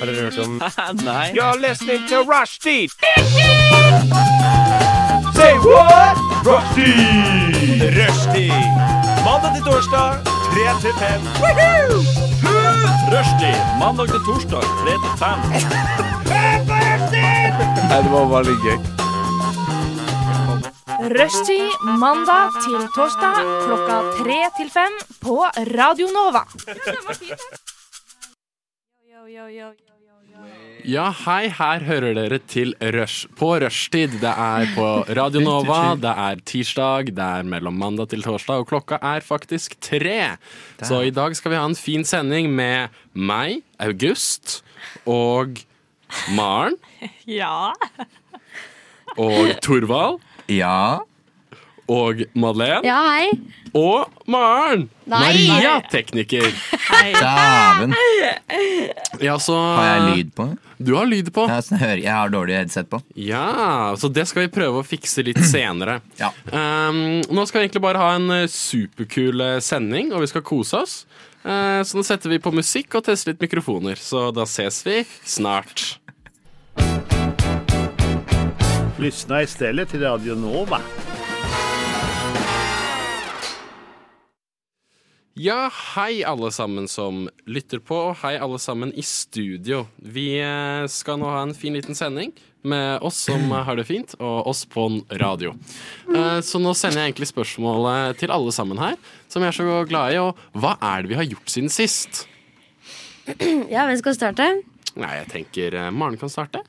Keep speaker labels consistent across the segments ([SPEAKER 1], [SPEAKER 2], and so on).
[SPEAKER 1] Har dere hørt om
[SPEAKER 2] Nei.
[SPEAKER 3] You're listening to Rushdie. Say what? Rushdie. Rushdie. Mandag til torsdag, 3 til 5.
[SPEAKER 2] Rushdie. Mandag til torsdag, 3 til 5.
[SPEAKER 4] Rushtid mandag til torsdag klokka tre til fem på Radio Nova.
[SPEAKER 5] Ja, hei, her hører dere til Rush på rushtid. Det er på Radio Nova, det er tirsdag, det er mellom mandag til torsdag, og klokka er faktisk tre. Så i dag skal vi ha en fin sending med meg, August, og Maren
[SPEAKER 6] Ja.
[SPEAKER 5] og Torvald
[SPEAKER 7] Ja.
[SPEAKER 5] og Madeleine
[SPEAKER 8] Ja, hei.
[SPEAKER 5] og Maren!
[SPEAKER 8] Nei.
[SPEAKER 5] Maria tekniker.
[SPEAKER 7] Dæven.
[SPEAKER 5] Ja, så
[SPEAKER 7] Har jeg lyd på?
[SPEAKER 5] Du har lyd på.
[SPEAKER 7] Jeg, har sånn høre- jeg har dårlig headset på.
[SPEAKER 5] Ja, så det skal vi prøve å fikse litt senere.
[SPEAKER 7] Ja.
[SPEAKER 5] Um, nå skal vi egentlig bare ha en eh, superkul eh, sending, og vi skal kose oss. Eh, så nå setter vi på musikk og tester litt mikrofoner, så da ses vi snart.
[SPEAKER 9] Lyssna istället till Radio Nova.
[SPEAKER 5] Ja, hei alle sammen som lytter på, og hei alle sammen i studio. Vi eh, skal nå ha en fin liten sending med oss som eh, har det fint, og oss på en radio. Eh, Så nå sender jeg egentlig spørsmålet til alle sammen her, som jeg er så glad i, og hva er det vi har gjort siden sist?
[SPEAKER 8] Ja, hvem skal starte?
[SPEAKER 5] Nei, jeg tenker eh, Maren kan starte.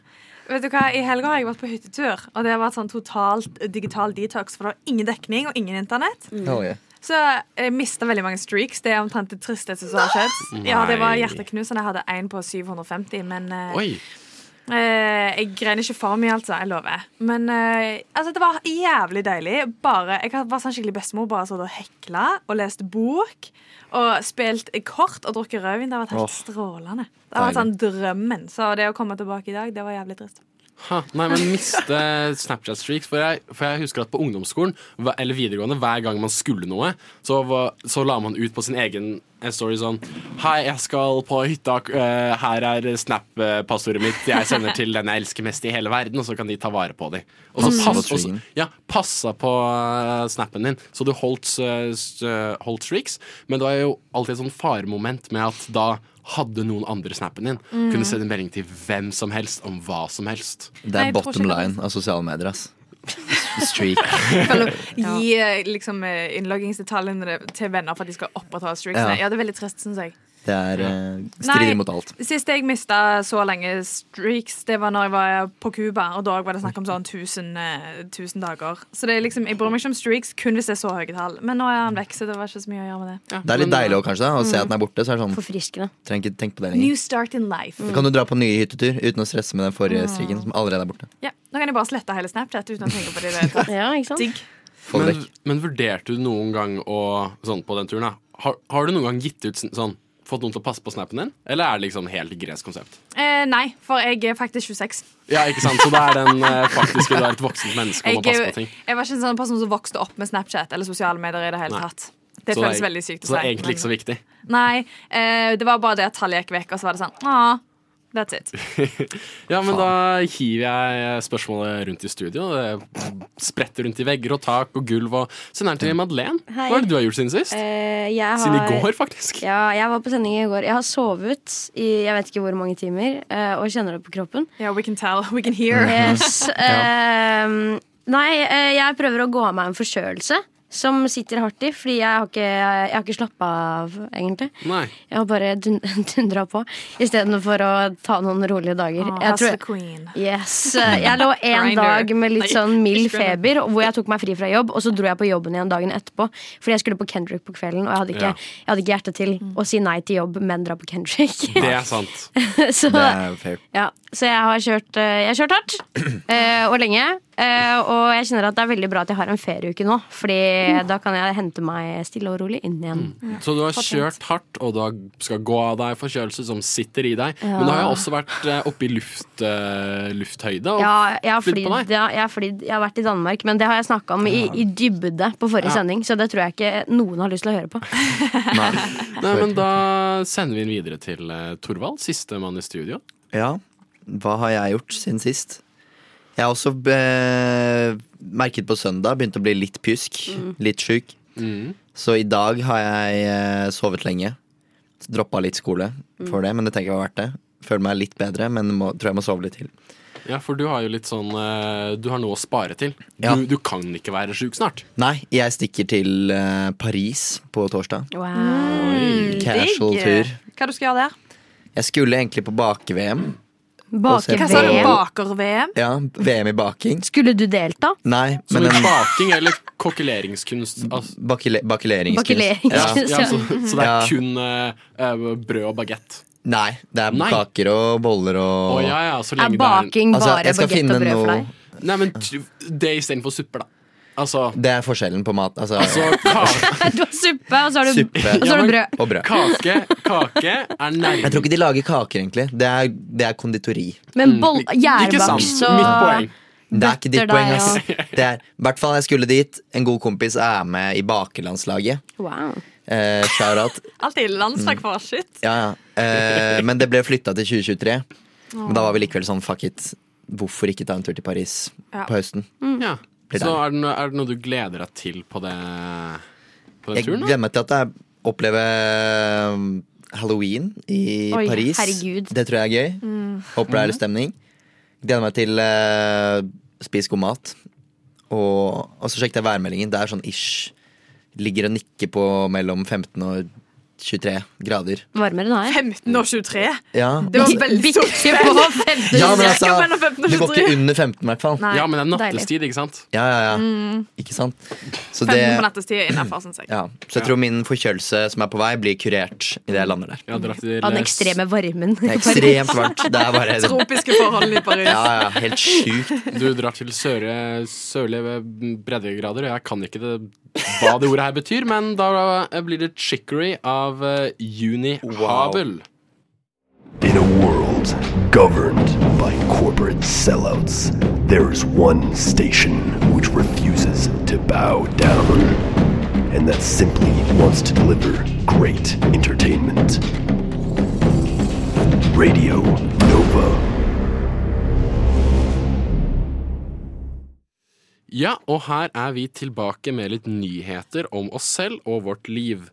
[SPEAKER 6] Vet du hva, I helga har jeg vært på hyttetur, og det har vært sånn totalt digital detox. For det var ingen dekning og ingen internett.
[SPEAKER 7] Hell yeah.
[SPEAKER 6] Så jeg mista veldig mange streaks. Det er omtrent det tristeste som har skjedd. Ja, Det var
[SPEAKER 5] Nei.
[SPEAKER 6] hjerteknusende. Jeg hadde én på 750, men eh,
[SPEAKER 5] Oi.
[SPEAKER 6] eh, jeg grein ikke for mye, altså. Jeg lover. Men eh, altså, det var jævlig deilig. Bare, jeg var sånn skikkelig bestemor. Bare satt og hekla og lest bok. Og spilt kort og drukket rødvin. Det har vært helt strålende. Det har vært sånn drømmen. Så det å komme tilbake i dag, det var jævlig trist.
[SPEAKER 5] Ha, nei, men miste Snapchat-streaks. For, jeg- for jeg husker at på ungdomsskolen hva- eller videregående, hver gang man skulle noe, så, var- så la man ut på sin egen eh, story sånn Hei, jeg skal på hytta. eh, her er Snap-passordet mitt. Jeg sender til den jeg elsker mest i hele verden, og så kan de ta vare på dem. Og så pass, og så- ja, passa på eh, snappen din, så du holdt, eh, s- eh, holdt streaks. Men det var jo alltid et sånn faremoment med at da hadde noen andre snappen din. Kunne sende melding til hvem som helst om hva som helst.
[SPEAKER 7] Det
[SPEAKER 6] Nei,
[SPEAKER 7] er
[SPEAKER 6] jeg tror
[SPEAKER 7] bottom
[SPEAKER 6] ikke det.
[SPEAKER 7] line av sosiale medier, ass. Streak.
[SPEAKER 6] Gi eh, liksom, eh, innloggingsdetaljene til venner for at de skal opprettholde streaksene.
[SPEAKER 7] Ja.
[SPEAKER 6] Ja, det er veldig trist, synes jeg.
[SPEAKER 7] Det er eh, strider
[SPEAKER 6] Nei.
[SPEAKER 7] mot alt.
[SPEAKER 6] Sist jeg mista så lenge streaks, det var når jeg var på Cuba. Og da var det snakk om sånn 1000, eh, 1000 dager. Så det er liksom, jeg bryr meg ikke om streaks kun hvis det er så høye tall. Men nå er han vekk, så det var ikke så mye å gjøre med det.
[SPEAKER 7] Det er litt deilig også, kanskje, da, å se at den er borte. Så er det sånn,
[SPEAKER 8] Forfriskende.
[SPEAKER 7] trenger ikke tenke på det
[SPEAKER 6] Mm. New
[SPEAKER 7] lenger.
[SPEAKER 6] start in life.
[SPEAKER 7] Da kan du dra på nye hyttetur uten å stresse med den
[SPEAKER 6] Ah.
[SPEAKER 7] forrige strikken som allerede er borte.
[SPEAKER 6] Ja, Nå kan jeg bare slette hele Snapchat uten å tenke på det. i det hele tatt.
[SPEAKER 8] Ja, ikke sant?
[SPEAKER 6] Digg.
[SPEAKER 7] Få det
[SPEAKER 5] Men,
[SPEAKER 7] vekk.
[SPEAKER 5] men vurderte du noen gang å Sånn på den turen, da. Har, har du noen gang gitt ut sn- sånn Fått noen til å passe på snappen din? Eller er det liksom helt gresk konsept?
[SPEAKER 6] Eh, nei, for jeg er faktisk 26.
[SPEAKER 5] Ja, ikke sant? Så da er den eh, faktisk da er et voksent menneske om å
[SPEAKER 6] Jeg, jeg
[SPEAKER 5] passe
[SPEAKER 6] var
[SPEAKER 5] på ting.
[SPEAKER 6] ikke en sånn person som vokste opp med Snapchat eller sosiale medier. i Det hele
[SPEAKER 5] Nei.
[SPEAKER 6] tatt Det
[SPEAKER 5] Så
[SPEAKER 6] føles
[SPEAKER 5] er-
[SPEAKER 6] veldig sykt å si.
[SPEAKER 5] Så det er egentlig ikke så
[SPEAKER 6] men-
[SPEAKER 5] viktig.
[SPEAKER 6] Nei, eh, det var bare det at tallet gikk vekk, og så var det sånn ah, That's it.
[SPEAKER 5] Ja, men da hiver jeg eh, spørsmålet rundt i studio. Det Spretter rundt i vegger og tak og gulv og Sender den til Madeleine.
[SPEAKER 8] Hei.
[SPEAKER 5] Hva er det du har gjort siden sist?
[SPEAKER 8] Eh, jeg har,
[SPEAKER 5] Siden i går, faktisk.
[SPEAKER 8] Ja, jeg var på sending i går. Jeg har sovet i jeg vet ikke hvor mange timer, eh, og kjenner det på kroppen.
[SPEAKER 6] Ja, we can tell. We can hear.
[SPEAKER 8] Yes. eh, nei, eh, jeg prøver å gå av meg en forkjølelse som sitter hardt i, fordi jeg har ikke, jeg har ikke slappa av, egentlig.
[SPEAKER 5] Nei.
[SPEAKER 8] Jeg har bare dun- dundra på istedenfor å ta noen rolige dager.
[SPEAKER 6] Ah,
[SPEAKER 8] jeg
[SPEAKER 6] Hustle
[SPEAKER 8] tror,
[SPEAKER 6] Queen.
[SPEAKER 8] Yes, Jeg lå en
[SPEAKER 6] Grindr.
[SPEAKER 8] dag med litt
[SPEAKER 6] Nei,
[SPEAKER 8] sånn mild
[SPEAKER 6] ikke Grindr.
[SPEAKER 8] feber, hvor jeg tok meg fri fra jobb, og så dro jeg på jobben igjen dagen etterpå. Fordi jeg skulle på Kendrick på kvelden, og jeg hadde ikke,
[SPEAKER 5] Ja.
[SPEAKER 8] jeg hadde ikke hjerte til å si nei til jobb, men dra på Kendrick.
[SPEAKER 5] Det er sant.
[SPEAKER 8] så,
[SPEAKER 7] Det er fair.
[SPEAKER 8] ja. så jeg har kjørt, eh, jeg har kjørt hardt eh, og lenge. eh, Og jeg kjenner at det er veldig bra at jeg har en ferieuke nå, Fordi da kan jeg hente meg stille og rolig inn igjen.
[SPEAKER 5] Så du har kjørt hardt, og du har- skal gå av deg forkjølelse som sitter i deg. Men du har jo også vært eh, oppe i luft, eh, lufthøyde og
[SPEAKER 8] Ja, jeg har,
[SPEAKER 5] flydd
[SPEAKER 8] flydd,
[SPEAKER 5] på deg.
[SPEAKER 8] ja, jeg, har flydd, jeg har vært i Danmark, men det har jeg snakka om i, i dybde på forrige
[SPEAKER 5] Ja.
[SPEAKER 8] sending. Så det tror jeg ikke noen har lyst til å høre på.
[SPEAKER 7] Nei.
[SPEAKER 5] Nei, men da sender vi den videre til eh, Torvald, sistemann i studio.
[SPEAKER 7] Ja, hva har jeg gjort siden sist? Jeg har også be merket på søndag, begynte å bli litt pjusk,
[SPEAKER 6] Mm.
[SPEAKER 7] litt sjuk.
[SPEAKER 5] Mm.
[SPEAKER 7] Så i dag har jeg eh, sovet lenge. Droppa litt skole for det, men det tenker jeg var verdt det. Føler meg litt bedre, men må, tror jeg må sove litt til.
[SPEAKER 5] Ja, for du har jo litt sånn eh, Du har noe å spare til. Du,
[SPEAKER 7] Ja.
[SPEAKER 5] du kan ikke være sjuk snart.
[SPEAKER 7] Nei, jeg stikker til eh, Paris på torsdag.
[SPEAKER 8] Wow.
[SPEAKER 7] Casual
[SPEAKER 6] Digg.
[SPEAKER 7] tur.
[SPEAKER 6] Hva du skal gjøre der?
[SPEAKER 7] Jeg skulle egentlig på bake-VM.
[SPEAKER 8] Bake
[SPEAKER 6] Hva sa du?
[SPEAKER 8] VM.
[SPEAKER 6] Baker-VM?
[SPEAKER 7] Ja, VM i baking.
[SPEAKER 8] Skulle du delta?
[SPEAKER 7] Nei,
[SPEAKER 5] Så
[SPEAKER 7] men en
[SPEAKER 5] baking eller kokkeleringskunst altså,
[SPEAKER 7] bakele- bakeleringskunst.
[SPEAKER 8] Bakelering.
[SPEAKER 5] ja, ja, så, så det er
[SPEAKER 7] Ja.
[SPEAKER 5] kun eh, eh, brød og bagett.
[SPEAKER 7] Nei, det er
[SPEAKER 5] Nei.
[SPEAKER 7] kaker og boller
[SPEAKER 5] Å
[SPEAKER 7] og
[SPEAKER 5] ja, ja, så
[SPEAKER 8] Er
[SPEAKER 5] lenge det
[SPEAKER 8] baking
[SPEAKER 7] Altså,
[SPEAKER 8] bare
[SPEAKER 7] jeg skal
[SPEAKER 8] bagett
[SPEAKER 7] finne
[SPEAKER 8] og brød for
[SPEAKER 7] noe-
[SPEAKER 8] deg?
[SPEAKER 5] er Nei, men t- det istedenfor supper, da. Altså,
[SPEAKER 7] Det er forskjellen på mat. Altså,
[SPEAKER 5] så ka
[SPEAKER 8] Du har suppe, og så har du,
[SPEAKER 7] Suppe.
[SPEAKER 8] og så har
[SPEAKER 5] Ja, men-
[SPEAKER 8] du brød.
[SPEAKER 7] og brød.
[SPEAKER 5] kake, kake er
[SPEAKER 7] Jeg tror
[SPEAKER 5] nærmere
[SPEAKER 7] ikke de lager kaker, egentlig. Det er, det er konditori.
[SPEAKER 8] Men boll,
[SPEAKER 5] Ikke sant?
[SPEAKER 8] gjærbakst og
[SPEAKER 5] Mitt poeng.
[SPEAKER 7] Det er ikke ditt
[SPEAKER 8] Bøtter
[SPEAKER 7] poeng,
[SPEAKER 8] deg
[SPEAKER 7] ass. Det er, I hvert fall jeg skulle dit. En god kompis er med i bakerlandslaget.
[SPEAKER 8] Wow.
[SPEAKER 7] Eh, Shout-out.
[SPEAKER 6] Alltid
[SPEAKER 7] Mm.
[SPEAKER 6] landslag for shit.
[SPEAKER 7] Ja, ja. Eh, men det ble flytta til 2023. Men da var vi likevel sånn fuck it. Hvorfor ikke ta en tur til Paris
[SPEAKER 6] Ja.
[SPEAKER 7] på høsten?
[SPEAKER 8] Mm.
[SPEAKER 5] Ja.
[SPEAKER 7] Blir
[SPEAKER 5] Så
[SPEAKER 7] deilig.
[SPEAKER 5] er det, noe, er det noe du gleder deg til på, det, på den
[SPEAKER 7] Jeg
[SPEAKER 5] turen? Da?
[SPEAKER 7] gleder meg til at jeg opplever um, Halloween i
[SPEAKER 8] Oi,
[SPEAKER 7] Paris.
[SPEAKER 8] herregud.
[SPEAKER 7] Det tror jeg er gøy.
[SPEAKER 6] Mm.
[SPEAKER 7] Håper det er litt stemning. Gleder meg til uh, spis god mat. Og, og så sjekket jeg værmeldingen. Det er sånn ish. Ligger og nikker på mellom 15 og 23 grader.
[SPEAKER 8] Varmere enn her.
[SPEAKER 6] 15 og 23.
[SPEAKER 7] Ja,
[SPEAKER 6] Det var veldig stort.
[SPEAKER 8] Bikke på 50
[SPEAKER 7] ja men altså
[SPEAKER 6] cirka mellom 15 og
[SPEAKER 7] Det går
[SPEAKER 6] 23.
[SPEAKER 7] ikke under 15, i hvert fall.
[SPEAKER 6] Nei,
[SPEAKER 5] Ja, men det er
[SPEAKER 8] Deilig.
[SPEAKER 5] nattestid, ikke sant?
[SPEAKER 7] Ja, ja, ja. Ikke sant? Så
[SPEAKER 6] 15
[SPEAKER 7] det
[SPEAKER 6] på nattestid er innafor, syns jeg.
[SPEAKER 7] ja. Så jeg tror min forkjølelse som er på vei, blir kurert idet jeg lander der.
[SPEAKER 5] Jeg har dratt til
[SPEAKER 8] Av den ekstreme varmen.
[SPEAKER 7] Det er ekstremt varmt. Det er bare
[SPEAKER 6] Tropiske forhold i Paris.
[SPEAKER 7] Ja, ja, helt sjukt.
[SPEAKER 5] Du drar til søre, sørlige breddegrader, og jeg kan ikke det, hva det ordet her betyr, men da blir det chicory av eh, Unihabel.
[SPEAKER 1] In a world governed by corporate sellouts, there is one station which refuses to bow down, and that simply wants to deliver great entertainment. Radio Nova.
[SPEAKER 5] Ja, og her er vi tilbake med litt nyheter om oss selv og vårt liv.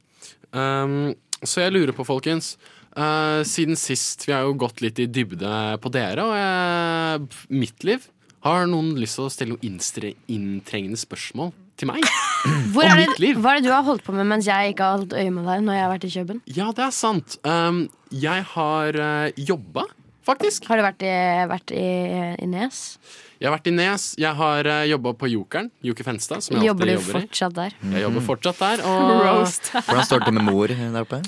[SPEAKER 5] Ehm, så jeg lurer på, folkens eh, Siden sist, vi har jo gått litt i dybde på dere og jeg, mitt liv. Har noen lyst til å stille noen innstre- inntrengende spørsmål til meg?
[SPEAKER 8] Hvor
[SPEAKER 5] Og
[SPEAKER 8] er
[SPEAKER 5] mitt
[SPEAKER 8] det,
[SPEAKER 5] liv.
[SPEAKER 8] hva er det du har holdt på med mens jeg ikke har holdt øye med deg? Når jeg har vært i Køben?
[SPEAKER 5] Ja, det er sant. Ehm, jeg har uh, jobba, faktisk.
[SPEAKER 8] Har du vært i, vært i, i Nes?
[SPEAKER 5] Jeg har vært i Nes. Jeg har uh, jobba på Jokeren. Joker Fenstad, som jeg
[SPEAKER 8] Jobber
[SPEAKER 5] alltid
[SPEAKER 8] du
[SPEAKER 5] jobber i.
[SPEAKER 8] fortsatt der?
[SPEAKER 5] Jeg jobber fortsatt der. Og
[SPEAKER 7] Hvordan står det til med mor der oppe?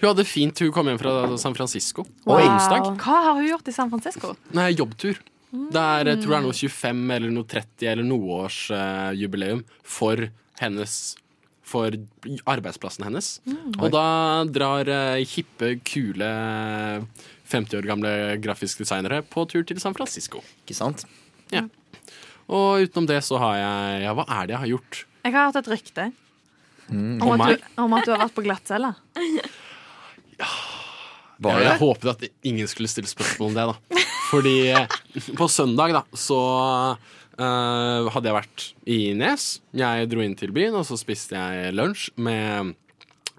[SPEAKER 5] hun hadde det fint. Hun kom hjem fra San Francisco på
[SPEAKER 8] Wow.
[SPEAKER 5] onsdag.
[SPEAKER 6] Hva har hun gjort i San Francisco?
[SPEAKER 5] Nei, jobbtur. Det er, jeg tror det er noe 25 eller noe 30 eller noe års eh, jubileum for hennes For arbeidsplassen hennes. Og da drar eh, hippe, kule 50 år gamle grafiske designere på tur til San Francisco.
[SPEAKER 7] Ikke sant?
[SPEAKER 5] Og utenom det så har jeg Ja, hva er det jeg har gjort?
[SPEAKER 6] Jeg har hørt et rykte om,
[SPEAKER 5] Om
[SPEAKER 6] at
[SPEAKER 5] meg?
[SPEAKER 6] du, om at du har vært på glattcelle.
[SPEAKER 7] Var
[SPEAKER 5] Jeg, jeg
[SPEAKER 7] det?
[SPEAKER 5] håpet at ingen skulle stille spørsmål om det, da. Fordi eh, på søndag, da, så eh, hadde jeg vært i Nes. Jeg dro inn til byen, og så spiste jeg lunsj med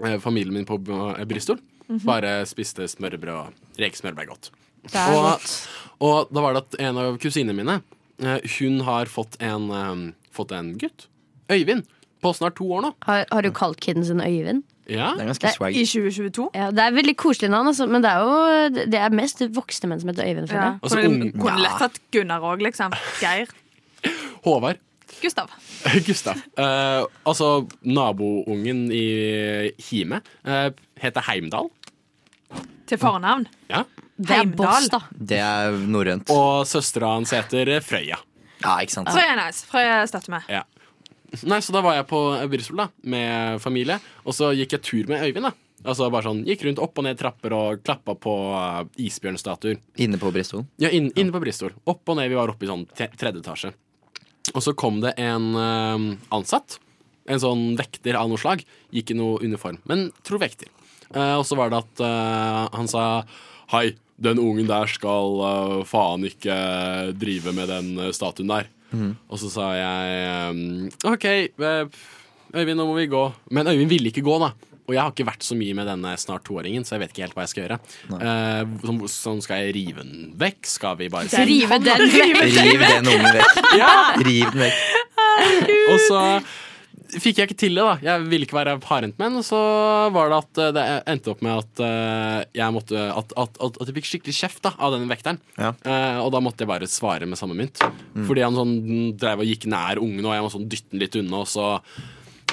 [SPEAKER 5] eh, familien min på B- Bristol. Bare spiste smørbrød og rekesmørbrød er godt.
[SPEAKER 8] Mhm. Det er
[SPEAKER 5] Og-
[SPEAKER 8] godt.
[SPEAKER 5] Og da var det at en av kusinene mine eh, Hun har fått en, eh, fått en gutt. Øyvind. På snart to år nå.
[SPEAKER 8] Har, har du kalt kiden sin Øyvind?
[SPEAKER 5] Ja.
[SPEAKER 7] Det er ganske swag.
[SPEAKER 6] I 2022.
[SPEAKER 8] Ja, det er veldig koselig navn, altså, men det er jo det er mest voksne menn som heter Øyvind.
[SPEAKER 6] Ja.
[SPEAKER 8] føler jeg.
[SPEAKER 5] Altså,
[SPEAKER 6] Kunne,
[SPEAKER 5] ung-
[SPEAKER 6] kunne lett hatt Gunnar òg, liksom. Geir.
[SPEAKER 5] Håvard.
[SPEAKER 6] Gustav.
[SPEAKER 5] Gustav. Eh, altså, naboungen i Hime eh, heter Heimdal.
[SPEAKER 6] Til fornavn.
[SPEAKER 5] Ja.
[SPEAKER 8] Det er
[SPEAKER 6] Heimdal.
[SPEAKER 8] boss, da.
[SPEAKER 7] Det er norrønt.
[SPEAKER 5] Og søstera hans heter Frøya.
[SPEAKER 7] Ja, ikke sant?
[SPEAKER 6] Frøya er nice. Frøya støtter meg.
[SPEAKER 5] Ja. Nei, Så da var jeg på Bristol da, med familie, og så gikk jeg tur med Øyvind. da Altså bare sånn, Gikk rundt opp og ned trapper og klappa på eh, isbjørnstatuer.
[SPEAKER 7] Inne på Bristol.
[SPEAKER 5] Ja, inn- inne på Bristol. Opp og ned. Vi var oppe i sånn te- tredje etasje. Og så kom det en eh, ansatt. En sånn vekter av noe slag. Gikk i noe uniform, men tror vekter. Eh, og så var det at eh, han sa Hei, den ungen der skal eh, faen ikke drive med den eh, statuen der. Og så sa jeg ehm, OK, eh, Øyvind, nå må vi gå. Men Øyvind ville ikke gå, da. Og jeg har ikke vært så mye med denne snart toåringen, så jeg vet ikke helt hva jeg skal gjøre. Eh, sånn, sånn skal jeg rive den vekk? Skal vi bare si
[SPEAKER 8] Rive den vekk.
[SPEAKER 7] Riv den ungen vekk. Riv den vekk.
[SPEAKER 5] Og så fikk jeg ikke til det, da. Jeg ville ikke være hardhendt med den. Og så var det at eh, det endte opp med at eh, jeg måtte At, at, at, at jeg fikk skikkelig kjeft da, av den vekteren.
[SPEAKER 7] Ja. Mm.
[SPEAKER 5] Eh, og da måtte jeg bare svare med samme mynt. Fordi han sånn drev og gikk nær ungen, og jeg må sånn dytte den litt unna, og så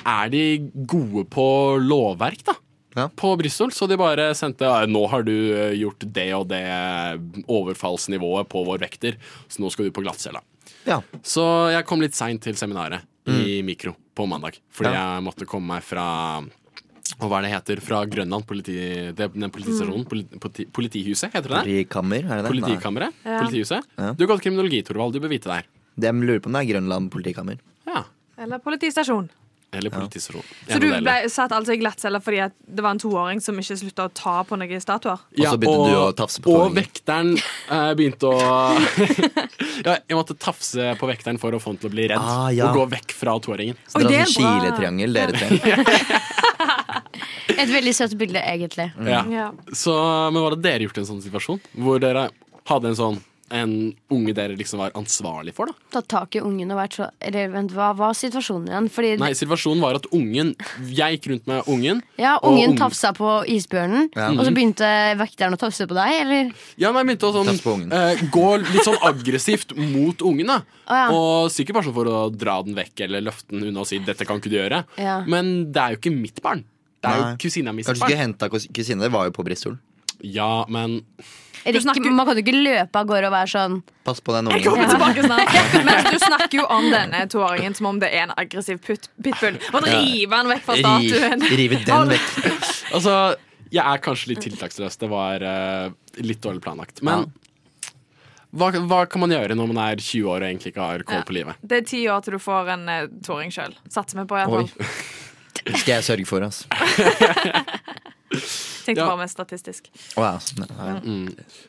[SPEAKER 5] er de gode på lovverk, da.
[SPEAKER 7] Ja.
[SPEAKER 5] På Bristol, så de bare sendte «Ja, 'Nå har du eh, gjort det og det eh, overfallsnivået på vår vekter, så nå skal du på glattcella'.
[SPEAKER 7] Ja.
[SPEAKER 5] Så jeg kom litt seint til seminaret i
[SPEAKER 7] Mm.
[SPEAKER 5] mikro på mandag. Fordi jeg måtte komme meg fra og hva er det heter, fra Grønland politi, det- den
[SPEAKER 7] Mm.
[SPEAKER 5] politistasjonen. Politi, politi, politihuset, heter det det?
[SPEAKER 7] Politikammer, er det det?
[SPEAKER 5] Politikammeret?
[SPEAKER 6] Ja.
[SPEAKER 5] Politihuset?
[SPEAKER 7] Ja.
[SPEAKER 5] Du har gått kriminologi, Torvald. Du bør vite det her.
[SPEAKER 7] Nei. De lurer på om det er Grønland politikammer.
[SPEAKER 5] Ja.
[SPEAKER 6] Eller politistasjon.
[SPEAKER 5] Eller politistasjon.
[SPEAKER 6] Så du ble satt altså i glattcelle fordi at det var en toåring som ikke slutta å ta på noen statuer?
[SPEAKER 7] Og så begynte du å tafse på
[SPEAKER 5] Og
[SPEAKER 7] tåringen.
[SPEAKER 5] vekteren eh, begynte å ja, Jeg måtte tafse på vekteren for å få han til å bli redd
[SPEAKER 7] Ah, ja.
[SPEAKER 5] og gå vekk fra toåringen.
[SPEAKER 7] Så
[SPEAKER 6] Oi,
[SPEAKER 7] dere har
[SPEAKER 6] det er
[SPEAKER 7] sånn
[SPEAKER 6] bra.
[SPEAKER 7] kiletriangel, dere tre.
[SPEAKER 8] Et veldig søtt bilde, egentlig.
[SPEAKER 5] Ja.
[SPEAKER 6] Ja.
[SPEAKER 5] Så, men hva hadde dere gjort i en sånn situasjon? Hvor dere hadde en sånn en unge dere liksom var ansvarlig for? da?
[SPEAKER 8] Tatt tak i ungen og vært så Eller vent, hva var situasjonen igjen? Fordi
[SPEAKER 5] Nei, situasjonen var at ungen Jeg gikk rundt med ungen.
[SPEAKER 8] ja,
[SPEAKER 5] og
[SPEAKER 8] ungen
[SPEAKER 5] ung- Mhm.
[SPEAKER 8] tafsa på isbjørnen, og så begynte vekteren å tafse på deg, eller?
[SPEAKER 5] Ja, nei, begynte å
[SPEAKER 7] Tafse på
[SPEAKER 5] sånn,
[SPEAKER 7] ungen.
[SPEAKER 5] eh, gå litt sånn aggressivt mot ungen. da
[SPEAKER 8] ja.
[SPEAKER 5] Og sikkert bare sånn for å dra den vekk eller løfte den unna og si 'dette kan ikke du gjøre'.
[SPEAKER 8] Ja.
[SPEAKER 5] Men det er jo ikke mitt barn. Det er
[SPEAKER 7] Nei.
[SPEAKER 5] jo kusina mi
[SPEAKER 7] Kanskje
[SPEAKER 5] sitt
[SPEAKER 7] du skulle
[SPEAKER 5] barn.
[SPEAKER 7] henta kus- kusine? Dere var jo på Bristol.
[SPEAKER 5] Ja, men
[SPEAKER 8] Rekker-
[SPEAKER 6] snakker-
[SPEAKER 8] Man kan jo ikke løpe av gårde og være sånn
[SPEAKER 7] Pass på den ungen.
[SPEAKER 6] tilbake snart. Men du snakker jo om denne toåringen som om det er en aggressiv putt, pitbull. Og rive han vekk fra statuen.
[SPEAKER 7] Ri- Rive den vekk.
[SPEAKER 5] Altså, jeg er kanskje litt tiltaksløs. Det var eh, litt dårlig planlagt. Men hva, hva kan man gjøre når man er 20 år og egentlig ikke har kål på livet?
[SPEAKER 6] Det er ti år til du får en eh, toåring sjøl. Satser vi på,
[SPEAKER 7] Oi.
[SPEAKER 6] iallfall.
[SPEAKER 7] Skal jeg sørge for, altså.
[SPEAKER 6] Tenkte
[SPEAKER 5] Ja.
[SPEAKER 6] bare mer statistisk.
[SPEAKER 7] Å, ja, sånn, ja, ja.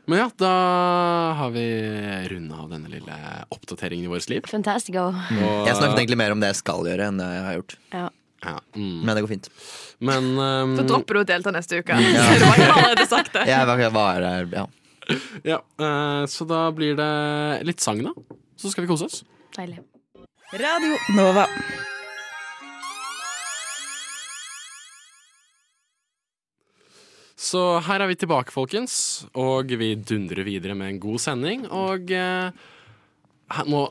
[SPEAKER 5] Men ja, da har vi runda av denne lille oppdateringen i vårt liv.
[SPEAKER 8] Fantastico.
[SPEAKER 5] Og,
[SPEAKER 7] Jeg snakket egentlig mer om det jeg skal gjøre, enn det jeg har gjort.
[SPEAKER 8] Ja.
[SPEAKER 5] ja, mm.
[SPEAKER 7] Men det går fint.
[SPEAKER 5] Men ehm,
[SPEAKER 7] Mm.
[SPEAKER 6] Så dropper du å delta neste uke. Så du har ikke allerede sagt det.
[SPEAKER 7] Jeg var, jeg var her, ja.
[SPEAKER 5] ja, eh, Så da blir det litt sang, da. Så skal vi kose oss.
[SPEAKER 8] Deilig.
[SPEAKER 10] Radio Nova.
[SPEAKER 5] Så her er vi tilbake, folkens. Og vi dundrer videre med en god sending. Og eh, her- nå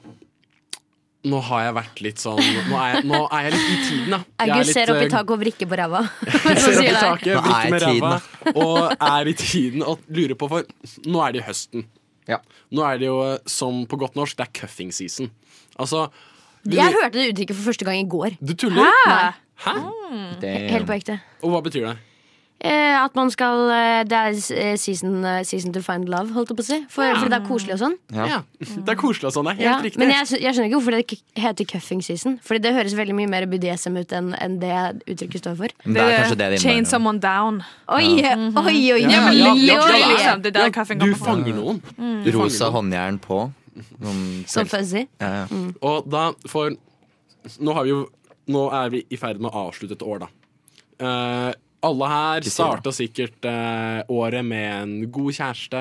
[SPEAKER 5] nå har jeg vært litt sånn Nå er jeg, nå er jeg litt i tiden, da. Jeg er
[SPEAKER 8] August
[SPEAKER 5] litt,
[SPEAKER 8] ser opp
[SPEAKER 5] eh,
[SPEAKER 8] i taket og vrikker på ræva.
[SPEAKER 5] ser opp i
[SPEAKER 8] Sier
[SPEAKER 5] taket,
[SPEAKER 7] Hva er
[SPEAKER 5] vrikker med ræva
[SPEAKER 7] tiden,
[SPEAKER 5] og er i tiden og lurer på For nå er det jo høsten.
[SPEAKER 7] Ja.
[SPEAKER 5] Nå er det jo eh, som på godt norsk, det er cuffing season. Altså du,
[SPEAKER 8] Jeg hørte det uttrykket for første gang i går.
[SPEAKER 5] du tuller?
[SPEAKER 8] Nei,
[SPEAKER 5] Hæ?
[SPEAKER 8] Helt på ekte.
[SPEAKER 5] Og hva betyr det?
[SPEAKER 8] Eh, at man skal eh, Det er eh, season, eh, season to find love, holdt jeg på å si. For, Fordi det er koselig og sånn.
[SPEAKER 7] Ja.
[SPEAKER 5] Ja. Det er koselig og sånn. Det er
[SPEAKER 8] Ja,
[SPEAKER 5] helt riktig.
[SPEAKER 8] men jeg, skj- jeg skjønner ikke hvorfor det k- heter cuffing season. Fordi det høres veldig mye mer BDSM ut enn enn det uttrykket står for.
[SPEAKER 7] Men Det er kanskje det det
[SPEAKER 6] Chain
[SPEAKER 7] innebærer.
[SPEAKER 6] someone down.
[SPEAKER 8] Oi, oi, oi, oi,
[SPEAKER 5] Ja, men
[SPEAKER 8] oi,
[SPEAKER 5] ja,
[SPEAKER 8] oi.
[SPEAKER 6] Det er liksom, det er der cuffing
[SPEAKER 5] du
[SPEAKER 6] kommer fra. Mm.
[SPEAKER 5] fanger noen. Du fanger
[SPEAKER 7] Rosa
[SPEAKER 5] noen.
[SPEAKER 7] håndjern på. Noen
[SPEAKER 8] Som Mm. fuzzy.
[SPEAKER 7] ja, ja.
[SPEAKER 5] Og da, for nå, har vi jo, nå er vi i ferd med å avslutte et år, da. Eh, alle her
[SPEAKER 7] sier
[SPEAKER 5] starta sikkert eh, året med en god kjæreste,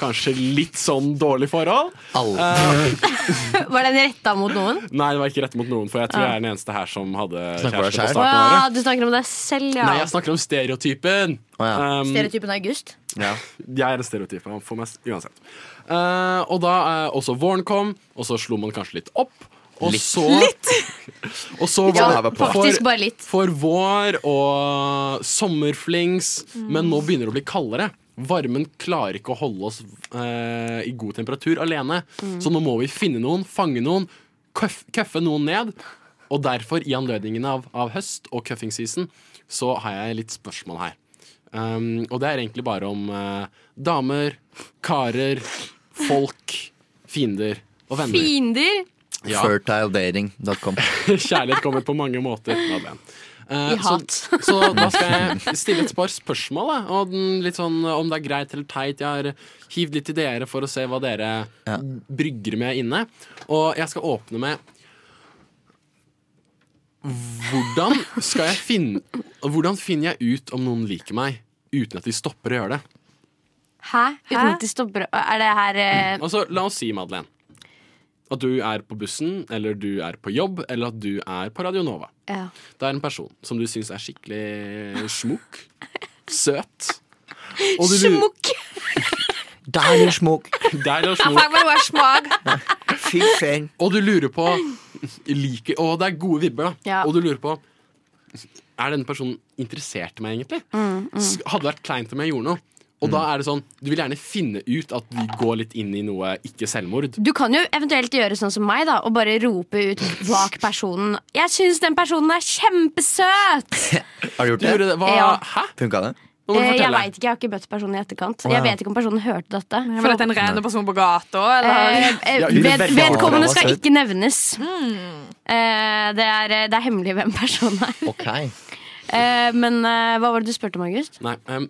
[SPEAKER 5] kanskje litt sånn dårlig forhold.
[SPEAKER 7] Alle.
[SPEAKER 5] Eh,
[SPEAKER 8] Var den retta mot noen?
[SPEAKER 5] Nei, det var ikke rett mot noen, for jeg tror jeg er den eneste her som hadde
[SPEAKER 7] Snakker du deg
[SPEAKER 5] kjæreste på starten
[SPEAKER 7] selv?
[SPEAKER 8] Å
[SPEAKER 5] av
[SPEAKER 8] ja,
[SPEAKER 5] året.
[SPEAKER 8] du snakker om deg selv, ja.
[SPEAKER 5] Nei, jeg snakker om stereotypen.
[SPEAKER 7] Å, ja.
[SPEAKER 5] Um,
[SPEAKER 8] Stereotypen August.
[SPEAKER 7] Ja.
[SPEAKER 5] Jeg er en stereotyp. Han får meg s- uansett. Eh, og da eh, også våren kom, og så slo man kanskje litt opp. Og
[SPEAKER 7] Litt.
[SPEAKER 5] så Og så
[SPEAKER 7] Ja,
[SPEAKER 5] var
[SPEAKER 7] jeg var
[SPEAKER 5] det
[SPEAKER 7] på.
[SPEAKER 8] Faktisk
[SPEAKER 5] for,
[SPEAKER 8] bare litt.
[SPEAKER 5] for vår og sommerflings, men nå begynner det å bli kaldere. Varmen klarer ikke å holde oss eh, i god temperatur alene, så nå må vi finne noen, fange noen, køff, køffe noen ned. Og derfor, i anledningen av, av høst og cuffing season, så har jeg litt spørsmål her. Um, og det er egentlig bare om eh, damer, karer, folk, fiender og venner.
[SPEAKER 8] Fiender!
[SPEAKER 5] Ja.
[SPEAKER 7] Fertiledating.com.
[SPEAKER 5] Kjærlighet kommer på mange måter. Madeleine. Eh,
[SPEAKER 8] I hat.
[SPEAKER 5] Så, så da skal jeg stille et par spørsmål, da, og den, litt sånn eh, om det er greit eller teit. Jeg har hivd litt til dere for å se hva dere brygger med inne. Og jeg skal åpne med Hvordan skal jeg finne Hvordan finner jeg ut om noen liker meg, uten at de stopper å gjøre det?
[SPEAKER 8] Hæ? Uten at de stopper Er det her eh,
[SPEAKER 5] Altså, La oss si, Madeleine, at du er på bussen, eller du er på jobb, eller at du er på Radio Nova.
[SPEAKER 8] ja.
[SPEAKER 5] Det er en person som du syns er skikkelig smukk, søt og du lurer-
[SPEAKER 8] Smokk!
[SPEAKER 7] Deilig smokk.
[SPEAKER 5] Deilig og smukk.
[SPEAKER 8] Hva er smak?
[SPEAKER 7] Fy faen.
[SPEAKER 5] Og du lurer på liker, Og det er gode vibber, da.
[SPEAKER 8] Ja.
[SPEAKER 5] Og du lurer på Er denne personen interessert i meg, egentlig?
[SPEAKER 8] Mm,
[SPEAKER 5] S- Hadde det vært kleint om jeg gjorde noe. Og da er det sånn, Du vil gjerne finne ut at vi går litt inn i noe ikke selvmord.
[SPEAKER 8] Du kan jo eventuelt gjøre sånn som meg da og bare rope ut bak personen 'Jeg syns den personen er kjempesøt!'
[SPEAKER 7] Har du
[SPEAKER 5] Du
[SPEAKER 7] gjort det?
[SPEAKER 5] gjorde det, hva,
[SPEAKER 8] Ja.
[SPEAKER 5] Hæ?
[SPEAKER 7] Funka det?
[SPEAKER 5] Nå må du
[SPEAKER 8] Eh, Jeg
[SPEAKER 5] fortelle.
[SPEAKER 8] veit ikke, jeg har ikke møtt personen i etterkant.
[SPEAKER 7] ja.
[SPEAKER 8] Jeg vet ikke om personen hørte dette.
[SPEAKER 6] For dette er en ren person på gata, eller?
[SPEAKER 8] Eh, eh,
[SPEAKER 7] Ja, hun er
[SPEAKER 8] ved,
[SPEAKER 7] veldig overraskende.
[SPEAKER 8] vedkommende skal ikke nevnes.
[SPEAKER 7] Mm.
[SPEAKER 8] Eh, det, er, eh, det er hemmelig hvem personen er.
[SPEAKER 7] Ok.
[SPEAKER 8] Eh, men eh, hva var det du spurte om, August?
[SPEAKER 5] Nei, em,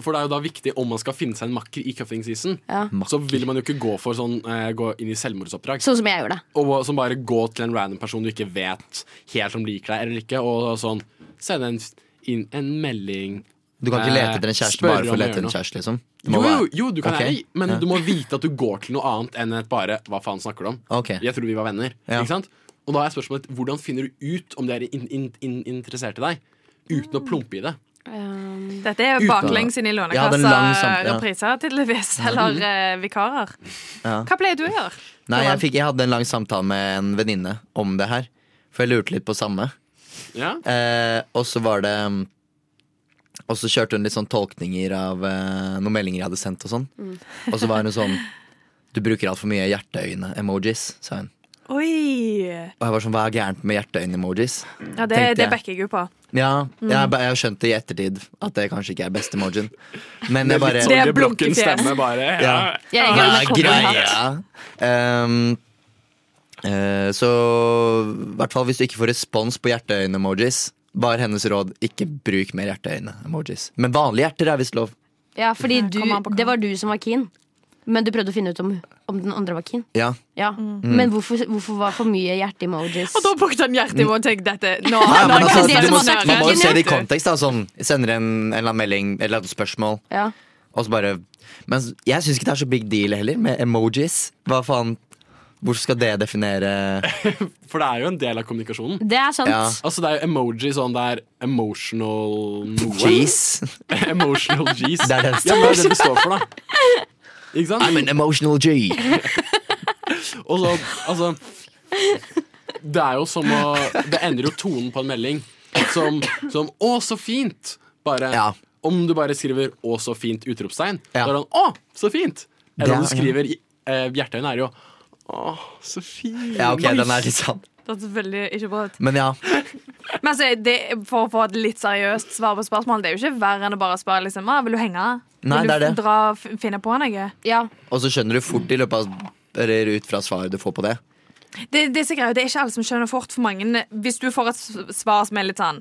[SPEAKER 5] for det er jo da viktig om man skal finne seg en makker i cuffing season.
[SPEAKER 8] Ja.
[SPEAKER 5] Så vil man jo ikke gå for sånn eh, Gå inn i selvmordsoppdrag.
[SPEAKER 8] Sånn som jeg gjorde.
[SPEAKER 5] Og som bare gå til en random person du ikke vet helt om liker deg eller ikke, og sånn sende en, inn en melding.
[SPEAKER 7] Du kan ikke
[SPEAKER 5] Eh,
[SPEAKER 7] lete etter en kjæreste
[SPEAKER 5] spørre
[SPEAKER 7] bare for
[SPEAKER 5] om
[SPEAKER 7] å
[SPEAKER 5] å
[SPEAKER 7] lete etter
[SPEAKER 5] gjøre
[SPEAKER 7] en kjæreste, liksom?
[SPEAKER 5] Jo,
[SPEAKER 7] Det må
[SPEAKER 5] jo,
[SPEAKER 7] være-
[SPEAKER 5] jo, du kan
[SPEAKER 7] Ok.
[SPEAKER 5] gjerne, men
[SPEAKER 7] Ja.
[SPEAKER 5] du må vite at du går til noe annet enn et bare 'hva faen snakker du om'?
[SPEAKER 7] Ok.
[SPEAKER 5] Jeg tror vi var venner.
[SPEAKER 7] Ja.
[SPEAKER 5] Ikke sant? Og da er spørsmålet hvordan finner du ut om de er in, in, in, interessert i deg, uten å plumpe i det?
[SPEAKER 7] Eh,
[SPEAKER 6] Dette er
[SPEAKER 5] Uten-
[SPEAKER 6] baklengs inn i
[SPEAKER 7] Ja, det er en
[SPEAKER 6] lånekassa.
[SPEAKER 7] lang sam- ja.
[SPEAKER 6] Repriser, tydeligvis. Eller eh, vikarer.
[SPEAKER 7] Ja.
[SPEAKER 6] Hva pleier du å gjøre?
[SPEAKER 7] Nei, jeg, fikk, jeg hadde en lang samtale med en venninne om det her. For jeg lurte litt på samme.
[SPEAKER 5] Ja?
[SPEAKER 7] Eh, og så var det mm, Og så kjørte hun litt sånn tolkninger av eh, noen meldinger jeg hadde sendt. Og sånn
[SPEAKER 6] Mm.
[SPEAKER 7] Og så var hun sånn Du bruker altfor mye hjerteøyne-emojis, sa hun.
[SPEAKER 6] Oi!
[SPEAKER 7] Og jeg var sånn, hva er gærent med hjerteøyne-emojis?
[SPEAKER 6] Ja, det,
[SPEAKER 7] Tenkte
[SPEAKER 6] det
[SPEAKER 7] jeg.
[SPEAKER 6] backer jeg jo på.
[SPEAKER 7] Ja,
[SPEAKER 6] Mm.
[SPEAKER 7] jeg, ba- jeg har skjønt det i ettertid at det kanskje ikke er beste emojien. Men jeg bare
[SPEAKER 6] sånn- Det er
[SPEAKER 5] blokken
[SPEAKER 6] blunkefjes.
[SPEAKER 5] stemmer bare. Ja.
[SPEAKER 7] Ja.
[SPEAKER 8] Jeg
[SPEAKER 7] Hva
[SPEAKER 8] reagerer med
[SPEAKER 7] er
[SPEAKER 8] cowboyhatt.
[SPEAKER 7] greia? Ehm, eh, så i hvert fall hvis du ikke får respons på hjerteøyne-emojis, var hennes råd ikke bruk mer hjerteøyne-emojis. Men vanlige hjerter er visst lov.
[SPEAKER 8] Ja, fordi du,
[SPEAKER 6] Kom an på hva.
[SPEAKER 8] det var du som var keen. Men du prøvde å finne ut om, om den andre var keen.
[SPEAKER 7] Ja.
[SPEAKER 8] Ja. Men hvorfor, hvorfor var for mye hjerte-emojis?
[SPEAKER 6] Og da brukte han hjertet i og tenkte dette. Nå,
[SPEAKER 7] Nei, men
[SPEAKER 6] nå
[SPEAKER 7] altså,
[SPEAKER 8] det
[SPEAKER 7] du
[SPEAKER 8] som
[SPEAKER 7] må,
[SPEAKER 8] har vært
[SPEAKER 7] man må jo
[SPEAKER 8] kritikken,
[SPEAKER 7] se det i
[SPEAKER 6] vet du.
[SPEAKER 7] kontekst. da sånn, Jeg Sender en, en eller annen melding eller et spørsmål,
[SPEAKER 8] Ja.
[SPEAKER 7] og så bare Men jeg syns ikke det er så big deal heller, med emojis. Hva faen? Hvor skal det definere
[SPEAKER 5] For det er jo en del av kommunikasjonen.
[SPEAKER 8] Det er sant.
[SPEAKER 7] Ja.
[SPEAKER 5] Altså Det er jo emoji sånn det er emotional noe.
[SPEAKER 7] Jeez.
[SPEAKER 5] Emotional G's.
[SPEAKER 7] Det er det det
[SPEAKER 5] ja, det er det det står for, da. Ikke sant?
[SPEAKER 7] I'm an emotional G.
[SPEAKER 5] Og så, altså Det er jo som å Det endrer jo tonen på en melding som, som 'Å, så fint'. Bare,
[SPEAKER 7] Ja.
[SPEAKER 5] Om du bare skriver 'Å, så fint', utropstegn,
[SPEAKER 7] Ja.
[SPEAKER 5] da er det sånn 'Å, så fint'. Eller om du
[SPEAKER 7] Det er-
[SPEAKER 5] skriver eh, Hjerteøyne er jo 'Å, så fint'.
[SPEAKER 7] Ja, ok, den er litt sann.
[SPEAKER 6] Det er veldig ikke bra ut.
[SPEAKER 7] Men ja.
[SPEAKER 6] Men altså, det, for å få et litt seriøst svar på spørsmålet, det er jo ikke verre enn å bare spørre liksom, ah, vil du henge?
[SPEAKER 7] Nei,
[SPEAKER 6] vil du
[SPEAKER 7] det er det.
[SPEAKER 6] dra og f- finne på noe?
[SPEAKER 8] Ja.
[SPEAKER 7] Og så skjønner du fort i løpet av eller ut fra svaret du får på det.
[SPEAKER 6] Det, det, er så greit, det er ikke alle som skjønner fort for mange. Hvis du får et s- svar som er litt sånn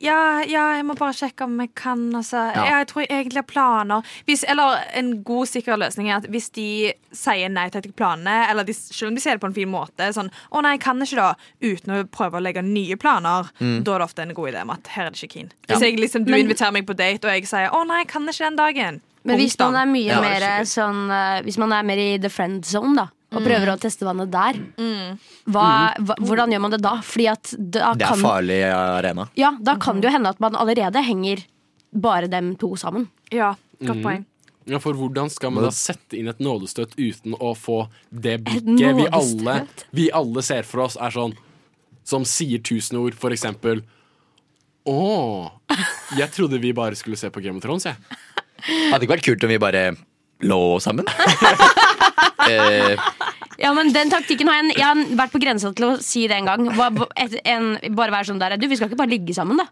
[SPEAKER 6] ja, ja, jeg må bare sjekke om jeg kan. Altså.
[SPEAKER 7] Ja.
[SPEAKER 6] Ja. Jeg tror jeg egentlig har planer. Hvis, eller en god, sikker løsning er at hvis de sier nei til disse planene, eller de, selv om de sier det på en fin måte, sånn 'Å nei, jeg kan ikke da', uten å prøve å legge nye planer, da er det ofte en god idé med at her er det ikke keen. Hvis jeg, liksom, du inviterer meg på date, og jeg sier 'Å nei, jeg kan ikke den dagen',
[SPEAKER 8] Men hvis man er mye
[SPEAKER 7] Ja, det er
[SPEAKER 8] mer sånn eh, Hvis man er mer i the friend zone, da, og prøver å teste vannet der, Mm. hva, hva, hvordan gjør man det da? Fordi at da
[SPEAKER 7] Det er
[SPEAKER 8] kan,
[SPEAKER 7] farlig arena.
[SPEAKER 8] ja, da kan det jo hende at man allerede henger bare dem to sammen.
[SPEAKER 6] Ja, godt poeng.
[SPEAKER 5] Ja, for hvordan skal man da sette inn et nådestøt uten å få det
[SPEAKER 8] Et
[SPEAKER 5] blikket vi alle,
[SPEAKER 8] nådestøt?
[SPEAKER 5] vi alle ser for oss er sånn Som sier tusen ord, for eksempel Å, jeg trodde vi bare skulle se på Game of Thrones, jeg.
[SPEAKER 7] Hadde ikke vært kult om vi bare lå sammen? eh,
[SPEAKER 8] Ja, men den taktikken har jeg, jeg har vært på grensa til å si det en gang. Hva, et, en, bare være sånn der Du, vi skal ikke bare ligge sammen, da.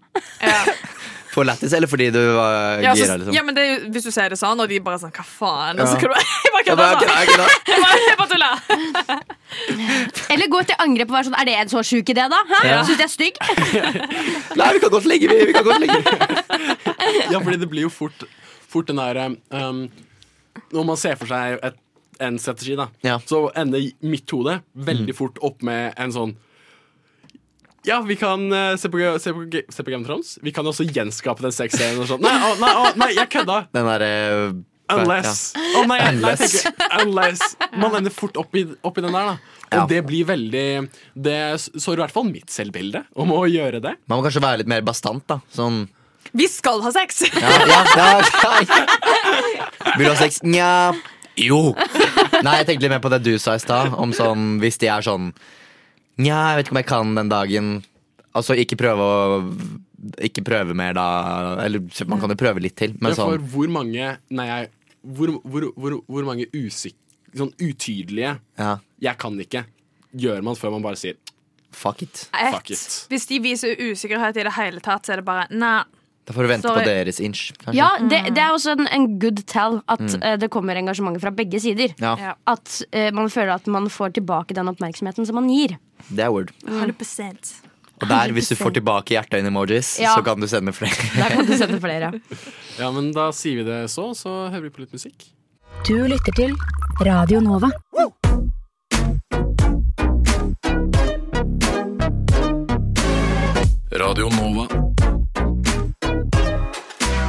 [SPEAKER 7] For lættis, eller fordi du var
[SPEAKER 6] Ja, så,
[SPEAKER 7] gira, liksom?
[SPEAKER 6] ja, men det, er jo- hvis du sier det sånn, og de bare sånn 'hva faen', og så
[SPEAKER 7] Ja.
[SPEAKER 6] kan du Jeg bare
[SPEAKER 7] Jeg bare,
[SPEAKER 6] kødder,
[SPEAKER 7] ok,
[SPEAKER 6] altså.
[SPEAKER 7] jeg er glad.
[SPEAKER 6] Jeg bare- jeg bare tuller.
[SPEAKER 8] Eller gå til angrep og være sånn Er det en så sjuk idé, da? Hæ?
[SPEAKER 7] Ja.
[SPEAKER 8] Syns jeg er stygg?
[SPEAKER 7] Nei, vi kan godt legge vi, vi kan godt legge
[SPEAKER 5] Ja, fordi det blir jo fort, fort den derre um, Når man ser for seg et, en strategi, da,
[SPEAKER 7] Ja. Mm.
[SPEAKER 5] så ender mitt hode veldig fort opp med en sånn ja, vi kan eh, se, på, se, på, Ga- se på Game of Thrones. Vi kan også gjenskape den sexscenen. og sånn. Nei, å, nei, å, nei, jeg kødda!
[SPEAKER 7] Den eh, derre
[SPEAKER 5] Unless. Å, nei, jeg- nei, jeg tenker, unless Man ender fort opp i, opp i den der, da. Og
[SPEAKER 7] Ja.
[SPEAKER 5] det blir veldig Det sår i hvert fall mitt selvbilde om å gjøre det.
[SPEAKER 7] Man må kanskje være litt mer bastant, da. Sånn
[SPEAKER 6] Vi skal ha sex!
[SPEAKER 7] Ja, ja, ja, ja. Vil du ha sex? Nja. Jo. Nei, jeg tenkte litt mer på det du sa i stad, om sånn hvis de er sånn Nja, jeg vet ikke om jeg kan den dagen. Altså, ikke prøve å Ikke prøve mer, da. Eller man kan jo prøve litt til, men
[SPEAKER 5] Men for
[SPEAKER 7] sånn
[SPEAKER 5] hvor mange Nei, jeg Hvor, hvor, hvor, hvor mange usik... Sånn utydelige
[SPEAKER 7] Ja,
[SPEAKER 5] 'jeg kan ikke' gjør man før man bare sier
[SPEAKER 7] fuck it.
[SPEAKER 5] Fuck
[SPEAKER 6] Et.
[SPEAKER 5] it.
[SPEAKER 6] Hvis de viser usikkerhet i det hele tatt, så er det bare nei.
[SPEAKER 7] Da får du vente
[SPEAKER 6] Sorry.
[SPEAKER 7] på deres inch, kanskje. Mm.
[SPEAKER 8] Ja, det, det er også en, en good tell at eh, det kommer engasjement fra begge sider.
[SPEAKER 7] Ja,
[SPEAKER 6] Ja.
[SPEAKER 8] At eh, man føler at man får tilbake den oppmerksomheten som man gir.
[SPEAKER 7] det er word.
[SPEAKER 6] 100
[SPEAKER 7] Og der, hvis du får tilbake hjerteøyne-emojis,
[SPEAKER 8] Ja.
[SPEAKER 7] så kan du sende flere.
[SPEAKER 8] Der kan du sende flere.
[SPEAKER 5] Ja, men da sier vi det så, så hører vi på litt musikk.
[SPEAKER 11] Du lytter til Radio Nova.
[SPEAKER 2] Radio Nova.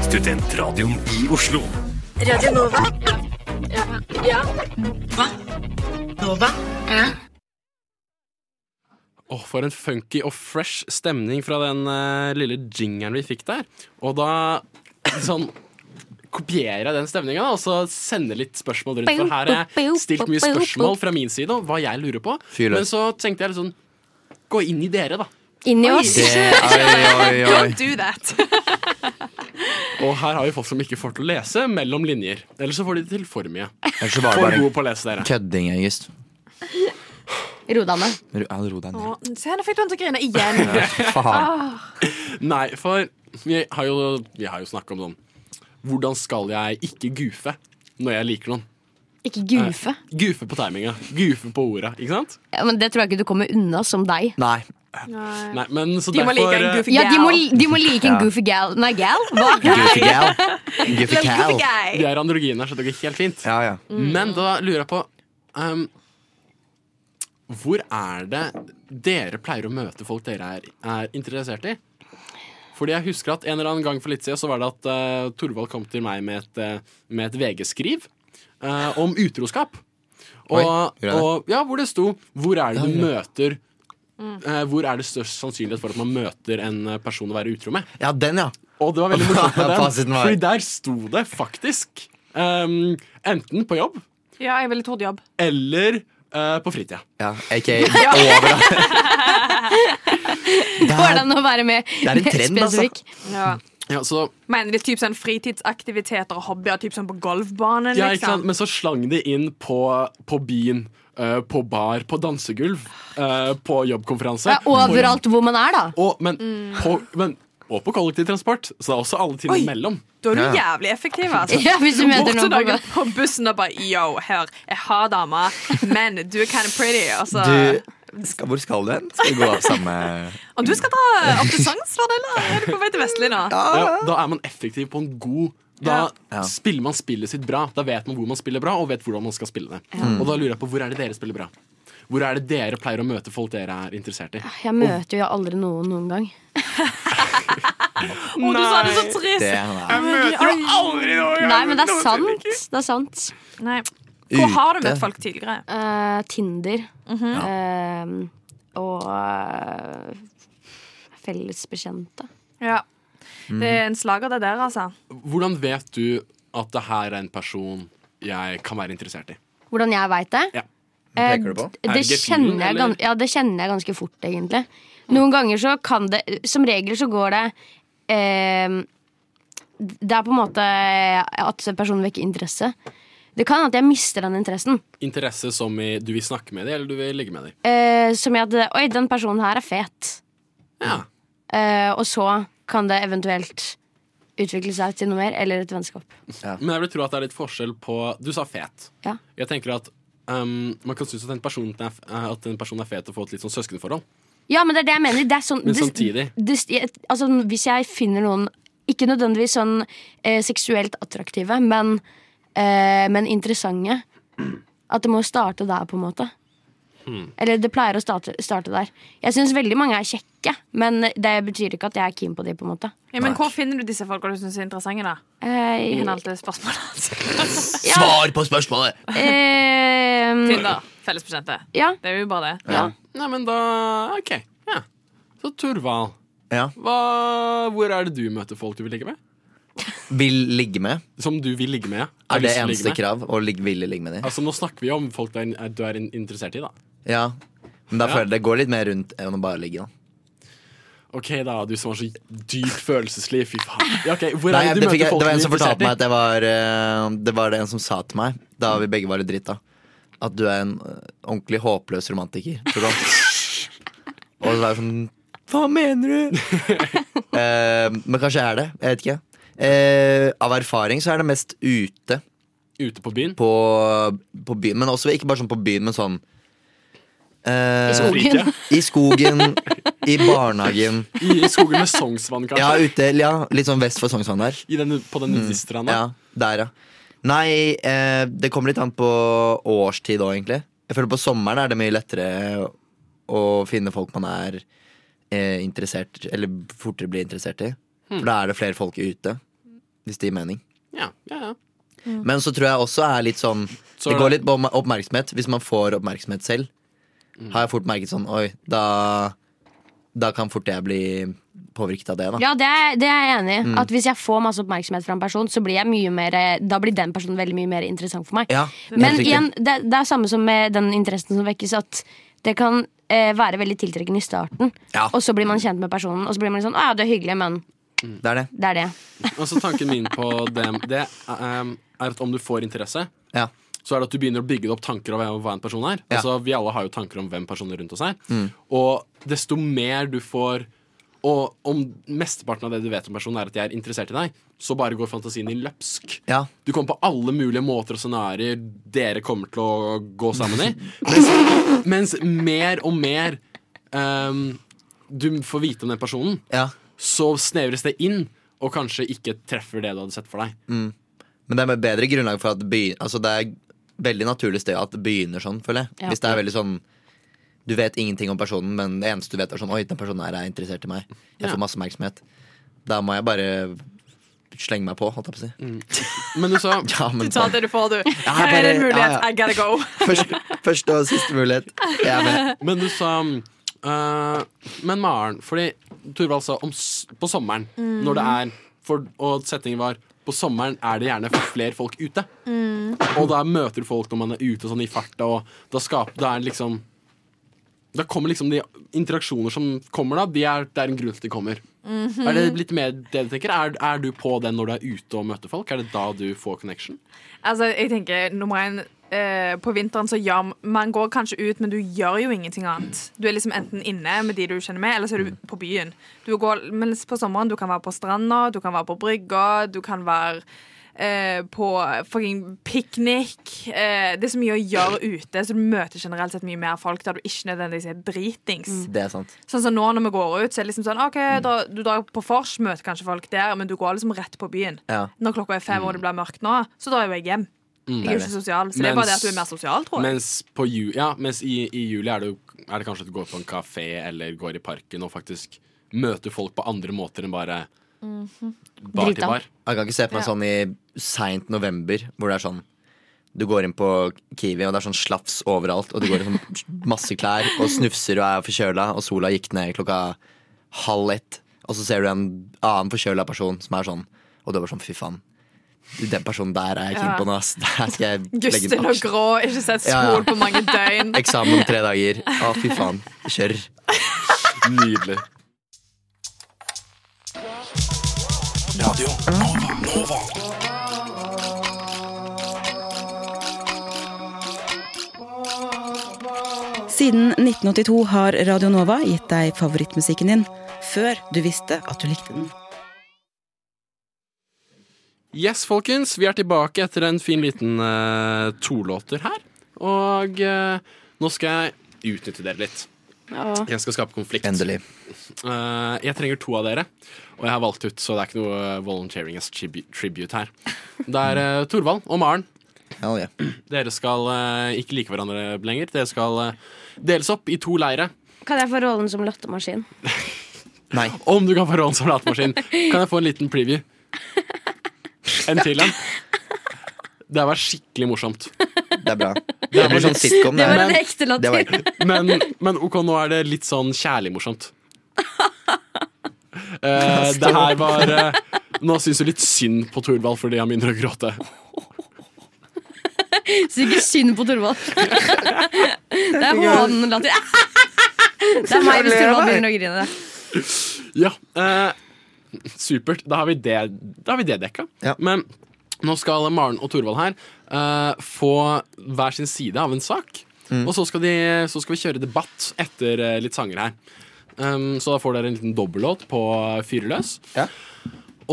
[SPEAKER 1] Studentradioen i Oslo.
[SPEAKER 5] Åh, For en funky og fresh stemning fra den eh, lille jingeren vi fikk der. Og da sånn kopierer jeg den stemninga og så sender litt spørsmål rundt. For her er jeg stilt mye spørsmål fra min side om hva jeg lurer på.
[SPEAKER 7] Fyr løs.
[SPEAKER 5] Men så tenkte jeg litt sånn Gå inn i dere, da.
[SPEAKER 8] Inni oss.
[SPEAKER 7] Det, oi, oi, oi.
[SPEAKER 6] Don't do that.
[SPEAKER 5] Og her har vi folk som ikke får til å lese mellom linjer. Eller så får de til for mye.
[SPEAKER 7] Ellers så var
[SPEAKER 5] For
[SPEAKER 7] det bare
[SPEAKER 5] gode på å lese, dere.
[SPEAKER 7] kødding, August.
[SPEAKER 8] Ro deg ned.
[SPEAKER 7] Ro- ja, Ro deg ned.
[SPEAKER 6] Å, Se, nå fikk du han til å grine igjen.
[SPEAKER 5] Ah.
[SPEAKER 7] Faen.
[SPEAKER 5] Nei, for vi har jo, vi har jo snakka om sånn Hvordan skal jeg ikke goofe når jeg liker noen?
[SPEAKER 8] Ikke goofe.
[SPEAKER 5] Goofe på timinga. Goofe på orda, ikke sant?
[SPEAKER 8] Ja, men det tror jeg ikke du kommer unna som deg.
[SPEAKER 7] Nei.
[SPEAKER 5] Nei, men så
[SPEAKER 6] De må
[SPEAKER 5] derfor
[SPEAKER 6] like en
[SPEAKER 5] eh,
[SPEAKER 6] goofy
[SPEAKER 8] Ja, de må,
[SPEAKER 6] gal.
[SPEAKER 8] de må like en
[SPEAKER 7] Ja.
[SPEAKER 8] goofy gal. Nei, gal? Hva?
[SPEAKER 7] Goofy gal. Goofy
[SPEAKER 6] Goofy
[SPEAKER 7] gal.
[SPEAKER 5] De
[SPEAKER 6] guy.
[SPEAKER 5] er androgyne her, så det går helt fint.
[SPEAKER 7] Ja, ja.
[SPEAKER 5] Men da lurer jeg på ehm, Hvor er det dere pleier å møte folk dere er, er interessert i? Fordi jeg husker at En eller annen gang for litt siden så var det at eh, Torvald kom til meg med et, eh, med et VG-skriv eh, om utroskap. Og,
[SPEAKER 7] Oi, gjorde jeg det?
[SPEAKER 5] og ja, hvor det sto Hvor er det du møter eh, Hvor er det størst sannsynlighet for at man møter en eh, person å være utro med?
[SPEAKER 7] ja, den, ja.
[SPEAKER 5] Og det var veldig morsomt med
[SPEAKER 7] Fasiten
[SPEAKER 5] den,
[SPEAKER 7] var-
[SPEAKER 5] fordi der sto det faktisk ehm, enten på jobb
[SPEAKER 6] Ja, jeg ville trodd jobb.
[SPEAKER 5] eller eh, på fritida.
[SPEAKER 7] ja AKA overalt.
[SPEAKER 8] Hvordan å være med
[SPEAKER 7] Det er en trend, altså.
[SPEAKER 8] spesifikk?
[SPEAKER 6] Ja.
[SPEAKER 5] Ja, så,
[SPEAKER 6] Mener de typ sånn fritidsaktiviteter og hobbyer, typ sånn på golfbanen?
[SPEAKER 5] ja, ikke
[SPEAKER 6] liksom?
[SPEAKER 5] sant? Men så slang de inn på, på byen, eh, på bar, på dansegulv, eh, på jobbkonferanse.
[SPEAKER 8] Ja, overalt hvor man er, da.
[SPEAKER 5] Og, men, på, men, og på kollektivtransport. Så det er også alle tider
[SPEAKER 6] Oi.
[SPEAKER 5] imellom.
[SPEAKER 6] Da er du
[SPEAKER 7] Ja, ja.
[SPEAKER 6] jævlig effektiv, altså.
[SPEAKER 8] Ja, hvis du
[SPEAKER 6] Bort
[SPEAKER 8] møter
[SPEAKER 6] til
[SPEAKER 8] noen på
[SPEAKER 6] noen på bussen og bare Yo, hør, jeg har dama, men du er kind of pretty. Og, så,
[SPEAKER 7] Du, skal, hvor skal du hen? Skal vi gå av samme
[SPEAKER 6] og du skal dra opp til Sognsvann, eller er du på vei til Vestli nå?
[SPEAKER 5] Ja, da er man effektiv på en god Da
[SPEAKER 7] Ja.
[SPEAKER 5] spiller man spillet sitt bra. Da vet man hvor man spiller bra, og vet hvordan man skal spille det. Og da lurer jeg på hvor er det dere spiller bra? Hvor er det dere pleier å møte folk dere er interessert i?
[SPEAKER 8] Jeg møter jo aldri noen noen gang.
[SPEAKER 6] Å, du sa det så
[SPEAKER 7] Det
[SPEAKER 6] trist!
[SPEAKER 5] Eh,
[SPEAKER 7] er
[SPEAKER 8] Nei, men det er sant. Det er sant.
[SPEAKER 6] Nei. Hvor har du
[SPEAKER 7] Ute.
[SPEAKER 6] møtt folk tidligere?
[SPEAKER 8] Eh, Tinder Eh, og eh, felles bekjente.
[SPEAKER 6] Ja.
[SPEAKER 7] Mm.
[SPEAKER 6] Det er en slager, det der, altså.
[SPEAKER 5] Hvordan vet du at det her er en person jeg kan være interessert i?
[SPEAKER 8] Hvordan jeg veit det?
[SPEAKER 5] Ja.
[SPEAKER 8] Eh,
[SPEAKER 7] peker du på?
[SPEAKER 8] d-
[SPEAKER 5] Er
[SPEAKER 8] det,
[SPEAKER 5] det gefühlen,
[SPEAKER 8] kjenner jeg
[SPEAKER 5] eller?
[SPEAKER 8] gan- ja, det kjenner jeg ganske fort, egentlig. Noen ganger så kan det Som regel så går det eh, Det er på en måte at personen vekker interesse. Det kan at jeg mister den interessen.
[SPEAKER 5] Interesse som i du vil snakke med dem, eller du vil ligge med dem?
[SPEAKER 8] Eh, som i at Oi, den personen her er fet.
[SPEAKER 5] Ja.
[SPEAKER 8] Eh, og så kan det eventuelt utvikle seg til noe mer, eller et vennskap.
[SPEAKER 5] Men jeg vil tro at det er litt forskjell på Du sa fet.
[SPEAKER 8] Ja.
[SPEAKER 5] Jeg tenker at ehm, Man kan synes at en person er, f- eh, at en person er fet og får et litt sånn søskenforhold.
[SPEAKER 8] Ja, men det er det jeg mener. Det er sånn,
[SPEAKER 5] Men
[SPEAKER 8] det-
[SPEAKER 5] samtidig-
[SPEAKER 8] det- jeg- altså, hvis jeg finner noen ikke nødvendigvis sånn eh, seksuelt attraktive, men, eh, men interessante At det må starte der, på en måte.
[SPEAKER 5] Hmm.
[SPEAKER 8] Eller det pleier å starte, starte der. Jeg syns veldig mange er kjekke, men det betyr ikke at jeg er keen på dem, på en måte.
[SPEAKER 6] Ja, men hvor finner du disse folka du syns er interessante, da?
[SPEAKER 8] Eh,
[SPEAKER 7] Oh.
[SPEAKER 6] I henhold til spørsmålet.
[SPEAKER 7] Svar på spørsmålet!
[SPEAKER 8] eh,
[SPEAKER 6] Tinder. Fellesbekjente.
[SPEAKER 8] Ja.
[SPEAKER 6] Det er jo bare det.
[SPEAKER 7] Ja.
[SPEAKER 5] Nei, men da OK. Ja. Så Torvald,
[SPEAKER 7] Ja.
[SPEAKER 5] hva, hvor er det du møter folk du vil ligge med?
[SPEAKER 7] Vil ligge med.
[SPEAKER 5] Som du vil ligge med? ja. Har
[SPEAKER 7] Er det
[SPEAKER 5] lyst til å ligge
[SPEAKER 7] eneste
[SPEAKER 5] med?
[SPEAKER 7] krav? Å ligge, ville ligge med dem?
[SPEAKER 5] Altså, Nå snakker vi om folk du er, eh, du er interessert i, da.
[SPEAKER 7] Ja. Men da
[SPEAKER 5] Ja.
[SPEAKER 7] føler jeg det går litt mer rundt enn å bare ligge, da.
[SPEAKER 5] OK, da, du som har så dypt følelsesliv. Fy faen. Ja, ok, Hvor
[SPEAKER 7] Nei,
[SPEAKER 5] er det du
[SPEAKER 7] det, fikk
[SPEAKER 5] møter
[SPEAKER 7] jeg,
[SPEAKER 5] folk
[SPEAKER 7] det
[SPEAKER 5] du
[SPEAKER 7] var en
[SPEAKER 5] er
[SPEAKER 7] som fortalte
[SPEAKER 5] interessert i?
[SPEAKER 7] meg at det var, eh, det var det en som sa til meg da vi begge var litt drita, at du er en eh, ordentlig håpløs romantiker. Tror du. Og så var jeg sånn Hva mener du? Eh, men kanskje jeg er det. Jeg vet ikke. Eh, av erfaring så er det mest ute
[SPEAKER 5] Ute på byen?
[SPEAKER 7] på, på byen. Men også ikke bare sånn på byen, men sånn eh,
[SPEAKER 8] I skogen.
[SPEAKER 5] Rike?
[SPEAKER 7] I skogen, i barnehagen.
[SPEAKER 5] I, I skogen med Sognsvann,
[SPEAKER 7] Ja,
[SPEAKER 5] kanskje?
[SPEAKER 7] ute, ja, litt sånn vest for Sognsvann der.
[SPEAKER 5] I den, på den nudiststranda?
[SPEAKER 7] Mm. Ja, der, ja. Nei, eh, det kommer litt an på årstid òg, egentlig. Jeg føler På sommeren er det mye lettere å finne folk man er eh, interessert Eller fortere blir interessert i.
[SPEAKER 5] Hmm.
[SPEAKER 7] For da er det flere folk ute, hvis det gir mening.
[SPEAKER 5] Ja, ja, ja.
[SPEAKER 7] Men så tror jeg også er litt sånn
[SPEAKER 5] Hmm. Så
[SPEAKER 7] Det
[SPEAKER 5] er
[SPEAKER 7] går
[SPEAKER 5] det-
[SPEAKER 7] litt på oppmer- oppmerksomhet. Hvis man får oppmerksomhet selv,
[SPEAKER 5] Hmm.
[SPEAKER 7] har jeg fort merket sånn Oi, da, da kan fort jeg bli påvirket av det, da.
[SPEAKER 8] Ja, det er, det er jeg enig i.
[SPEAKER 7] Mm.
[SPEAKER 8] At Hvis jeg får masse oppmerksomhet fra en person, så blir jeg mye mer, da blir den personen veldig mye mer interessant for meg.
[SPEAKER 7] Ja,
[SPEAKER 8] Men
[SPEAKER 7] helt riktig.
[SPEAKER 8] igjen, det, det er samme som med den interessen som vekkes, at det kan eh, være veldig tiltrekkende i starten.
[SPEAKER 7] Ja.
[SPEAKER 8] Og så blir man kjent med personen, og så blir man litt sånn Å ja, du er hyggelig, men
[SPEAKER 7] Det er det.
[SPEAKER 8] det er det.
[SPEAKER 5] Og så tanken min på det, det ehm, er at om du får interesse,
[SPEAKER 7] Ja.
[SPEAKER 5] så er det at du begynner å bygge opp tanker om hvem- hva en person er.
[SPEAKER 7] Ja. Mm.
[SPEAKER 5] Altså, vi alle har jo tanker om hvem personer rundt oss er. Og desto mer du får Og om mesteparten av det du vet om personen, er at de er interessert i deg, så bare går fantasien din løpsk.
[SPEAKER 7] Ja.
[SPEAKER 5] Du kommer på alle mulige måter og scenarioer dere kommer til å gå sammen i. Mens, mens mer og mer ehm, du får vite om den personen,
[SPEAKER 7] ja.
[SPEAKER 5] så snevres det inn, og kanskje ikke treffer det du hadde sett for deg.
[SPEAKER 7] Men det er med bedre grunnlag for at det begyn- altså det er veldig naturlig sted at det begynner sånn, føler jeg.
[SPEAKER 8] Ja.
[SPEAKER 7] Hvis det er veldig sånn Du vet ingenting om personen, men det eneste du vet, er sånn Oi, den personen her er interessert i meg. Jeg
[SPEAKER 5] Ja.
[SPEAKER 7] får masse oppmerksomhet. Da må jeg bare slenge meg på, holdt jeg på å si.
[SPEAKER 5] Men du sa
[SPEAKER 7] Ja, men
[SPEAKER 6] Du tar
[SPEAKER 7] sånn.
[SPEAKER 6] det du får, du.
[SPEAKER 7] bare-
[SPEAKER 6] Her er det en mulighet.
[SPEAKER 7] ja, ja.
[SPEAKER 6] I gotta go.
[SPEAKER 7] Første, første og siste mulighet. Jeg er med.
[SPEAKER 5] Men du sa eh, Men Maren, fordi Torvald sa om s på sommeren, når det er for, Og setningen var på sommeren er det gjerne flere folk ute. Og da møter du folk når man er ute sånn i farta, og da skaper det er liksom Da kommer liksom de interaksjoner som kommer, da. De er, det er en grunn til at de kommer. Er det litt mer det du tenker? Er, er du på den når du er ute og møter folk? Er det da du får connection?
[SPEAKER 6] Altså, jeg tenker nummer én eh, På vinteren så ja, man går kanskje ut, men du gjør jo ingenting annet. Du er liksom enten inne med de du kjenner med, eller så er du på byen. Du går, mens på sommeren du kan være på stranda, du kan være på brygga, du kan være eh, på fucking piknik. Eh, det er så mye å gjøre ute, så du møter generelt sett mye mer folk der du ikke nødvendigvis er dritings.
[SPEAKER 7] Det er sant.
[SPEAKER 6] Sånn som nå når vi går ut, så er det liksom sånn OK,
[SPEAKER 7] Mm.
[SPEAKER 6] da, du drar på vors, møter kanskje folk der, men du går liksom rett på byen.
[SPEAKER 7] Ja. Mm.
[SPEAKER 6] Når klokka er fem og det blir mørkt nå, så drar jo jeg hjem. Jeg er jo ikke sosial, så det
[SPEAKER 5] Mens-
[SPEAKER 6] er bare det at du er mer sosial, tror jeg.
[SPEAKER 5] Mens, på ju ja, mens i, i juli er det, jo, er det kanskje at du går på en kafé eller går i parken og faktisk møter folk på andre måter enn bare bar
[SPEAKER 8] Mhm. Drita.
[SPEAKER 5] til bar.
[SPEAKER 7] Jeg kan ikke se på meg
[SPEAKER 6] Ja.
[SPEAKER 7] sånn i seint november, hvor det er sånn Du går inn på Kiwi, og det er sånn slafs overalt, og du går i sånn masse klær og snufser og er forkjøla, og sola gikk ned klokka halv ett, og så ser du en annen forkjøla person som er sånn, og du er bare sånn fy faen. Den personen der er jeg keen på nå, ass. Der skal jeg legge
[SPEAKER 6] Gusten
[SPEAKER 7] en
[SPEAKER 6] og
[SPEAKER 7] aksje.
[SPEAKER 6] grå, ikke sett sol
[SPEAKER 7] Ja, ja.
[SPEAKER 6] på mange døgn.
[SPEAKER 7] Eksamen om tre dager. Å, fy faen. Kjør.
[SPEAKER 5] Nydelig.
[SPEAKER 10] Siden 1982 har Radio Nova gitt deg favorittmusikken din før du visste at du likte den.
[SPEAKER 5] Yes, folkens. Vi er tilbake etter en fin liten eh, to-låter her. Og eh, nå skal jeg utnytte dere litt.
[SPEAKER 8] Ja.
[SPEAKER 5] Jeg skal skape konflikt. Endelig. jeg trenger to av dere, og jeg har valgt ut, så det er ikke noe volunteering as tribu tribute her. Det er eh, Torvald og Maren. Dere skal eh, ikke like hverandre lenger. Dere skal eh, deles opp i to leire.
[SPEAKER 8] Kan jeg få rollen som lattermaskin?
[SPEAKER 5] Nei. Om du kan få rollen som latemaskin. Kan jeg få en liten preview? En til en. Det har vært skikkelig morsomt. Det er bra.
[SPEAKER 7] Det blir sånn sitcom, det Det var her. en ekte latter. Det var
[SPEAKER 5] Men, men ok, nå er det litt sånn kjærlig morsomt. Eh, det her var eh, Nå syns du litt synd på Thorvald fordi han begynner å gråte.
[SPEAKER 8] Så ikke synd på Torvald. Det er hånlatter. Det er meg hvis Torvald begynner å grine.
[SPEAKER 5] Ja, eh, supert. Da har vi det, da har vi det dekka. Men nå skal Maren og Torvald her eh, få hver sin side av en sak. Og så skal, de, så skal vi kjøre debatt etter eh, litt sanger her. Um, så da får dere en liten dobbellåt på Fyrløs.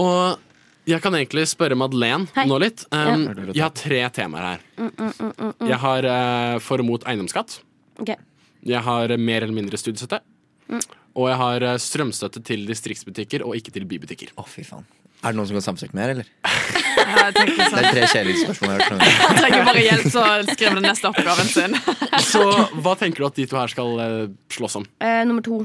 [SPEAKER 5] Og jeg kan egentlig spørre Madeleine
[SPEAKER 8] Hei.
[SPEAKER 5] nå litt. Um,
[SPEAKER 8] Ja.
[SPEAKER 5] Jeg har tre temaer her.
[SPEAKER 8] Mm, mm, mm, mm, mm.
[SPEAKER 5] Jeg har eh, for og mot eiendomsskatt.
[SPEAKER 8] Ok.
[SPEAKER 5] Jeg har mer eller mindre studiestøtte.
[SPEAKER 8] Mm.
[SPEAKER 5] Og jeg har eh, strømstøtte til distriktsbutikker og ikke til bybutikker. Å fy faen
[SPEAKER 7] Er det noen som kan samtykke mer, eller?
[SPEAKER 6] Jeg tenker
[SPEAKER 7] Det
[SPEAKER 6] sånn.
[SPEAKER 7] er tre kjedelige spørsmål jeg har hørt.
[SPEAKER 6] Han trenger bare hjelp, så skriver den neste oppgaven sin.
[SPEAKER 5] Så hva tenker du at de to her skal eh, slåss om?
[SPEAKER 8] Eh, nummer to.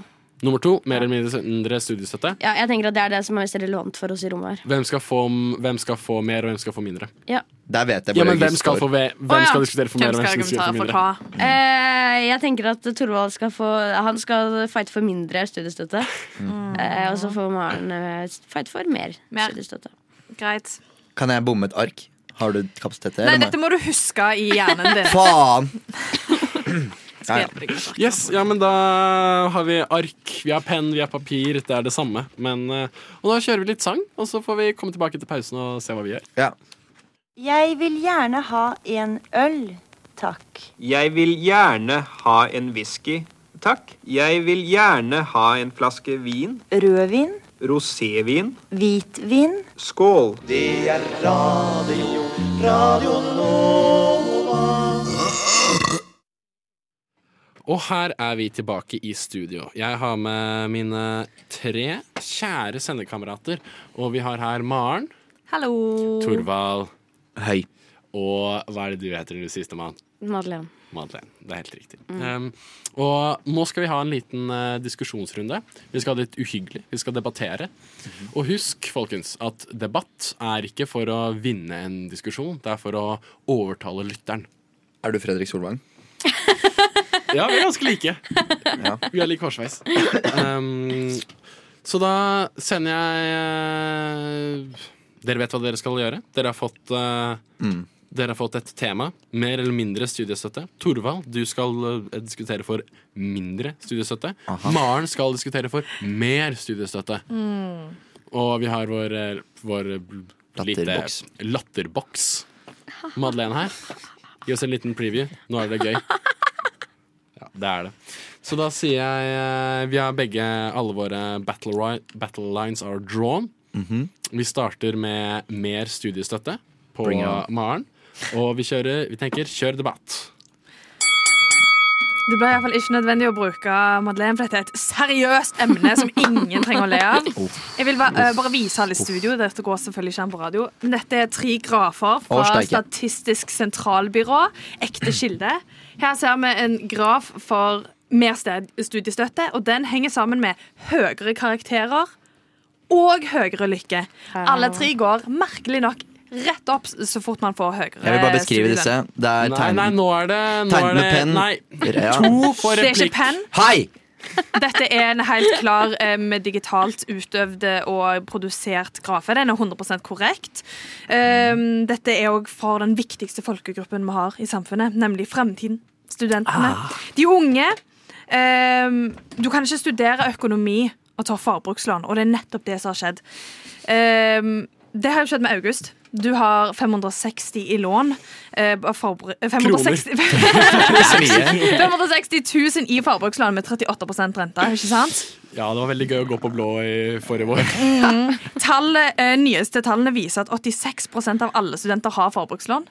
[SPEAKER 5] Nummer to, mer eller mindre studiestøtte.
[SPEAKER 8] Ja, jeg tenker at Det er det som er mest relevant for oss i rommet her.
[SPEAKER 5] Hvem skal få, hvem skal få mer, og hvem skal få mindre?
[SPEAKER 8] Ja.
[SPEAKER 7] Der vet
[SPEAKER 5] Ja, men hvem skal, få, ve- hvem skal diskutere for mer, og hvem skal diskutere for mindre?
[SPEAKER 8] Eh, jeg tenker at Torvald skal få Han skal fighte for mindre studiestøtte.
[SPEAKER 7] Mm.
[SPEAKER 8] Eh, og så får Maren eh, fighte for mer, studiestøtte.
[SPEAKER 6] Greit.
[SPEAKER 7] Kan jeg bomme et ark? Har du kapasitet til det?
[SPEAKER 6] Nei,
[SPEAKER 7] eller
[SPEAKER 6] dette må du huske i hjernen din.
[SPEAKER 7] Faen!
[SPEAKER 6] Skal hjelpe deg.
[SPEAKER 5] Yes, ja, men da har vi ark, vi har penn, vi har papir. Det er det samme. Men, eh, og da kjører vi litt sang, og så får vi komme tilbake til pausen og se hva vi gjør.
[SPEAKER 12] Jeg vil gjerne ha en øl, takk.
[SPEAKER 13] Jeg vil gjerne ha en whisky, takk. Jeg vil gjerne ha en flaske vin.
[SPEAKER 12] Rødvin,
[SPEAKER 13] Rosévin.
[SPEAKER 12] hvitvin.
[SPEAKER 13] Skål.
[SPEAKER 12] Det er radio, radio Nova.
[SPEAKER 5] Og her er vi tilbake i studio. Jeg har med mine tre kjære sendekamerater. Og vi har her Maren,
[SPEAKER 6] Hallo.
[SPEAKER 5] Torvald Hei. og hva er det du heter, du siste mann?
[SPEAKER 8] Madeleine.
[SPEAKER 5] Madeleine. Det er helt riktig.
[SPEAKER 8] Mm.
[SPEAKER 5] Um, og nå skal vi ha en liten eh, diskusjonsrunde. Vi skal ha det litt uhyggelig. Vi skal debattere. Og husk, folkens, at debatt er ikke for å vinne en diskusjon. Det er for å overtale lytteren. Er du Fredrik Solvang? ja, vi er ganske like. Vi har lik hårsveis. Um, så da sender jeg eh, Dere vet hva dere skal gjøre. Dere har fått eh, dere har fått et tema. Mer eller mindre studiestøtte. Torvald, du skal eh, diskutere for mindre studiestøtte. Maren skal diskutere for mer studiestøtte. Og vi har vår, eh, vår latterboks.
[SPEAKER 7] Latterboks.
[SPEAKER 5] Lite latterboks. Madeleine her. Gi oss en liten preview. Nå er det gøy. Ja, det er det. Så da sier jeg eh, Vi har begge Alle våre battle, ri- battle lines are drawn.
[SPEAKER 7] Mhm.
[SPEAKER 5] Vi starter med mer studiestøtte på
[SPEAKER 7] Bring it on.
[SPEAKER 5] Maren. Og vi kjører Vi tenker kjør debatt.
[SPEAKER 6] Det ble i hvert fall ikke nødvendig å bruke Madeleine, for dette er et seriøst emne som ingen trenger å le av. Jeg vil ba, eh, bare vise alle i studio. Dette går selvfølgelig ikke an på radio. Men dette er tre grafer fra
[SPEAKER 14] Å, steike.
[SPEAKER 6] Statistisk sentralbyrå. Ekte kilde. Her ser vi en graf for mer sted- studiestøtte, og den henger sammen med høyere karakterer og høyere lykke. Alle tre går merkelig nok rett opp så fort man får
[SPEAKER 7] Jeg
[SPEAKER 6] høyere
[SPEAKER 7] vil
[SPEAKER 5] Eh,
[SPEAKER 7] bare beskrive disse.
[SPEAKER 6] studielønn.
[SPEAKER 7] Det er
[SPEAKER 5] Nei,
[SPEAKER 7] tegn,
[SPEAKER 5] nei, nå er det nå
[SPEAKER 7] tegn
[SPEAKER 5] er
[SPEAKER 7] med
[SPEAKER 5] det,
[SPEAKER 7] penn.
[SPEAKER 5] Nei.
[SPEAKER 7] Ja.
[SPEAKER 5] To for
[SPEAKER 6] Det er
[SPEAKER 5] replikk.
[SPEAKER 6] ikke penn.
[SPEAKER 7] Hei!
[SPEAKER 6] Dette er en helt klar eh, med digitalt utøvd og produsert grafe. Den er 100 korrekt. Um, dette er òg for den viktigste folkegruppen vi har i samfunnet, nemlig fremtiden. Studentene. De unge. Um, du kan ikke studere økonomi og ta forbrukslån, og Ehm, det er nettopp det som har skjedd. Um, det har jo skjedd med August. Du har 560 i lån. Eh, bare forbru- eh, 560,
[SPEAKER 5] Kroner.
[SPEAKER 6] 560 000 i forbrukslån med 38 rente, ikke sant?
[SPEAKER 5] Ja, det var veldig gøy å gå på blå i forrige vår.
[SPEAKER 6] Mm. Tallet, eh, nyeste tallene viser at 86 av alle studenter har forbrukslån.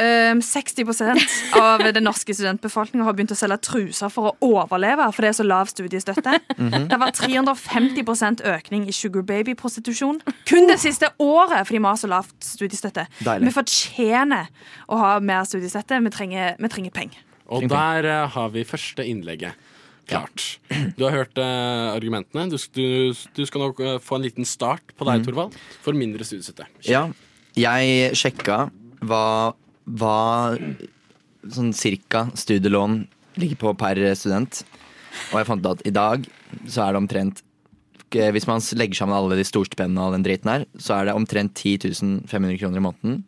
[SPEAKER 6] Um, 60 av den norske studentbefolkningen har begynt å selge truser for å overleve, for det er så lav studiestøtte.
[SPEAKER 14] Mhm.
[SPEAKER 6] Det var 350 økning i sugar baby-prostitusjon kun det siste året fordi vi har så lavt studiestøtte.
[SPEAKER 5] Deilig.
[SPEAKER 6] Vi fortjener å ha mer studiestøtte. Vi trenger, vi trenger penger.
[SPEAKER 5] Og der eh, har vi første innlegget. Klart. Du har hørt eh, argumentene. Du, du, du skal nok eh, få en liten start på deg,
[SPEAKER 7] Mm.
[SPEAKER 5] Torvald, for mindre studiestøtte.
[SPEAKER 7] Ja, jeg sjekka hva, hva sånn cirka studielån ligger på per student. Og jeg fant ut at i dag så er det omtrent eh, Hvis man legger sammen alle de storstipendene og all den driten her, så er det omtrent 10 500 kroner i måneden.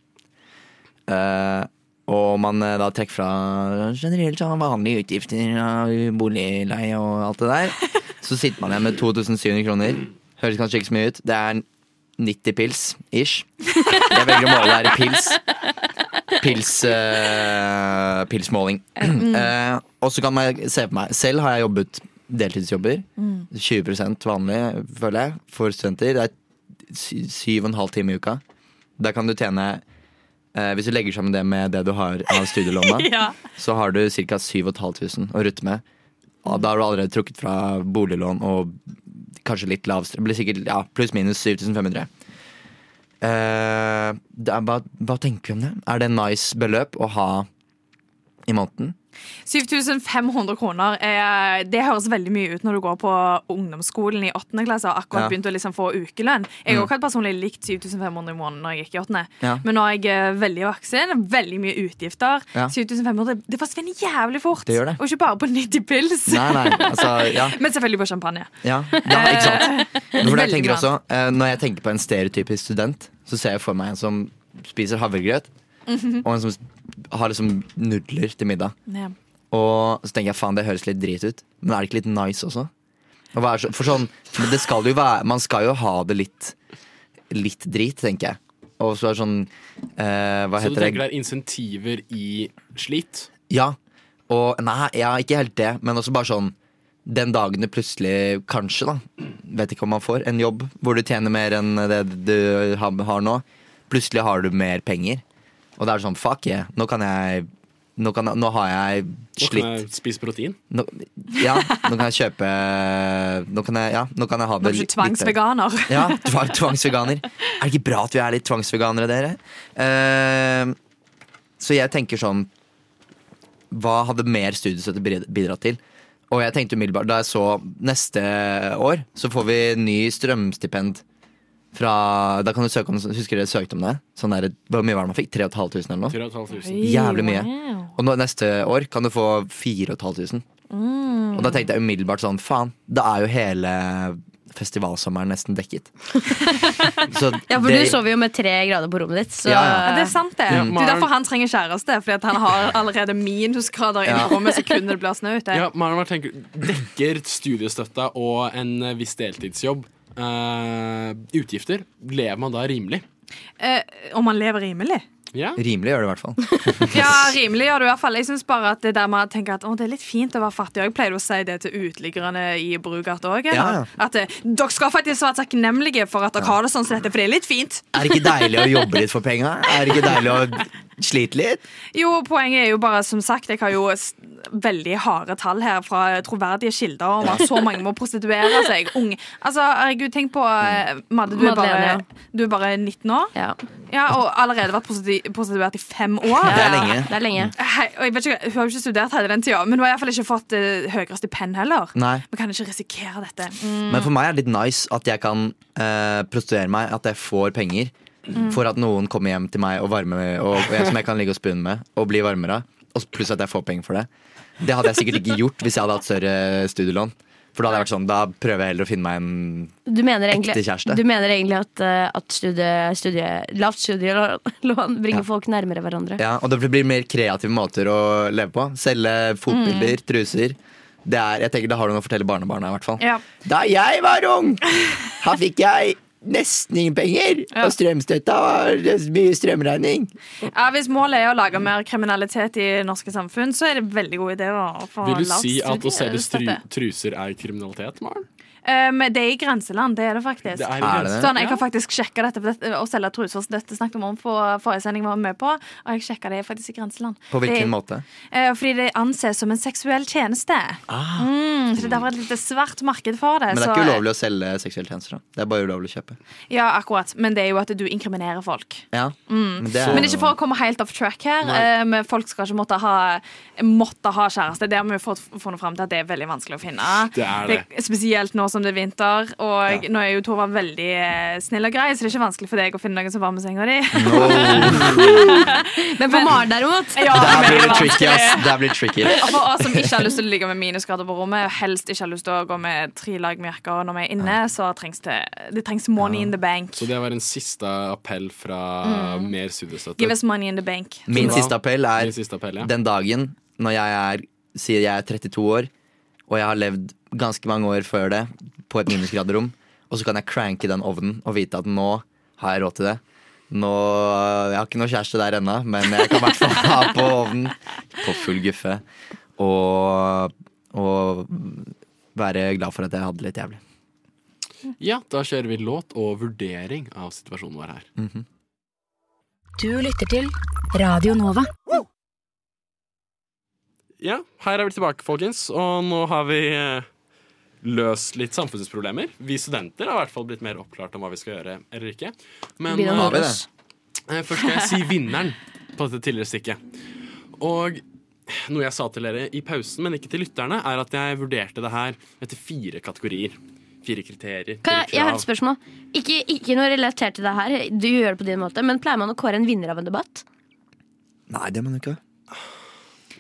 [SPEAKER 7] Eh, og man eh, da trekker fra generelt sånn vanlige utgifter og boligleie og alt det der. Så sitter man igjen med 2700 kroner. Høres kanskje ikke så mye ut. Det er 90 pils ish. Jeg velger å måle her i pils. Pils eh, Pilsmåling.
[SPEAKER 14] Mm.
[SPEAKER 7] Eh, og så kan man se på meg. Selv har jeg jobbet deltidsjobber.
[SPEAKER 14] Mm.
[SPEAKER 7] 20 vanlig, føler jeg, for studenter. Det er sy- syv og en halv time i uka. Da kan du tjene eh, Hvis du legger sammen det med det du har av studielåna,
[SPEAKER 14] Ja.
[SPEAKER 7] så har du ca. 7500 å rutte med. Og da har du allerede trukket fra boliglån og kanskje litt lavst. Det blir sikkert ja, pluss-minus 7500. Eh, det er, hva, hva tenker vi om det? Er det en nice beløp å ha i måneden?
[SPEAKER 6] 7500 kroner eh, Det høres veldig mye ut når du går på ungdomsskolen i 8. klasse og akkurat
[SPEAKER 7] Ja.
[SPEAKER 6] begynt å liksom få ukelønn. Jeg har
[SPEAKER 7] Mm.
[SPEAKER 6] også hatt personlig likt 7500 i måneden når jeg gikk i 8.
[SPEAKER 7] Ja.
[SPEAKER 6] Men nå er jeg eh, veldig voksen, veldig mye utgifter.
[SPEAKER 7] Ja.
[SPEAKER 6] 7500 det forsvinner jævlig fort.
[SPEAKER 7] Det gjør det.
[SPEAKER 6] Og ikke bare på 90 pils.
[SPEAKER 7] Nei, nei, altså, ja.
[SPEAKER 6] Men selvfølgelig på champagne.
[SPEAKER 7] Ja, ja ikke sant?
[SPEAKER 6] Eh,
[SPEAKER 7] For jeg
[SPEAKER 6] veldig
[SPEAKER 7] tenker
[SPEAKER 6] bra.
[SPEAKER 7] også, eh, når jeg tenker på en stereotypisk student, så ser jeg for meg en som spiser havregrøt,
[SPEAKER 6] Mhm.
[SPEAKER 7] og en som har liksom nudler til middag.
[SPEAKER 6] Ja.
[SPEAKER 7] Og så tenker jeg faen, det høres litt drit ut, men er det ikke litt nice også? Og hva er så, for sånn, men det skal jo være, man skal jo ha det litt, litt drit, tenker jeg. Og så er det sånn, eh,
[SPEAKER 5] Så
[SPEAKER 7] hva
[SPEAKER 5] du
[SPEAKER 7] heter det?
[SPEAKER 5] tenker det er insentiver i slit?
[SPEAKER 7] Ja. Og nei, ja, ikke helt det, men også bare sånn den dagen du plutselig, kanskje, da, vet ikke om man får, en jobb hvor du tjener mer enn det du ha- har nå, plutselig har du mer penger. Og da er det sånn, fuck yeah, nå kan jeg Nå, kan, jeg- nå har jeg
[SPEAKER 5] Nå
[SPEAKER 7] slitt.
[SPEAKER 5] kan jeg spise protein.
[SPEAKER 7] Nå, ja, nå kan jeg kjøpe Nå kan jeg, ja, nå kan jeg ha
[SPEAKER 6] Nå
[SPEAKER 7] det
[SPEAKER 6] er du
[SPEAKER 7] litt-
[SPEAKER 6] ikke tvangsveganer.
[SPEAKER 7] litt- Ja, tvang, tvangsveganer. Er det ikke bra at vi er litt tvangsveganere, dere? Eh, så jeg tenker sånn Hva hadde mer studiestøtte brid- bidratt til? Og jeg tenkte umiddelbart Da jeg så neste år, så får vi ny strømstipend fra Da kan du søke om Husker dere søkte om det? Sånn der, Hvor mye var det man fikk? 3500 eller noe?
[SPEAKER 5] 3500.
[SPEAKER 7] Jævlig mye. Og nå, neste år kan du få 4500.
[SPEAKER 6] Mm.
[SPEAKER 7] Og da tenkte jeg umiddelbart sånn, faen, da er jo hele festivalsommeren nesten dekket. Så
[SPEAKER 8] Ja, for
[SPEAKER 7] det-
[SPEAKER 8] du sover jo med tre grader på rommet ditt, så
[SPEAKER 7] Ja, ja.
[SPEAKER 6] Ja, det er sant, det.
[SPEAKER 7] Ja,
[SPEAKER 6] Det er
[SPEAKER 7] Maren-
[SPEAKER 6] derfor han trenger kjæreste. Fordi at han har allerede minusgrader inne
[SPEAKER 5] Ja.
[SPEAKER 6] på rommet sekundet det blir snø ute.
[SPEAKER 5] Ja, Maren, hva tenker du? Dekker studiestøtta og en eh, viss deltidsjobb eh, utgifter? Lever man da rimelig?
[SPEAKER 6] Eh, om han lever rimelig?
[SPEAKER 5] Ja.
[SPEAKER 7] Rimelig gjør det i hvert fall.
[SPEAKER 6] Ja, rimelig gjør du i hvert fall. Jeg synes bare at det der med å tenke at å, det er litt fint å være fattig. Og jeg pleier å si det til uteliggerne i Brugart òg.
[SPEAKER 7] Ja, ja.
[SPEAKER 6] At eh, dere skal faktisk være takknemlige for at dere har det sånn som dette, for det er litt fint.
[SPEAKER 7] Er det ikke deilig å jobbe litt for penga? Er det ikke deilig å slite litt?
[SPEAKER 6] Jo, poenget er jo bare, som sagt, jeg har jo s- veldig harde tall her fra troverdige kilder om at så mange må prostituere seg. Unge. Altså, herregud, tenk på eh, Madde, du er, bare,
[SPEAKER 8] Madeleine,
[SPEAKER 6] du er bare 19 år. Ja. og allerede vært prostitu- prostituert i fem år.
[SPEAKER 8] Ja, det er lenge. Det er lenge.
[SPEAKER 6] Hei, og jeg vet ikke, hun har jo ikke studert hele den tida, men hun har iallfall ikke fått eh, høyere stipend heller.
[SPEAKER 7] Nei.
[SPEAKER 6] Vi kan ikke risikere dette. Mm.
[SPEAKER 7] Men for meg er det litt nice at jeg kan eh, prostituere meg, at jeg får penger.
[SPEAKER 6] Mm.
[SPEAKER 7] For at noen kommer hjem til meg og varme og, og jeg, som jeg kan ligge og spune med, og bli varmere av. Og pluss at jeg får penger for det. Det hadde jeg sikkert ikke gjort hvis jeg hadde hatt større studielån. For da hadde jeg vært sånn, da prøver jeg heller å finne meg en
[SPEAKER 8] Du mener egentlig,
[SPEAKER 7] Mm. Ekte kjæreste.
[SPEAKER 8] du mener egentlig at, eh, at studie, studie, lavt studielån bringer folk nærmere hverandre.
[SPEAKER 7] Ja, og det blir mer kreative måter å leve på. Selge fotbilder,
[SPEAKER 6] Mm.
[SPEAKER 7] truser. Det er, jeg tenker Da har du noe å fortelle barnebarna, i hvert fall.
[SPEAKER 6] Ja.
[SPEAKER 7] Da jeg var ung, her fikk jeg nesten ingen penger, og strømstøtta var mye strømregning.
[SPEAKER 6] Ja, Hvis målet er å lage mer kriminalitet i det norske samfunn, så er det veldig god idé å få
[SPEAKER 5] Vil du
[SPEAKER 6] lavt
[SPEAKER 5] si at å selge stru
[SPEAKER 6] studiestøtte.
[SPEAKER 5] truser er kriminalitet, Maren?
[SPEAKER 6] Um, det er i grenseland, det er det faktisk.
[SPEAKER 5] Det er i Er det det?
[SPEAKER 6] Sånn, Jeg
[SPEAKER 5] Ja.
[SPEAKER 6] har faktisk sjekka dette, for dette å selge truser. så Dette snakket vi om på forrige sending vi var med på, og jeg sjekka det faktisk i grenseland.
[SPEAKER 7] På hvilken
[SPEAKER 6] det,
[SPEAKER 7] måte?
[SPEAKER 6] Eh, fordi det anses som en seksuell tjeneste. Mm, så det har vært et lite svart marked for det.
[SPEAKER 7] Men det er
[SPEAKER 6] så-
[SPEAKER 7] ikke ulovlig å selge seksuelle tjenester. da. Det er bare ulovlig å kjøpe.
[SPEAKER 6] Ja, akkurat. Men det er jo at du inkriminerer folk.
[SPEAKER 7] Ja.
[SPEAKER 6] Mm.
[SPEAKER 7] Men det er-
[SPEAKER 6] Men ikke for å komme helt off track her.
[SPEAKER 7] Nei.
[SPEAKER 6] eh, Men folk skal ikke måtte ha, måtte ha kjæreste. Det har vi jo fått funnet fram til at det er veldig vanskelig å finne.
[SPEAKER 5] Det er det.
[SPEAKER 6] spesielt nå som det er vinter, og nå er jo Tova veldig eh, snill og grei, så det er ikke vanskelig for deg å finne noen som varmer senga di.
[SPEAKER 8] Men for Maren, derimot
[SPEAKER 6] Ja,
[SPEAKER 7] Der blir det
[SPEAKER 6] veldig
[SPEAKER 7] tricky,
[SPEAKER 6] vanskelig.
[SPEAKER 7] ass. Der blir det tricky.
[SPEAKER 6] Og for oss som ikke har lyst til å ligge med minusgrader på rommet, og helst ikke har lyst til å gå med tre lag med jakker når vi er inne, så trengs det, det trengs money in the bank.
[SPEAKER 5] Så det var en siste appell fra
[SPEAKER 6] Mm.
[SPEAKER 5] mer studiestøtte.
[SPEAKER 6] Give us money in the bank.
[SPEAKER 7] Min
[SPEAKER 5] Bra.
[SPEAKER 7] siste appell er
[SPEAKER 5] Min siste appell, ja.
[SPEAKER 7] den dagen når jeg er, sier jeg er 32 år, og jeg har levd ganske mange år før det på et minusgraderom, og så kan jeg cranke den ovnen og vite at nå har jeg råd til det. Nå, Jeg har ikke noe kjæreste der ennå, men jeg kan i hvert fall ha på ovnen på full guffe. Og, og være glad for at jeg hadde det litt jævlig.
[SPEAKER 5] Ja, da kjører vi låt og vurdering av situasjonen vår her.
[SPEAKER 7] Mhm.
[SPEAKER 11] Du lytter til Radio Nova.
[SPEAKER 5] Ja, her er vi tilbake, folkens, og nå har vi eh, løst litt samfunnsproblemer. Vi studenter har i hvert fall blitt mer oppklart om hva vi skal gjøre eller ikke.
[SPEAKER 2] Vi da
[SPEAKER 5] eh,
[SPEAKER 2] har vi det.
[SPEAKER 5] eh, først skal jeg si vinneren på dette tidligere stikket. Og noe jeg sa til dere i pausen, men ikke til lytterne, er at jeg vurderte det her etter fire kategorier. Fire kriterier.
[SPEAKER 8] Kan jeg,
[SPEAKER 5] fire
[SPEAKER 8] jeg har
[SPEAKER 5] krav.
[SPEAKER 8] et spørsmål. Ikke, ikke noe relatert til det her, du gjør det på din måte, men pleier man å kåre en vinner av en debatt?
[SPEAKER 7] Nei, det må du ikke.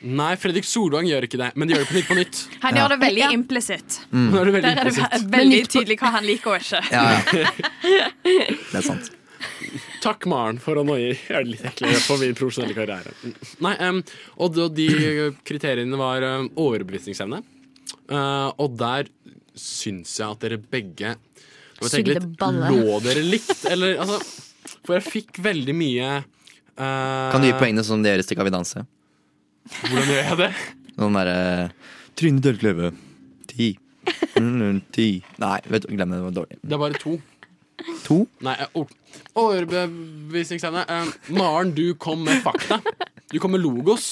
[SPEAKER 5] Nei, Fredrik Solvang gjør ikke det, men de gjør det på Nytt på Nytt.
[SPEAKER 6] Han gjør det veldig implisitt.
[SPEAKER 5] Mm. Nå er det veldig
[SPEAKER 6] Der er det
[SPEAKER 5] implisitt.
[SPEAKER 6] ve- veldig tydelig hva han liker og ikke.
[SPEAKER 7] Det er sant.
[SPEAKER 5] Takk, Maren, for å nøye gjøre det litt eklere for min profesjonelle karriere. Nei, em, og da, de kriteriene var em, overbevisningsevne. Eh, og der syns jeg at dere begge Nå må jeg tenke
[SPEAKER 8] Sugde
[SPEAKER 5] litt,
[SPEAKER 8] balle.
[SPEAKER 5] Lå dere likt, eller altså For jeg fikk veldig mye eh,
[SPEAKER 7] Kan du gi poengene som det gjøres til Skal vi danse?
[SPEAKER 5] Hvordan gjør jeg det?
[SPEAKER 7] Noen derre Trine Tørk Løve. Ti. Mm, Ti. Nei, vet du, glem det. Det var dårlig.
[SPEAKER 5] Det er bare to.
[SPEAKER 7] To?
[SPEAKER 5] Nei, eh, or- overbevisningsevne. Eh, Maren, du kom med fakta. Du kom med logos.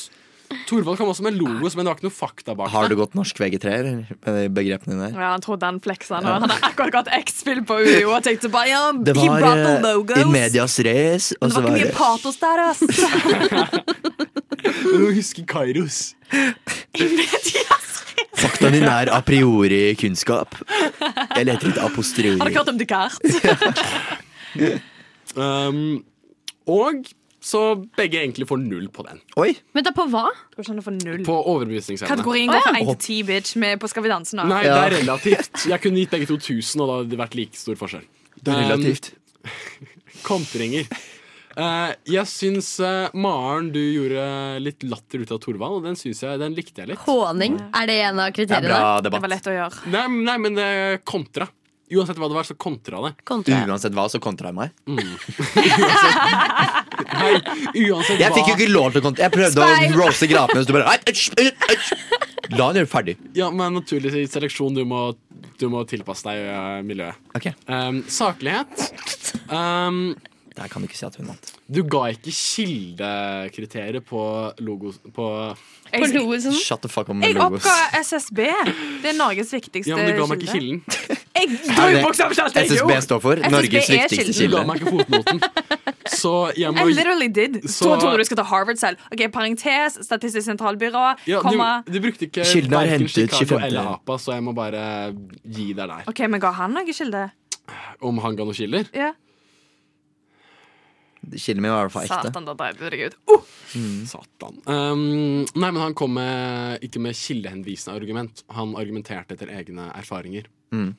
[SPEAKER 5] Torvald kom også med logos, men det var ikke noe fakta bak
[SPEAKER 7] Har
[SPEAKER 5] det.
[SPEAKER 7] du gått norsk VG3 eller? med de begrepene dine der?
[SPEAKER 6] Ja, han trodde han fleksa nå.
[SPEAKER 7] Ja.
[SPEAKER 6] Han hadde akkurat gått X-spill på UiO og tenkte bare ja,
[SPEAKER 7] Det
[SPEAKER 6] he
[SPEAKER 7] var
[SPEAKER 6] brought the
[SPEAKER 7] eh,
[SPEAKER 6] logos.
[SPEAKER 7] i medias race, og så
[SPEAKER 6] Men det var
[SPEAKER 7] var
[SPEAKER 6] ikke
[SPEAKER 7] det
[SPEAKER 6] mye patos der, ass.
[SPEAKER 5] Du må huske Kairos.
[SPEAKER 7] Fakta din er a priori kunnskap. Jeg leter litt a posteriori.
[SPEAKER 6] Har dere hørt om Descartes?
[SPEAKER 5] Um, og så begge egentlig får null på den.
[SPEAKER 7] Oi!
[SPEAKER 8] Men da på hva?
[SPEAKER 6] Hvordan får null?
[SPEAKER 5] På overbevisningsevne.
[SPEAKER 6] Kategorien går fra 1 til 10, bitch. Vi er på Skal vi danse nå.
[SPEAKER 5] Nei, det er relativt. Jeg kunne gitt begge to 1000, og da hadde det vært like stor forskjell.
[SPEAKER 7] Det er relativt.
[SPEAKER 5] Um, kontringer. Eh, jeg syns eh, Maren, du gjorde litt latter ut av Torvald, og den syns jeg, den likte jeg litt.
[SPEAKER 8] Håning? Er det en av kriteriene?
[SPEAKER 5] lett å gjøre. Nei, men- nei men det er kontra. Uansett hva det var, så kontra det.
[SPEAKER 7] Uansett hva, så kontra jeg meg.
[SPEAKER 5] Uansett
[SPEAKER 7] Jeg
[SPEAKER 5] hva-
[SPEAKER 7] fikk jo ikke lov til å kontra. Jeg prøvde
[SPEAKER 5] Speil!
[SPEAKER 7] å rose grapene, og så bare «Nei, æsj, æsj, æsj». La han gjøre ferdig.
[SPEAKER 5] Ja, men naturlig seleksjon. Du må, du må tilpasse deg eh, miljøet. Um, saklighet. Um,
[SPEAKER 7] Der kan du ikke si at hun vant.
[SPEAKER 5] Du ga ikke kildekriteriet på logo... På
[SPEAKER 6] Jeg- På logosen?
[SPEAKER 7] Shut the fuck up med
[SPEAKER 6] Sånn. Jeg
[SPEAKER 7] logos.
[SPEAKER 6] oppga SSB. Det er Norges viktigste
[SPEAKER 5] Ja, men du ga meg ikke
[SPEAKER 6] kilde.
[SPEAKER 5] kilden.
[SPEAKER 6] Jeg
[SPEAKER 7] Er
[SPEAKER 6] dro
[SPEAKER 7] det
[SPEAKER 6] jo bokstavelig talt
[SPEAKER 7] SSB står for? Norges viktigste kilde.
[SPEAKER 5] Du ga meg ikke fotnoten. Så jeg må
[SPEAKER 6] I literally did.
[SPEAKER 5] Så-
[SPEAKER 6] Så... Trodde du skulle ta Harvard selv. Ok, Parentes, Statistisk sentralbyrå,
[SPEAKER 5] ja, du,
[SPEAKER 6] komma
[SPEAKER 5] du brukte ikke
[SPEAKER 7] Kilden er
[SPEAKER 5] hverken
[SPEAKER 7] hentet
[SPEAKER 5] Chicago
[SPEAKER 7] 25..
[SPEAKER 5] eller APA, så jeg må bare gi deg der.
[SPEAKER 6] Ok, men ga han noe kilde?
[SPEAKER 5] Om han ga noen kilder?
[SPEAKER 6] Ja.
[SPEAKER 7] Kilden min var i hvert fall ekte.
[SPEAKER 6] Satan, da drev du deg ut. Oh!
[SPEAKER 5] Satan. Um, nei, men han kom med, ikke med kildehenvisende argument. Han argumenterte etter egne erfaringer.
[SPEAKER 7] Mm.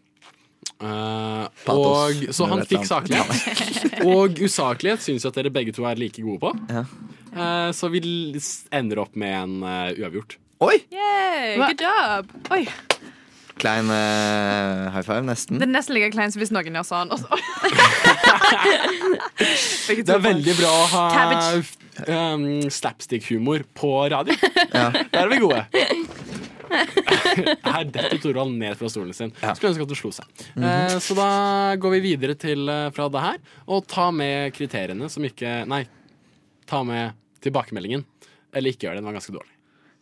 [SPEAKER 5] Eh,
[SPEAKER 7] Patos.
[SPEAKER 5] og, så
[SPEAKER 7] Jeg
[SPEAKER 5] han
[SPEAKER 7] vet
[SPEAKER 5] fikk
[SPEAKER 7] det.
[SPEAKER 5] saklighet. og usaklighet syns jeg at dere begge to er like gode på.
[SPEAKER 7] Ja.
[SPEAKER 5] Eh, så vi l- s- ender opp med en eh, uavgjort.
[SPEAKER 7] Oi!
[SPEAKER 6] Yay,
[SPEAKER 5] Hva-
[SPEAKER 6] good job! Oi,
[SPEAKER 7] Klein eh, high five, nesten.
[SPEAKER 6] Det er nesten like kleint som hvis noen gjør sånn. og så-
[SPEAKER 5] Det er veldig bra å ha
[SPEAKER 6] Cabbage.
[SPEAKER 5] um, slapstick-humor på radio. Der er vi gode. Her detter Torvald ned fra stolen sin. Skulle ønske at du slo seg. Eh, så da går vi videre til, eh, fra det her og ta med kriteriene som ikke Nei, ta med tilbakemeldingen. Eller ikke gjør det. Den var ganske dårlig.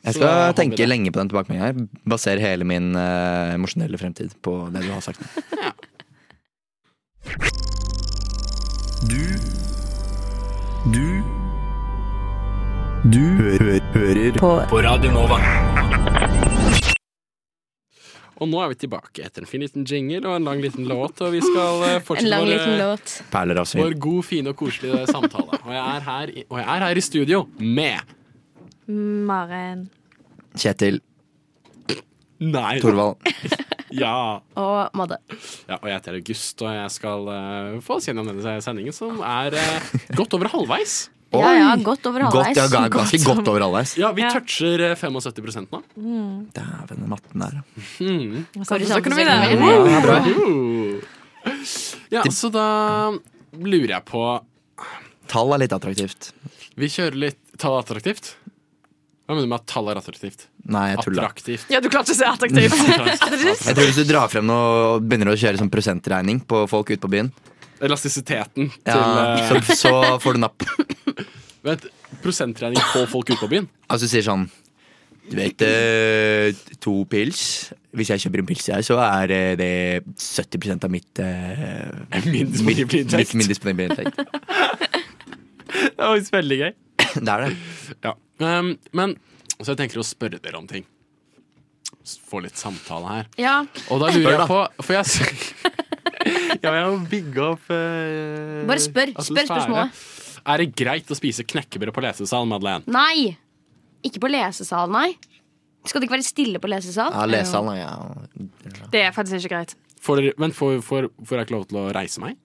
[SPEAKER 7] Jeg
[SPEAKER 5] Så
[SPEAKER 7] skal
[SPEAKER 5] håper vi
[SPEAKER 7] tenke
[SPEAKER 5] det.
[SPEAKER 7] lenge på den tilbakemeldingen her. Baserer hele min eh, emosjonelle fremtid på det du har sagt.
[SPEAKER 1] Du Du Du hø hø hører på, på Radio Nova.
[SPEAKER 5] Og nå er vi tilbake etter en fin liten jingle og en lang liten låt. Og vi skal eh, fortsette
[SPEAKER 8] En lang
[SPEAKER 5] vår, eh,
[SPEAKER 8] liten låt.
[SPEAKER 7] Perler av
[SPEAKER 5] Vår
[SPEAKER 7] svin.
[SPEAKER 5] god, fine og koselige samtale. Og jeg er her i, og jeg er her i studio med
[SPEAKER 6] Maren.
[SPEAKER 7] Kjetil.
[SPEAKER 5] Nei.
[SPEAKER 7] Torvald.
[SPEAKER 5] Ja.
[SPEAKER 8] Og Madde.
[SPEAKER 5] ja. Og jeg heter August, og jeg skal eh, få oss gjennom denne sendingen, som er eh, godt over halvveis.
[SPEAKER 8] Ja, ja, godt over halvveis.
[SPEAKER 7] over halvveis.
[SPEAKER 5] Ja, vi toucher eh, 75 nå.
[SPEAKER 7] Dæven, den matten der.
[SPEAKER 5] Mm.
[SPEAKER 8] Sorry,
[SPEAKER 6] Så kunne vi
[SPEAKER 8] samtidig.
[SPEAKER 6] det.
[SPEAKER 7] Ja, bra.
[SPEAKER 5] Ja, så da lurer jeg på
[SPEAKER 7] Tall er litt attraktivt.
[SPEAKER 5] Vi kjører litt tall er attraktivt? Hva mener du med at tall er attraktivt?
[SPEAKER 7] Nei, jeg tuller.
[SPEAKER 5] Attraktivt.
[SPEAKER 6] Ja, du klarte ikke å se attraktivt.
[SPEAKER 7] Jeg tror Hvis du drar frem noe og begynner å kjøre sånn prosentregning på folk ute på byen,
[SPEAKER 5] Elastisiteten til
[SPEAKER 7] ja,
[SPEAKER 5] eh,
[SPEAKER 7] så, så får du napp.
[SPEAKER 5] Vent, prosentregning på folk ute på byen?
[SPEAKER 7] Altså du sier sånn Du vet eh, to pils. Hvis jeg kjøper en pils her, så er eh, det 70 av mitt eh,
[SPEAKER 5] Min disponible
[SPEAKER 7] mitt-
[SPEAKER 5] inntekt.
[SPEAKER 7] Mitt, min disponible inntekt.
[SPEAKER 5] Det var faktisk veldig gøy.
[SPEAKER 7] Det er det.
[SPEAKER 5] Ja. Um, men så jeg tenker å spørre dere om ting. S- Få litt samtale her.
[SPEAKER 8] Ja.
[SPEAKER 5] Og da
[SPEAKER 7] Spør,
[SPEAKER 5] lurer
[SPEAKER 7] da.
[SPEAKER 5] jeg på For jeg s- Ja, jeg må bygge opp eh,
[SPEAKER 8] Bare spør. Spør
[SPEAKER 5] atmosfære.
[SPEAKER 8] spørsmålet.
[SPEAKER 5] Er det greit å spise knekkebrød på lesesal, Madeleine?
[SPEAKER 8] Nei! Ikke på lesesal, nei. Skal det ikke være stille på lesesal?
[SPEAKER 7] Ja, lesesalen ja.
[SPEAKER 6] Det er faktisk ikke greit.
[SPEAKER 5] Får dere, men får, får, får jeg ikke lov til å reise meg?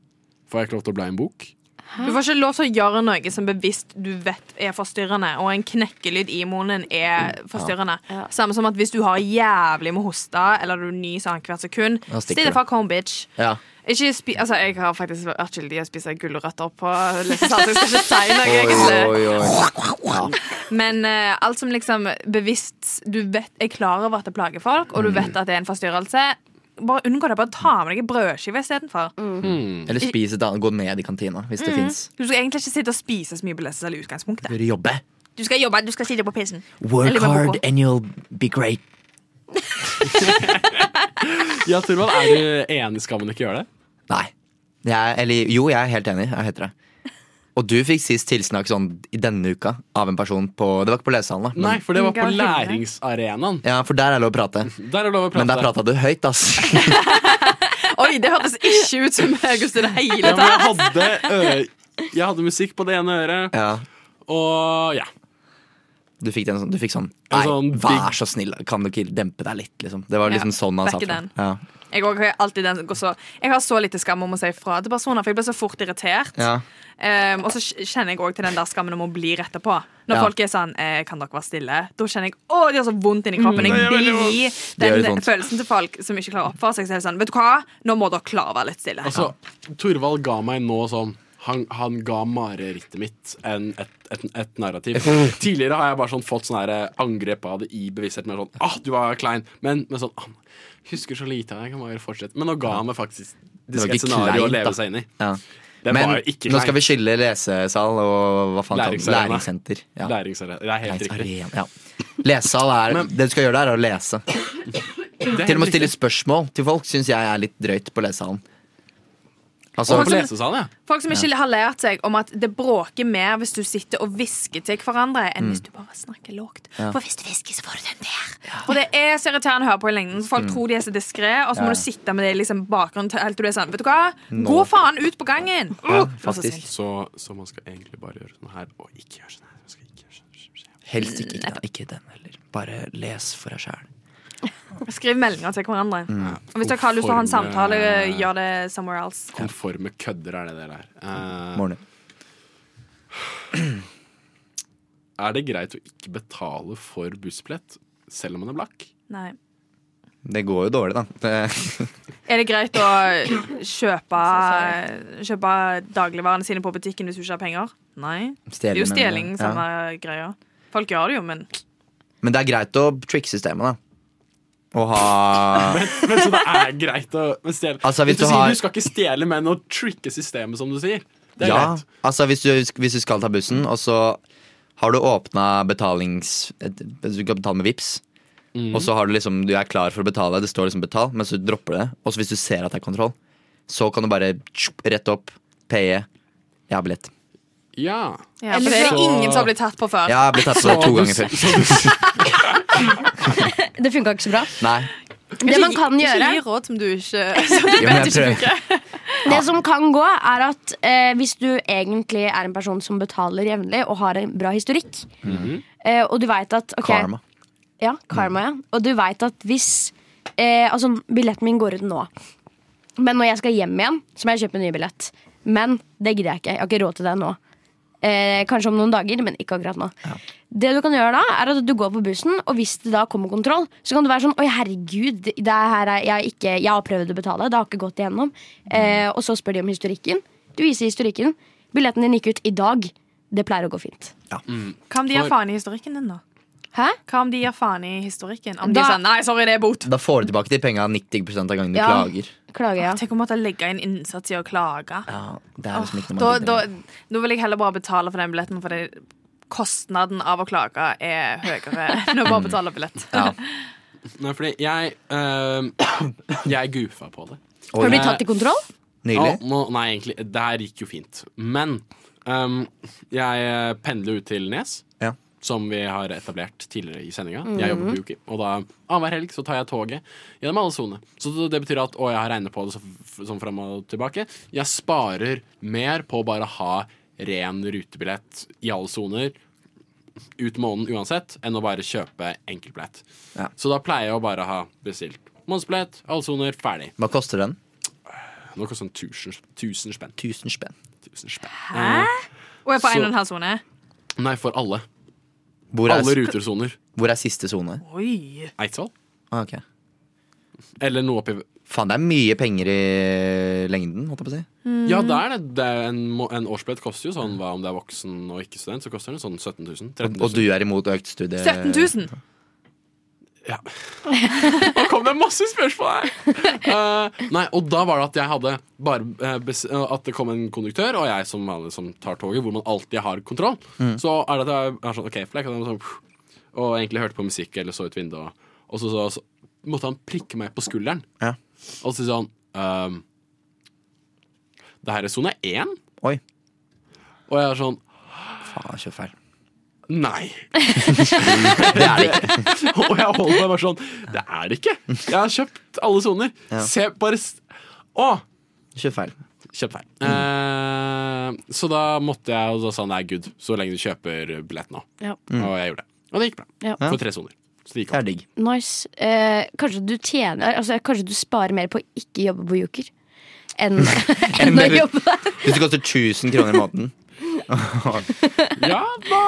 [SPEAKER 5] Får jeg ikke lov til å bla i en bok?
[SPEAKER 6] Du får ikke lov til å gjøre noe som bevisst du vet er forstyrrende, og en knekkelyd i munnen er forstyrrende. Samme som at hvis du har jævlig med hoste, eller du nyser annethvert sekund,
[SPEAKER 7] Da stikker
[SPEAKER 6] still the
[SPEAKER 7] du.
[SPEAKER 6] fuck home, bitch.
[SPEAKER 7] Ja.
[SPEAKER 6] Ikke spi altså, jeg har faktisk vært skyldig i å spise gulrøtter på lesesal, så jeg skal ikke si noe,
[SPEAKER 7] Oi,
[SPEAKER 6] egentlig.
[SPEAKER 7] oi, oi. Ja.
[SPEAKER 6] Men eh, alt som liksom bevisst Du vet, er klar over at det plager folk, og du vet at det er en forstyrrelse. Bare unngå det. Bare ta med deg en brødskive istedenfor.
[SPEAKER 7] Mm. Eller spis et annet. Gå ned i kantina, hvis det
[SPEAKER 6] Mm.
[SPEAKER 7] fins.
[SPEAKER 6] Du skal egentlig ikke sitte og spise så mye på lesesal i utgangspunktet.
[SPEAKER 7] Bør jobbe.
[SPEAKER 6] Du skal jobbe, du skal sitte på PC-en.
[SPEAKER 7] Work hard and you'll be great.
[SPEAKER 5] Ja, Torvald, er du enig? Skal man ikke gjøre det?
[SPEAKER 7] Nei. Jeg, eller, jo, jeg er helt enig. Jeg heter det. Og du fikk sist tilsnakk sånn i denne uka av en person på Det var ikke på lesesalen, da. men-
[SPEAKER 5] Nei, for det var på
[SPEAKER 6] Inga Helle.
[SPEAKER 5] læringsarenaen.
[SPEAKER 7] Ja, for der er det lov å prate.
[SPEAKER 5] Der er det lov å prate.
[SPEAKER 7] Men der prata du høyt, ass.
[SPEAKER 6] Oi, det hørtes ikke ut som August i det hele
[SPEAKER 5] Ja, men
[SPEAKER 6] tatt.
[SPEAKER 5] jeg hadde, øre- jeg hadde musikk på det ene øret,
[SPEAKER 7] Ja.
[SPEAKER 5] og ja.
[SPEAKER 7] Du fikk, den sånn, du fikk sånn
[SPEAKER 5] En
[SPEAKER 7] Nei,
[SPEAKER 5] sånn
[SPEAKER 7] vær så snill, kan du ikke dempe deg litt, liksom. Det var liksom
[SPEAKER 6] Ja,
[SPEAKER 7] sånn han sa fra.
[SPEAKER 6] back then.
[SPEAKER 7] Ja.
[SPEAKER 6] Jeg, også har alltid den, som går så, jeg har så lite skam om å si fra til personer, for jeg blir så fort irritert.
[SPEAKER 7] Ja.
[SPEAKER 6] Ehm, og så kjenner jeg òg til den der skammen om å bli rett etterpå. Når
[SPEAKER 7] Ja.
[SPEAKER 6] folk er sånn eh, 'Kan dere være stille?' Da kjenner jeg å, det gjør så vondt inni kroppen. Jeg vil gi
[SPEAKER 7] Mm. Det gjør
[SPEAKER 6] den
[SPEAKER 7] litt vondt.
[SPEAKER 6] følelsen til folk som ikke klarer å oppføre seg. Så er det sånn, vet du hva? Nå må dere klare å være litt stille.
[SPEAKER 5] Altså, Torvald ga meg nå sånn han, han ga marerittet mitt en, et, et, et narrativ.
[SPEAKER 7] Mm.
[SPEAKER 5] Tidligere har jeg bare sånn fått sånne her angrep av det i bevisstheten. Med sånn, ah, du var klein Men med sånn ah, Husker så lite av det, jeg kan bare fortsette. Men nå ga han meg faktisk
[SPEAKER 7] Det var
[SPEAKER 5] et
[SPEAKER 7] ikke
[SPEAKER 5] scenario å
[SPEAKER 7] kleint,
[SPEAKER 5] leve
[SPEAKER 7] da.
[SPEAKER 5] seg inn i.
[SPEAKER 7] Ja.
[SPEAKER 5] Det
[SPEAKER 7] Men
[SPEAKER 5] var jo ikke
[SPEAKER 7] nå skal vi
[SPEAKER 5] kleint.
[SPEAKER 7] skille lesesal og hva faen kaller vi det?
[SPEAKER 5] Læringsarena.
[SPEAKER 7] læringssenter. Ja.
[SPEAKER 5] Læringsarena. Det er helt riktig.
[SPEAKER 7] Læringsarena, Ja. Lesesal er
[SPEAKER 5] Men-
[SPEAKER 7] Det du skal gjøre der, er å lese.
[SPEAKER 5] Det er
[SPEAKER 7] Til og med
[SPEAKER 5] helt
[SPEAKER 7] stille
[SPEAKER 5] riktig.
[SPEAKER 7] spørsmål til folk syns jeg er litt drøyt på lesesalen. Altså,
[SPEAKER 5] Sånn på lesesalen, ja.
[SPEAKER 6] Folk som ikke har lært seg om at det bråker mer hvis du sitter og hvisker til hverandre, enn hvis du bare snakker lågt.
[SPEAKER 7] Mm. Ja.
[SPEAKER 6] For hvis du hvisker, så får du den der. Og det er så irriterende å høre på i lengden. så Folk tror de er så diskré, og så
[SPEAKER 7] Mm.
[SPEAKER 6] må
[SPEAKER 7] Ja.
[SPEAKER 6] du sitte med det i liksom bakgrunnen til helt til du er sånn Vet du hva?
[SPEAKER 7] Nå.
[SPEAKER 6] Gå faen ut på gangen!
[SPEAKER 7] ja,
[SPEAKER 6] Uh!
[SPEAKER 7] faktisk.
[SPEAKER 5] Så, så man skal egentlig bare gjøre sånn her, og ikke gjøre sånn her. Man skal ikke gjøre sånn.
[SPEAKER 7] Helst ikke, ikke, ikke den heller. Bare les for deg sjæl.
[SPEAKER 6] Skriv meldinger til hverandre.
[SPEAKER 7] Mm.
[SPEAKER 6] Og hvis dere har lyst til å ha en
[SPEAKER 5] Konforme-
[SPEAKER 6] samtale,
[SPEAKER 5] eh,
[SPEAKER 6] gjør det somewhere else.
[SPEAKER 5] Konforme kødder er det der er. Eh,
[SPEAKER 7] Morne.
[SPEAKER 5] er det greit å ikke betale for bussbillett selv om man er blakk?
[SPEAKER 6] Nei.
[SPEAKER 7] Det går jo dårlig, da. Det,
[SPEAKER 6] Er det greit å kjøpe, kjøpe dagligvarene sine på butikken hvis du ikke har penger? Nei. Det
[SPEAKER 7] Stjele,
[SPEAKER 6] er jo
[SPEAKER 7] mener
[SPEAKER 6] stjeling,
[SPEAKER 7] du?
[SPEAKER 6] samme greia. Folk gjør det jo, men
[SPEAKER 7] men det er greit å tricke systemet, da. Å ha
[SPEAKER 5] Men så det er greit å men stjele
[SPEAKER 7] Altså, hvis
[SPEAKER 5] du,
[SPEAKER 7] du
[SPEAKER 5] sier
[SPEAKER 7] har-
[SPEAKER 5] du skal ikke stjele, men å tricke systemet, som du sier. Det er
[SPEAKER 7] ja,
[SPEAKER 5] greit.
[SPEAKER 7] altså hvis du, hvis du skal ta bussen, og så har du åpna betalings... et- Du kan betale med VIPs
[SPEAKER 5] Mhm.
[SPEAKER 7] og så har du liksom, du er klar for å betale, det står liksom 'betal', men så dropper du det. Og så hvis du ser at det er kontroll, så kan du bare tjup, rett opp, paye. Jeg har billett.
[SPEAKER 5] Ja.
[SPEAKER 6] ja, for Det er det ingen som har blitt tatt på før.
[SPEAKER 7] Jeg har blitt tatt på det to ganger før.
[SPEAKER 8] Det funka ikke så bra.
[SPEAKER 7] Nei.
[SPEAKER 8] Det man kan gjøre
[SPEAKER 6] Ikke gi råd som du ikke som du
[SPEAKER 7] Jo, men jeg
[SPEAKER 6] vet
[SPEAKER 7] prøver.
[SPEAKER 6] ikke funker.
[SPEAKER 8] Det som kan gå, er at eh, hvis du egentlig er en person som betaler jevnlig og har en bra historikk, eh, og du veit at ok,
[SPEAKER 7] Karma.
[SPEAKER 8] Ja, karma, ja. Og du veit at hvis eh, Altså, billetten min går ut nå. Men når jeg skal hjem igjen, så må jeg kjøpe en ny billett. Men det gidder jeg ikke. Jeg har ikke råd til det nå. Eh, kanskje om noen dager, men ikke akkurat nå. Det du kan gjøre da, er at du går på bussen, og hvis det da kommer kontroll, så kan du være sånn Oi, herregud, det det her er, jeg, har ikke, jeg har prøvd å betale, det har ikke gått igjennom. Eh, og så spør de om historikken. Du viser historikken. Billetten din gikk ut i dag. Det pleier å gå fint.
[SPEAKER 6] Hva om de gir
[SPEAKER 8] For-
[SPEAKER 6] faen i historikken din, da?
[SPEAKER 8] Hæ?
[SPEAKER 6] Hva om de gir faen i historikken? Om de
[SPEAKER 8] Da-
[SPEAKER 6] sier nei, sorry, det er bot.
[SPEAKER 7] Da får du tilbake de penga 90 av gangene du
[SPEAKER 6] Ja.
[SPEAKER 7] klager.
[SPEAKER 8] Klager,
[SPEAKER 6] Tenk å måtte legge inn innsats i å klage.
[SPEAKER 7] Ja, det er liksom ikke noe
[SPEAKER 6] Da,
[SPEAKER 7] man
[SPEAKER 6] da, nå vil jeg heller bare betale for den billetten, fordi kostnaden av å klage er høyere enn å
[SPEAKER 5] Mm.
[SPEAKER 6] bare betale billett.
[SPEAKER 5] Nei, fordi jeg eh, Jeg goofa på det.
[SPEAKER 8] Har du blitt tatt i kontroll?
[SPEAKER 5] Nylig? nei, egentlig. Det her gikk jo fint. Men ehm, jeg eh, pendler jo ut til Nes, som vi har etablert tidligere i sendinga. Jeg jobber på
[SPEAKER 14] Mhm.
[SPEAKER 5] Yuki, og da annenhver helg så tar jeg toget gjennom alle sonene. Så det betyr at, og jeg har regnet på det så f- sånn fram og tilbake, jeg sparer mer på å bare ha ren rutebillett i alle soner ut måneden uansett, enn å bare kjøpe enkeltbillett. Så da pleier jeg å bare ha bestilt månedsbillett, alle soner, ferdig.
[SPEAKER 7] Hva koster den?
[SPEAKER 5] Nå koster den 1000 1000 spenn.
[SPEAKER 7] 1000 spenn.
[SPEAKER 6] Hæ? Og er på
[SPEAKER 5] Så-
[SPEAKER 6] en og en halv sone?
[SPEAKER 5] Nei, for alle.
[SPEAKER 7] Hvor er-
[SPEAKER 5] alle rutersoner.
[SPEAKER 7] Hvor er siste sone?
[SPEAKER 6] Oi.
[SPEAKER 5] Eidsvoll.
[SPEAKER 7] Ah, ok.
[SPEAKER 5] Eller noe oppi
[SPEAKER 7] Faen, det er mye penger i lengden, holdt jeg på å si.
[SPEAKER 6] Mm.
[SPEAKER 5] Ja, det er det. det er en må- en årsbillett koster jo sånn, hva om det er voksen og ikke student, så koster den sånn 17 000. 13 000.
[SPEAKER 7] Og du er imot økt studie...
[SPEAKER 6] 17 000?
[SPEAKER 5] Eh, Nå kom det masse spørsmål her! Eh, nei, og da var det at jeg hadde bare eh, bes- eh, At det kom en konduktør, og jeg som vanlig som tar toget, hvor man alltid har kontroll.
[SPEAKER 14] Mm.
[SPEAKER 5] Så er det at jeg er sånn OK, for jeg kan sånn Og egentlig hørte på musikk eller så ut vinduet, og så, så, så måtte han prikke meg på skulderen.
[SPEAKER 7] Ja.
[SPEAKER 5] Og så sier han ehm, Det her er sone én.
[SPEAKER 7] Oi.
[SPEAKER 5] Og jeg er sånn
[SPEAKER 7] Faen, kjøp feil.
[SPEAKER 5] Nei.
[SPEAKER 7] det er det ikke.
[SPEAKER 5] og jeg holder meg bare sånn Det er det ikke. Jeg har kjøpt alle soner.
[SPEAKER 7] Ja.
[SPEAKER 5] Se, bare s- Å!
[SPEAKER 7] Kjøp feil.
[SPEAKER 5] Kjøp feil. Eh, så da måtte jeg, og da sa han det er good, så lenge du kjøper billett nå.
[SPEAKER 8] Ja.
[SPEAKER 5] Og jeg gjorde det. Og det gikk bra.
[SPEAKER 8] Ja.
[SPEAKER 5] For tre soner. Så det gikk
[SPEAKER 7] opp.
[SPEAKER 8] Nice. Eh, kanskje du tjener altså, Kanskje du sparer mer på å ikke jobbe på Joker enn enn å jobbe
[SPEAKER 7] Hvis det koster 1000 kroner i måneden
[SPEAKER 5] Ja, da,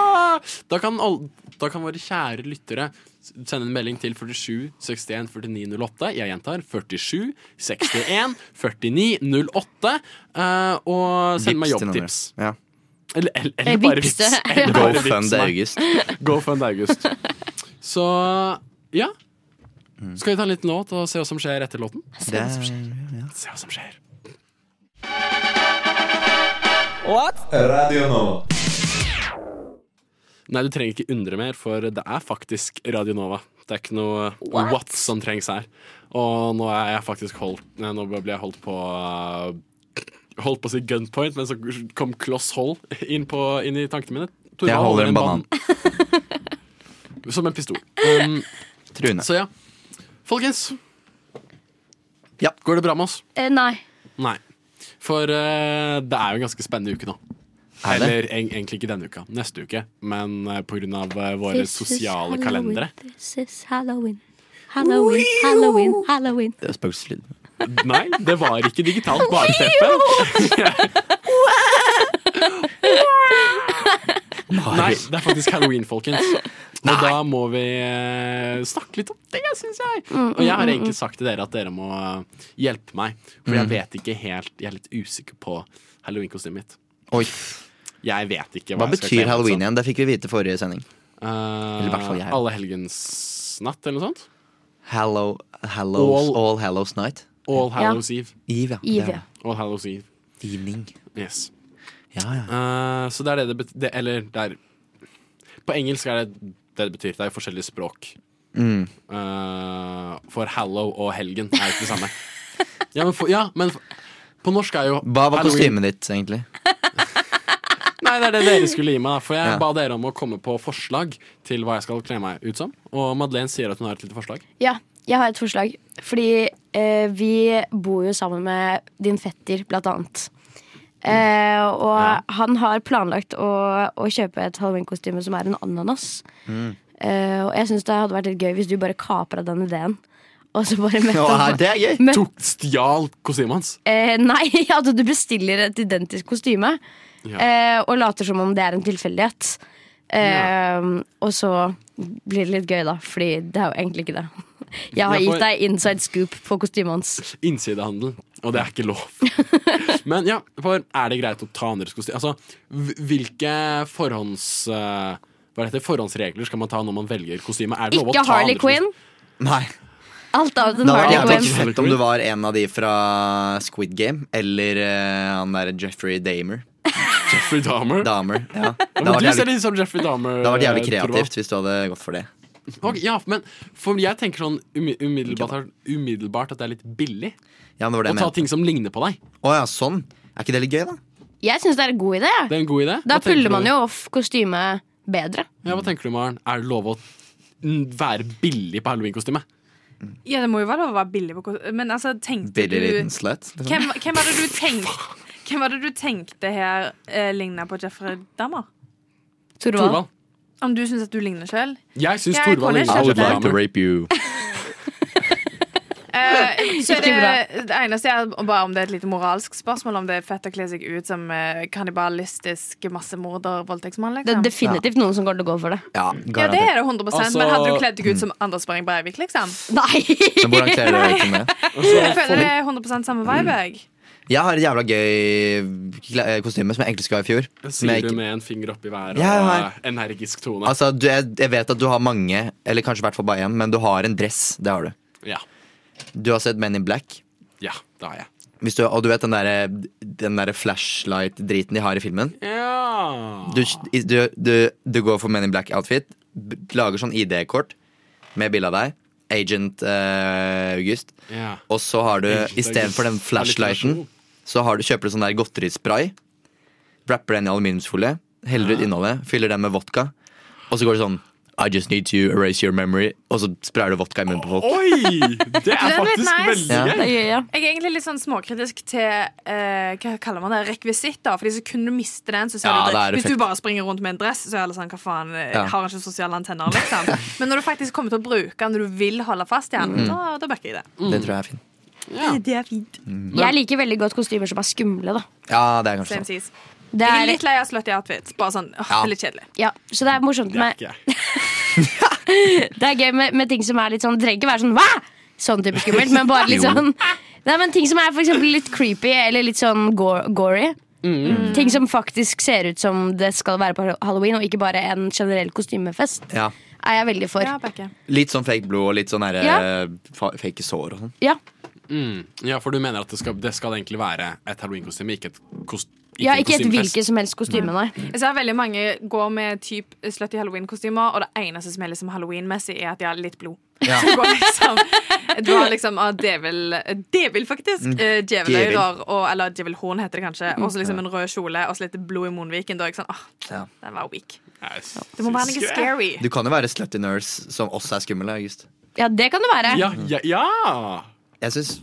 [SPEAKER 5] da, kan all, da kan våre kjære lyttere s- sende en melding til 47 61 49 08. Jeg gjentar 47 61 49 08. eh, og send meg
[SPEAKER 7] Vips til
[SPEAKER 5] jobbtips.
[SPEAKER 7] nummeret. Ja.
[SPEAKER 5] Eller, eller, eller
[SPEAKER 7] Eh,
[SPEAKER 5] bare
[SPEAKER 7] vips
[SPEAKER 5] vips.
[SPEAKER 7] det.
[SPEAKER 5] Eller
[SPEAKER 7] Go
[SPEAKER 5] bare vips
[SPEAKER 7] fund
[SPEAKER 5] meg.
[SPEAKER 7] August.
[SPEAKER 5] Go fund August. Så ja.
[SPEAKER 7] Mm.
[SPEAKER 5] Skal vi ta en liten låt og se hva som skjer etter låten?
[SPEAKER 7] Se hva som skjer.
[SPEAKER 5] Se hva som skjer.
[SPEAKER 15] Radio Nova.
[SPEAKER 5] Nei, du trenger ikke undre mer, for det er faktisk Radio Nova. Det er ikke noe what, som trengs her. Og nå er jeg faktisk holdt nei, Nå ble jeg holdt på eh, Holdt på å si gunpoint, men så kom Kloss Hold inn, på, inn i tankene mine.
[SPEAKER 7] Jeg
[SPEAKER 5] Torvald holder
[SPEAKER 7] holder en banan.
[SPEAKER 5] ban- Som en pistol. Um,
[SPEAKER 7] Trune.
[SPEAKER 5] Så ja. Folkens. Går det bra med oss?
[SPEAKER 8] Eh, nei.
[SPEAKER 5] Nei. For eh, det er jo en ganske spennende uke nå.
[SPEAKER 7] Er det?
[SPEAKER 5] Eller eng- egentlig ikke denne uka. Neste uke. Men eh, på grunn av eh, våre
[SPEAKER 8] This is
[SPEAKER 5] sosiale
[SPEAKER 8] Halloween,
[SPEAKER 5] kalendere.
[SPEAKER 8] This is Halloween. Halloween, Halloween, Halloween.
[SPEAKER 7] Det er spøkelseslyd.
[SPEAKER 5] Nei, det var ikke digitalt bakteppe. Nei, det er faktisk halloween, folkens. Og da må vi eh, snakke litt om det, syns jeg.
[SPEAKER 14] Mm,
[SPEAKER 5] Og jeg
[SPEAKER 14] mm,
[SPEAKER 5] har
[SPEAKER 14] mm,
[SPEAKER 5] egentlig sagt til dere at dere må eh, hjelpe meg. For
[SPEAKER 7] Mm.
[SPEAKER 5] jeg vet ikke helt Jeg er litt usikker på halloweenkostymet mitt.
[SPEAKER 7] Oi.
[SPEAKER 5] Jeg vet ikke hva,
[SPEAKER 7] Hva
[SPEAKER 5] jeg skal kle
[SPEAKER 7] betyr
[SPEAKER 5] meg
[SPEAKER 7] halloween
[SPEAKER 5] som.
[SPEAKER 7] igjen? Det fikk vi vite forrige sending.
[SPEAKER 5] Eh,
[SPEAKER 7] Eller i hvert fall jeg.
[SPEAKER 5] Alle helgens natt, eller noe sånt?
[SPEAKER 7] Hallow, hallows,
[SPEAKER 5] All-
[SPEAKER 7] all, Hallows Night.
[SPEAKER 5] All Hallows Eve.
[SPEAKER 7] Eve, ja.
[SPEAKER 5] Eve, ja.
[SPEAKER 7] Det er-
[SPEAKER 5] All Hallows Eve.
[SPEAKER 7] Evening.
[SPEAKER 5] Yes.
[SPEAKER 7] Ja, ja.
[SPEAKER 5] Eh, så det er det det betyr Eller det er På engelsk er det det det betyr. Det er jo forskjellige språk.
[SPEAKER 7] Mm.
[SPEAKER 5] Eh, for hallow og helgen er jo ikke det samme. ja, men, for, ja, men for, på norsk er jo
[SPEAKER 7] Hva var
[SPEAKER 5] halloween-
[SPEAKER 7] kostymet ditt, egentlig?
[SPEAKER 5] Nei, det er det dere skulle gi meg. da, For jeg
[SPEAKER 7] Ja.
[SPEAKER 5] ba dere om å komme på forslag til hva jeg skal kle meg ut som. Og Madeleine sier at hun har et lite forslag.
[SPEAKER 8] Ja, jeg har et forslag. Fordi eh, vi bor jo sammen med din fetter, blant annet. Eh, og han har planlagt å, å kjøpe et halloweenkostyme som er en ananas. Eh, og jeg syns det hadde vært litt gøy hvis du bare kapra den ideen. Og så bare møtte han- møtte-
[SPEAKER 5] Tok, stjal kostymet hans.
[SPEAKER 8] Eh, nei, at du bestiller et identisk kostyme
[SPEAKER 5] Ja.
[SPEAKER 8] eh, og later som om det er en tilfeldighet. Eh, Og så blir det litt gøy, da, fordi det er jo egentlig ikke det. Jeg har
[SPEAKER 5] Jeg får-
[SPEAKER 8] gitt deg inside scoop på kostymet hans.
[SPEAKER 5] Innsidehandel. Og det er ikke lov. Men ja, for er det greit å ta andres kostymer? Altså, hv- hvilke forhånds... eh, hva heter det? Forhåndsregler skal man ta når man velger kostyme? Er det lov å
[SPEAKER 8] Ikke
[SPEAKER 5] ta
[SPEAKER 8] Harley
[SPEAKER 5] andres
[SPEAKER 8] Quinn.
[SPEAKER 7] Nei.
[SPEAKER 8] Alt annet
[SPEAKER 7] Det
[SPEAKER 8] enn
[SPEAKER 7] hadde
[SPEAKER 8] Harley
[SPEAKER 7] vært jævlig
[SPEAKER 8] Quinn.
[SPEAKER 7] fett om du var en av de fra Squid Game, eller eh, han derre Jeffrey Damer.
[SPEAKER 5] Jeffrey Dahmer?
[SPEAKER 7] ja.
[SPEAKER 5] Ja,
[SPEAKER 7] Det
[SPEAKER 5] men
[SPEAKER 7] hadde
[SPEAKER 5] du
[SPEAKER 7] vært
[SPEAKER 5] ser
[SPEAKER 7] jævlig,
[SPEAKER 5] litt som Jeffrey Dahmer.
[SPEAKER 7] det hadde vært jævlig
[SPEAKER 5] eh, tror jeg.
[SPEAKER 7] kreativt hvis du hadde gått for det.
[SPEAKER 5] Ok, ja, men for jeg tenker sånn umi- umiddelbart, umiddelbart at det er litt billig
[SPEAKER 7] Ja, men det var det
[SPEAKER 5] å
[SPEAKER 7] jeg
[SPEAKER 5] ta
[SPEAKER 7] mente.
[SPEAKER 5] ting som ligner på deg.
[SPEAKER 7] Å ja, sånn. Er ikke det litt gøy, da?
[SPEAKER 8] Jeg syns det er en god idé. jeg.
[SPEAKER 5] Det er en god idé.
[SPEAKER 8] Da
[SPEAKER 5] Hva tenker
[SPEAKER 8] puller man
[SPEAKER 5] du?
[SPEAKER 8] jo off kostymet bedre.
[SPEAKER 5] Ja, Hva tenker du, Maren? Er det lov å n- være billig på halloweenkostyme?
[SPEAKER 6] Ja, det må jo være lov å være billig på kos- Men altså, tenkte
[SPEAKER 5] Billig liten
[SPEAKER 6] du
[SPEAKER 7] slut?
[SPEAKER 6] Hvem, hvem hadde du tenkt Hvem hadde du tenkte her eh, ligna på Jeffrey Dahmer?
[SPEAKER 5] Thorvald. Thorvald.
[SPEAKER 6] Om du syns at du ligner sjøl?
[SPEAKER 5] Jeg syns Thorvald ligner på Jeffrey Dahmer.
[SPEAKER 7] rape you.
[SPEAKER 6] Eh, så
[SPEAKER 8] Ikke
[SPEAKER 6] er det, det eneste er bare om det er et lite moralsk spørsmål, om det er fett å kle seg ut som eh, kannibalistisk massemorder-voldtektsmann.
[SPEAKER 8] Det
[SPEAKER 6] Liksom.
[SPEAKER 8] er definitivt noen som kommer til å gå for det.
[SPEAKER 7] Ja,
[SPEAKER 6] Ja, det er det 100 Men
[SPEAKER 8] Altså-
[SPEAKER 6] hadde du kledd deg ut som Anders Behring Breivik, liksom?
[SPEAKER 8] Nei!
[SPEAKER 7] Men hvordan kler du deg ut som det?
[SPEAKER 6] Jeg føler det er 100 samme vibe. jeg.
[SPEAKER 7] Jeg har et jævla gøy kle- eh, kostyme som jeg egentlig skulle ha i fjor. men jeg
[SPEAKER 5] Sier
[SPEAKER 7] ikke-
[SPEAKER 5] du med en finger opp i været
[SPEAKER 7] Ja,
[SPEAKER 5] og
[SPEAKER 7] ja,
[SPEAKER 5] eh, energisk tone.
[SPEAKER 7] Altså, du, jeg, jeg vet at du har mange, eller kanskje i hvert fall bare én, men du har en dress. Det har du.
[SPEAKER 5] Ja.
[SPEAKER 7] Du har sett Men in Black.
[SPEAKER 5] ja, det har jeg.
[SPEAKER 7] Hvis du, og du vet den derre den derre flashlight-driten de har i filmen?
[SPEAKER 5] Ja.
[SPEAKER 7] Du, du, du, du går for Men in Black-outfit, b- lager sånn ID-kort med bilde av deg. Agent eh, August.
[SPEAKER 5] Ja.
[SPEAKER 7] Og så har du
[SPEAKER 5] Agent August.
[SPEAKER 7] istedenfor den flashlighten,
[SPEAKER 5] Alliterasjon.
[SPEAKER 7] så har du, kjøper du sånn der godterispray. Wrapper den i aluminiumsfolie, heller ut innholdet, fyller den med vodka. Og så går det sånn I just need to erase your memory. Og så sprayer du vodka i munnen på folk.
[SPEAKER 5] Oi! Det
[SPEAKER 6] er Den er litt faktisk nice. veldig
[SPEAKER 7] Ja.
[SPEAKER 6] gøy. Jeg er egentlig litt sånn småkritisk til eh, hva kaller man det, rekvisitter. Fordi så kunne du miste den, så ser
[SPEAKER 7] Ja,
[SPEAKER 6] du
[SPEAKER 7] da er det
[SPEAKER 6] det. Hvis du
[SPEAKER 7] fucked.
[SPEAKER 6] bare springer rundt med en dress, så er alle sånn hva faen, eh,
[SPEAKER 7] Ja.
[SPEAKER 6] har han ikke sosiale antenner, liksom. Men når du faktisk kommer til å bruke den, når du vil holde fast i den,
[SPEAKER 7] Mm.
[SPEAKER 6] da, da backer jeg det.
[SPEAKER 7] Det tror jeg er fint.
[SPEAKER 6] Det er fint.
[SPEAKER 8] Jeg liker veldig godt kostymer som er skumle, da.
[SPEAKER 7] Ja, det er kanskje
[SPEAKER 6] Same
[SPEAKER 7] sånn.
[SPEAKER 6] seas.
[SPEAKER 8] Det
[SPEAKER 6] Jeg
[SPEAKER 8] er-
[SPEAKER 6] er litt lei av slutty outfits. Bare sånn, åh,
[SPEAKER 7] Ja.
[SPEAKER 6] det er litt kjedelig.
[SPEAKER 8] Ja, så det er morsomt
[SPEAKER 7] Det er
[SPEAKER 8] med Det er gøy med, med ting som er litt sånn Det trenger ikke være sånn Hva? Sånn type skummelt, men bare litt
[SPEAKER 7] Jo.
[SPEAKER 8] sånn Nei, men ting som er for eksempel litt creepy Eller litt sånn go- gory
[SPEAKER 7] Mm.
[SPEAKER 8] Ting som faktisk ser ut som det skal være på Halloween Og ikke bare en generell kostymefest
[SPEAKER 7] Ja.
[SPEAKER 8] Er jeg veldig for Ja,
[SPEAKER 7] Litt sånn fake blod og litt sånn derre
[SPEAKER 8] Ja.
[SPEAKER 7] fa- fake sår og sånn.
[SPEAKER 8] ja.
[SPEAKER 5] Mm. ja, for du mener at det skal, det skal egentlig være et halloweenkostyme, ikke et kost... en
[SPEAKER 8] ikke et
[SPEAKER 5] kostymefest.
[SPEAKER 8] hvilket som helst kostyme, nei
[SPEAKER 6] Jeg ser veldig mange går med typ slutty halloween-kostymer, og det eneste som er liksom halloween-messig, er at de har litt blod.
[SPEAKER 7] Ja.
[SPEAKER 6] Så går liksom, du har liksom ah, djevel, djevel faktisk.
[SPEAKER 8] Mm,
[SPEAKER 6] Eh, Djeveløyrer,
[SPEAKER 8] djevel.
[SPEAKER 6] og- eller djevelhorn heter det kanskje. Og så liksom en rød kjole, og så litt blod i munnviken. Da er jeg sånn, ah, den var weak. Det må være noe scary.
[SPEAKER 7] Du kan jo være slutty nurse som også er skummel, August.
[SPEAKER 8] Ja, det kan det være
[SPEAKER 7] Jeg syns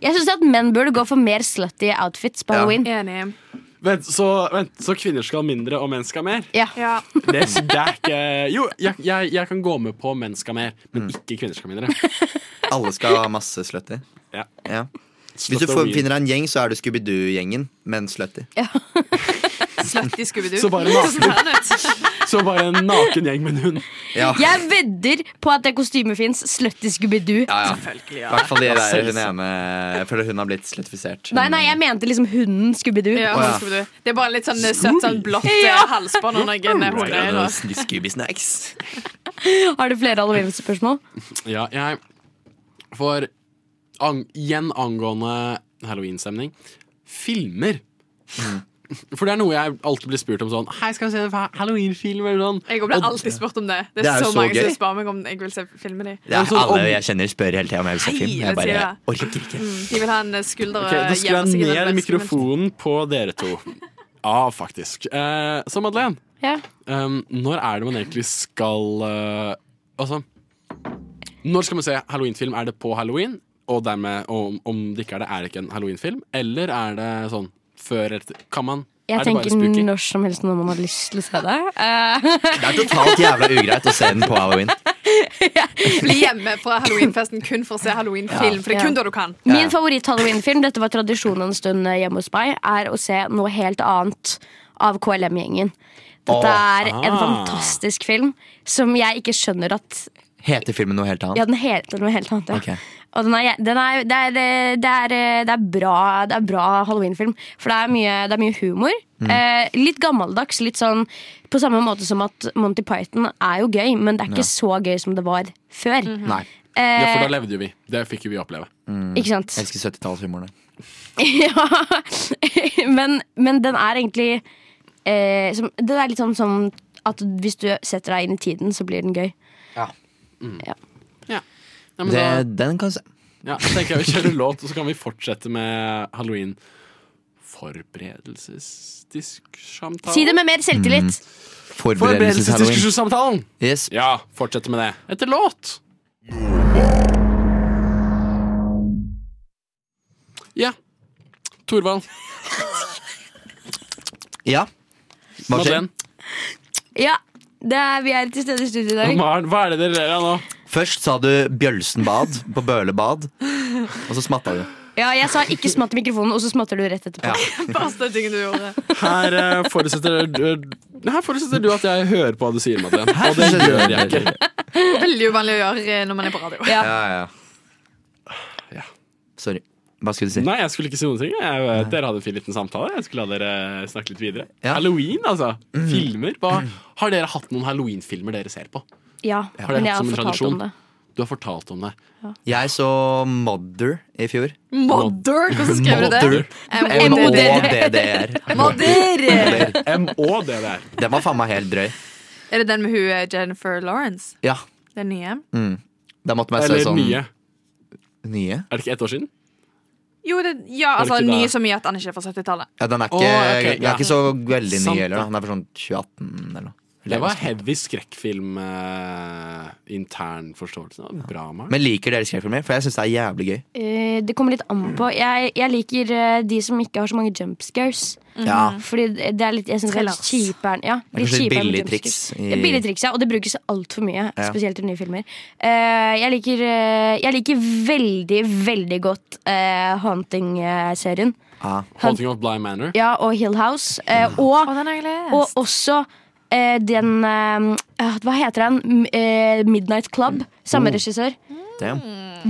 [SPEAKER 8] Jeg synes at menn burde gå for mer slutty outfits på
[SPEAKER 5] Ja.
[SPEAKER 8] Halloween
[SPEAKER 6] Enig
[SPEAKER 5] Vent, så, vent, så kvinner skal mindre, og menn skal mer?
[SPEAKER 8] Ja,
[SPEAKER 5] Det, det er ikke Jo, jeg, jeg, jeg kan gå med på menn skal mer, men
[SPEAKER 7] Mm.
[SPEAKER 5] ikke kvinner skal mindre.
[SPEAKER 7] Alle skal ha masse slutty.
[SPEAKER 5] Ja.
[SPEAKER 7] Hvis du får, finner deg en gjeng, så er du Scooby-Doo-gjengen, men slutty.
[SPEAKER 6] Slutty Scooby-Doo.
[SPEAKER 7] Så bare naken.
[SPEAKER 6] Sånn ser den ut.
[SPEAKER 5] Så bare en naken gjeng med en hund.
[SPEAKER 8] Jeg vedder på at det kostymet fins. Slutty Scooby-Doo.
[SPEAKER 7] I hvert fall de der hun
[SPEAKER 8] Selvsagt.
[SPEAKER 7] ene Jeg føler hun har blitt sluttifisert.
[SPEAKER 8] Nei, nei, jeg mente liksom hunden Scooby-Doo.
[SPEAKER 7] Ja, hunden Scooby-Doo.
[SPEAKER 6] Det er bare litt sånn eh, søtt sånn blått eh,
[SPEAKER 8] Ja.
[SPEAKER 6] halsbånd og noen eh, hodeøyne.
[SPEAKER 7] Scooby-snacks.
[SPEAKER 8] Har du flere halloween-spørsmål?
[SPEAKER 5] Ja, jeg For ang, igjen angående Halloween-stemning Filmer Mm. For det er noe jeg alltid blir spurt om sånn Hei, skal vi se en fa- Halloween-film eller sånn
[SPEAKER 6] Jeg blir
[SPEAKER 5] Og-
[SPEAKER 6] alltid spurt om det. Det
[SPEAKER 5] Det
[SPEAKER 6] er,
[SPEAKER 5] er jo
[SPEAKER 6] så,
[SPEAKER 5] så
[SPEAKER 6] mange
[SPEAKER 5] gøy.
[SPEAKER 6] som spør meg om jeg vil se filmen de.
[SPEAKER 7] Det er alle jeg kjenner spør hele tida om jeg vil se
[SPEAKER 6] Hei,
[SPEAKER 7] film.
[SPEAKER 6] det
[SPEAKER 7] Jeg bare
[SPEAKER 6] sier jeg.
[SPEAKER 7] orker ikke.
[SPEAKER 6] Mm, De vil ha en eh, skulder
[SPEAKER 5] Ok, Da
[SPEAKER 6] eh, gjemme seg
[SPEAKER 5] skrur
[SPEAKER 6] under
[SPEAKER 5] jeg ned
[SPEAKER 6] et skummelt.
[SPEAKER 5] mikrofonen på dere to Ja, faktisk eh, Så Madeleine
[SPEAKER 8] Ja.
[SPEAKER 5] um, Når er det man egentlig skal eh, Altså Når skal man se Halloween-film? Er det på Halloween? Og dermed, om, om det ikke er det, er det ikke en Halloween-film? Eller er det sånn før eller etter? Kan man?
[SPEAKER 8] Jeg
[SPEAKER 5] er det bare
[SPEAKER 8] tenker
[SPEAKER 5] spooky?
[SPEAKER 8] når som helst når man har lyst til å se det. Eh,
[SPEAKER 7] Det er totalt jævla ugreit å se den på halloween.
[SPEAKER 6] Bli hjemme fra halloweenfesten kun for å se halloweenfilm, for det er kun da du kan.
[SPEAKER 8] Min favoritt-halloween-film, dette var tradisjonen en stund eh, hjemme hos meg, er å se noe helt annet av KLM-gjengen. Dette
[SPEAKER 7] Åh.
[SPEAKER 8] er en
[SPEAKER 7] Ah.
[SPEAKER 8] fantastisk film som jeg ikke skjønner at
[SPEAKER 7] Heter filmen noe helt
[SPEAKER 8] Ja,
[SPEAKER 7] annet?
[SPEAKER 8] den heter noe helt annet. Ja.
[SPEAKER 7] Ok.
[SPEAKER 8] Og den er, den er, det, er, eh, det, er, eh, det er bra, det er bra halloweenfilm. For det er mye, det er mye humor.
[SPEAKER 14] Mm.
[SPEAKER 8] Eh, litt gammeldags. Litt sånn på samme måte som at Monty Python er jo gøy, men det er
[SPEAKER 5] Ja.
[SPEAKER 8] ikke så gøy som det var før.
[SPEAKER 7] Nei.
[SPEAKER 5] Mhm. Ja, for
[SPEAKER 8] Eh,
[SPEAKER 5] da levde jo vi. Det fikk jo vi oppleve.
[SPEAKER 8] Ikke sant?
[SPEAKER 7] Jeg elsker 70-tallshumoren. der.
[SPEAKER 8] ja. men, men den er egentlig eh, som, Det er litt sånn som at hvis du setter deg inn i tiden, så blir den gøy.
[SPEAKER 7] Ja.
[SPEAKER 8] Ja.
[SPEAKER 5] Ja, men
[SPEAKER 7] Det,
[SPEAKER 5] da-
[SPEAKER 7] den kan du se.
[SPEAKER 5] Ja, så tenker jeg vi kjører låt, og så kan vi fortsette med halloween. Forberedelsesdisk-samtale.
[SPEAKER 8] Si det med mer selvtillit.
[SPEAKER 5] Mm. Forberedelsesdiskusjonssamtalen!
[SPEAKER 7] Yes.
[SPEAKER 5] Ja, fortsette med det. Etter låt. Ja. Torvald.
[SPEAKER 7] Ja. Hva skjer?
[SPEAKER 5] Madeleine.
[SPEAKER 8] Ja, det er, vi er til stede i studio i dag.
[SPEAKER 5] Maren, hva er det dere ler av nå?
[SPEAKER 7] Først sa du Bjølsenbad på Bøhlebad, og så smatta du.
[SPEAKER 8] Ja, jeg sa ikke smatt i mikrofonen, og så smatter du rett etterpå.
[SPEAKER 6] Første tingen du gjorde.
[SPEAKER 5] Her eh, forutsetter, du- her forutsetter du at jeg hører på hva du sier, Madeleine. Og det
[SPEAKER 7] forutsetter
[SPEAKER 5] gjør
[SPEAKER 7] du-
[SPEAKER 5] jeg ikke.
[SPEAKER 6] Veldig uvanlig å gjøre eh, når man er på radio.
[SPEAKER 7] ja. Sorry. Hva skulle du si?
[SPEAKER 5] Nei, jeg skulle ikke si noen ting. Jeg, vet, dere hadde en fin liten samtale. Jeg skulle la dere eh, snakke litt videre. Halloween, altså.
[SPEAKER 7] Mm.
[SPEAKER 5] Filmer. Hva, har dere hatt noen halloweenfilmer dere ser på?
[SPEAKER 8] Ja,
[SPEAKER 5] Har dere
[SPEAKER 8] men jeg
[SPEAKER 5] hatt
[SPEAKER 8] har
[SPEAKER 5] som en
[SPEAKER 8] fortalt
[SPEAKER 5] tradisjon?
[SPEAKER 8] om det.
[SPEAKER 5] Du har fortalt om det.
[SPEAKER 7] Jeg så Mother i fjor.
[SPEAKER 6] Modder, hvordan skrev du det? Eh,
[SPEAKER 7] Mother. M-O-D-D-R.
[SPEAKER 6] Modder!
[SPEAKER 5] M-O-D-D-R.
[SPEAKER 7] Den var faen meg helt drøy.
[SPEAKER 6] Er det den med hun eh, Jennifer Lawrence?
[SPEAKER 7] Ja.
[SPEAKER 6] Den nye?
[SPEAKER 7] Mm. Da måtte man
[SPEAKER 5] Eller
[SPEAKER 7] se sånn
[SPEAKER 5] nye.
[SPEAKER 7] Nye?
[SPEAKER 5] Er det ikke ett år siden?
[SPEAKER 6] Jo, det, ja,
[SPEAKER 7] Var det
[SPEAKER 6] altså
[SPEAKER 7] ikke
[SPEAKER 6] ny
[SPEAKER 7] det?
[SPEAKER 6] så mye at han ikke er fra 70-tallet.
[SPEAKER 7] Ja, den er
[SPEAKER 5] Å,
[SPEAKER 7] ikke,
[SPEAKER 5] ok,
[SPEAKER 7] den
[SPEAKER 5] ja.
[SPEAKER 7] er ikke så veldig
[SPEAKER 5] Sant
[SPEAKER 7] ny
[SPEAKER 5] det.
[SPEAKER 7] heller. da. Den er fra sånn 2018 eller noe.
[SPEAKER 5] Det var heavy skrekkfilm. Eh, intern forståelse. Det var Bra, Maren.
[SPEAKER 7] Men liker dere skrekkfilmer? For jeg syns det er jævlig gøy.
[SPEAKER 8] Eh, det kommer litt an på. Jeg, jeg liker eh, de som ikke har så mange jump scares.
[SPEAKER 7] Ja.
[SPEAKER 8] Fordi det er litt, jeg synes det er litt
[SPEAKER 7] Thrillers.
[SPEAKER 8] kjipere enn- ja,
[SPEAKER 7] er kanskje
[SPEAKER 8] litt
[SPEAKER 7] litt
[SPEAKER 8] kjipere enn
[SPEAKER 7] billig
[SPEAKER 8] jump
[SPEAKER 7] triks
[SPEAKER 8] scares.
[SPEAKER 7] i-
[SPEAKER 8] Det er billig triks, ja, og det brukes altfor mye.
[SPEAKER 7] Ja.
[SPEAKER 8] Spesielt i nye filmer. Eh, jeg, liker, eh, jeg liker veldig, veldig godt eh, Haunting-serien.
[SPEAKER 5] Haunting of Blind Manor.
[SPEAKER 8] Ja, og Hill House.
[SPEAKER 7] Mm.
[SPEAKER 8] Eh, og, og også eh, den eh, ah, Hva heter den? M- Eh, Midnight Club. Samme
[SPEAKER 7] Mm.
[SPEAKER 8] regissør.
[SPEAKER 7] Damn.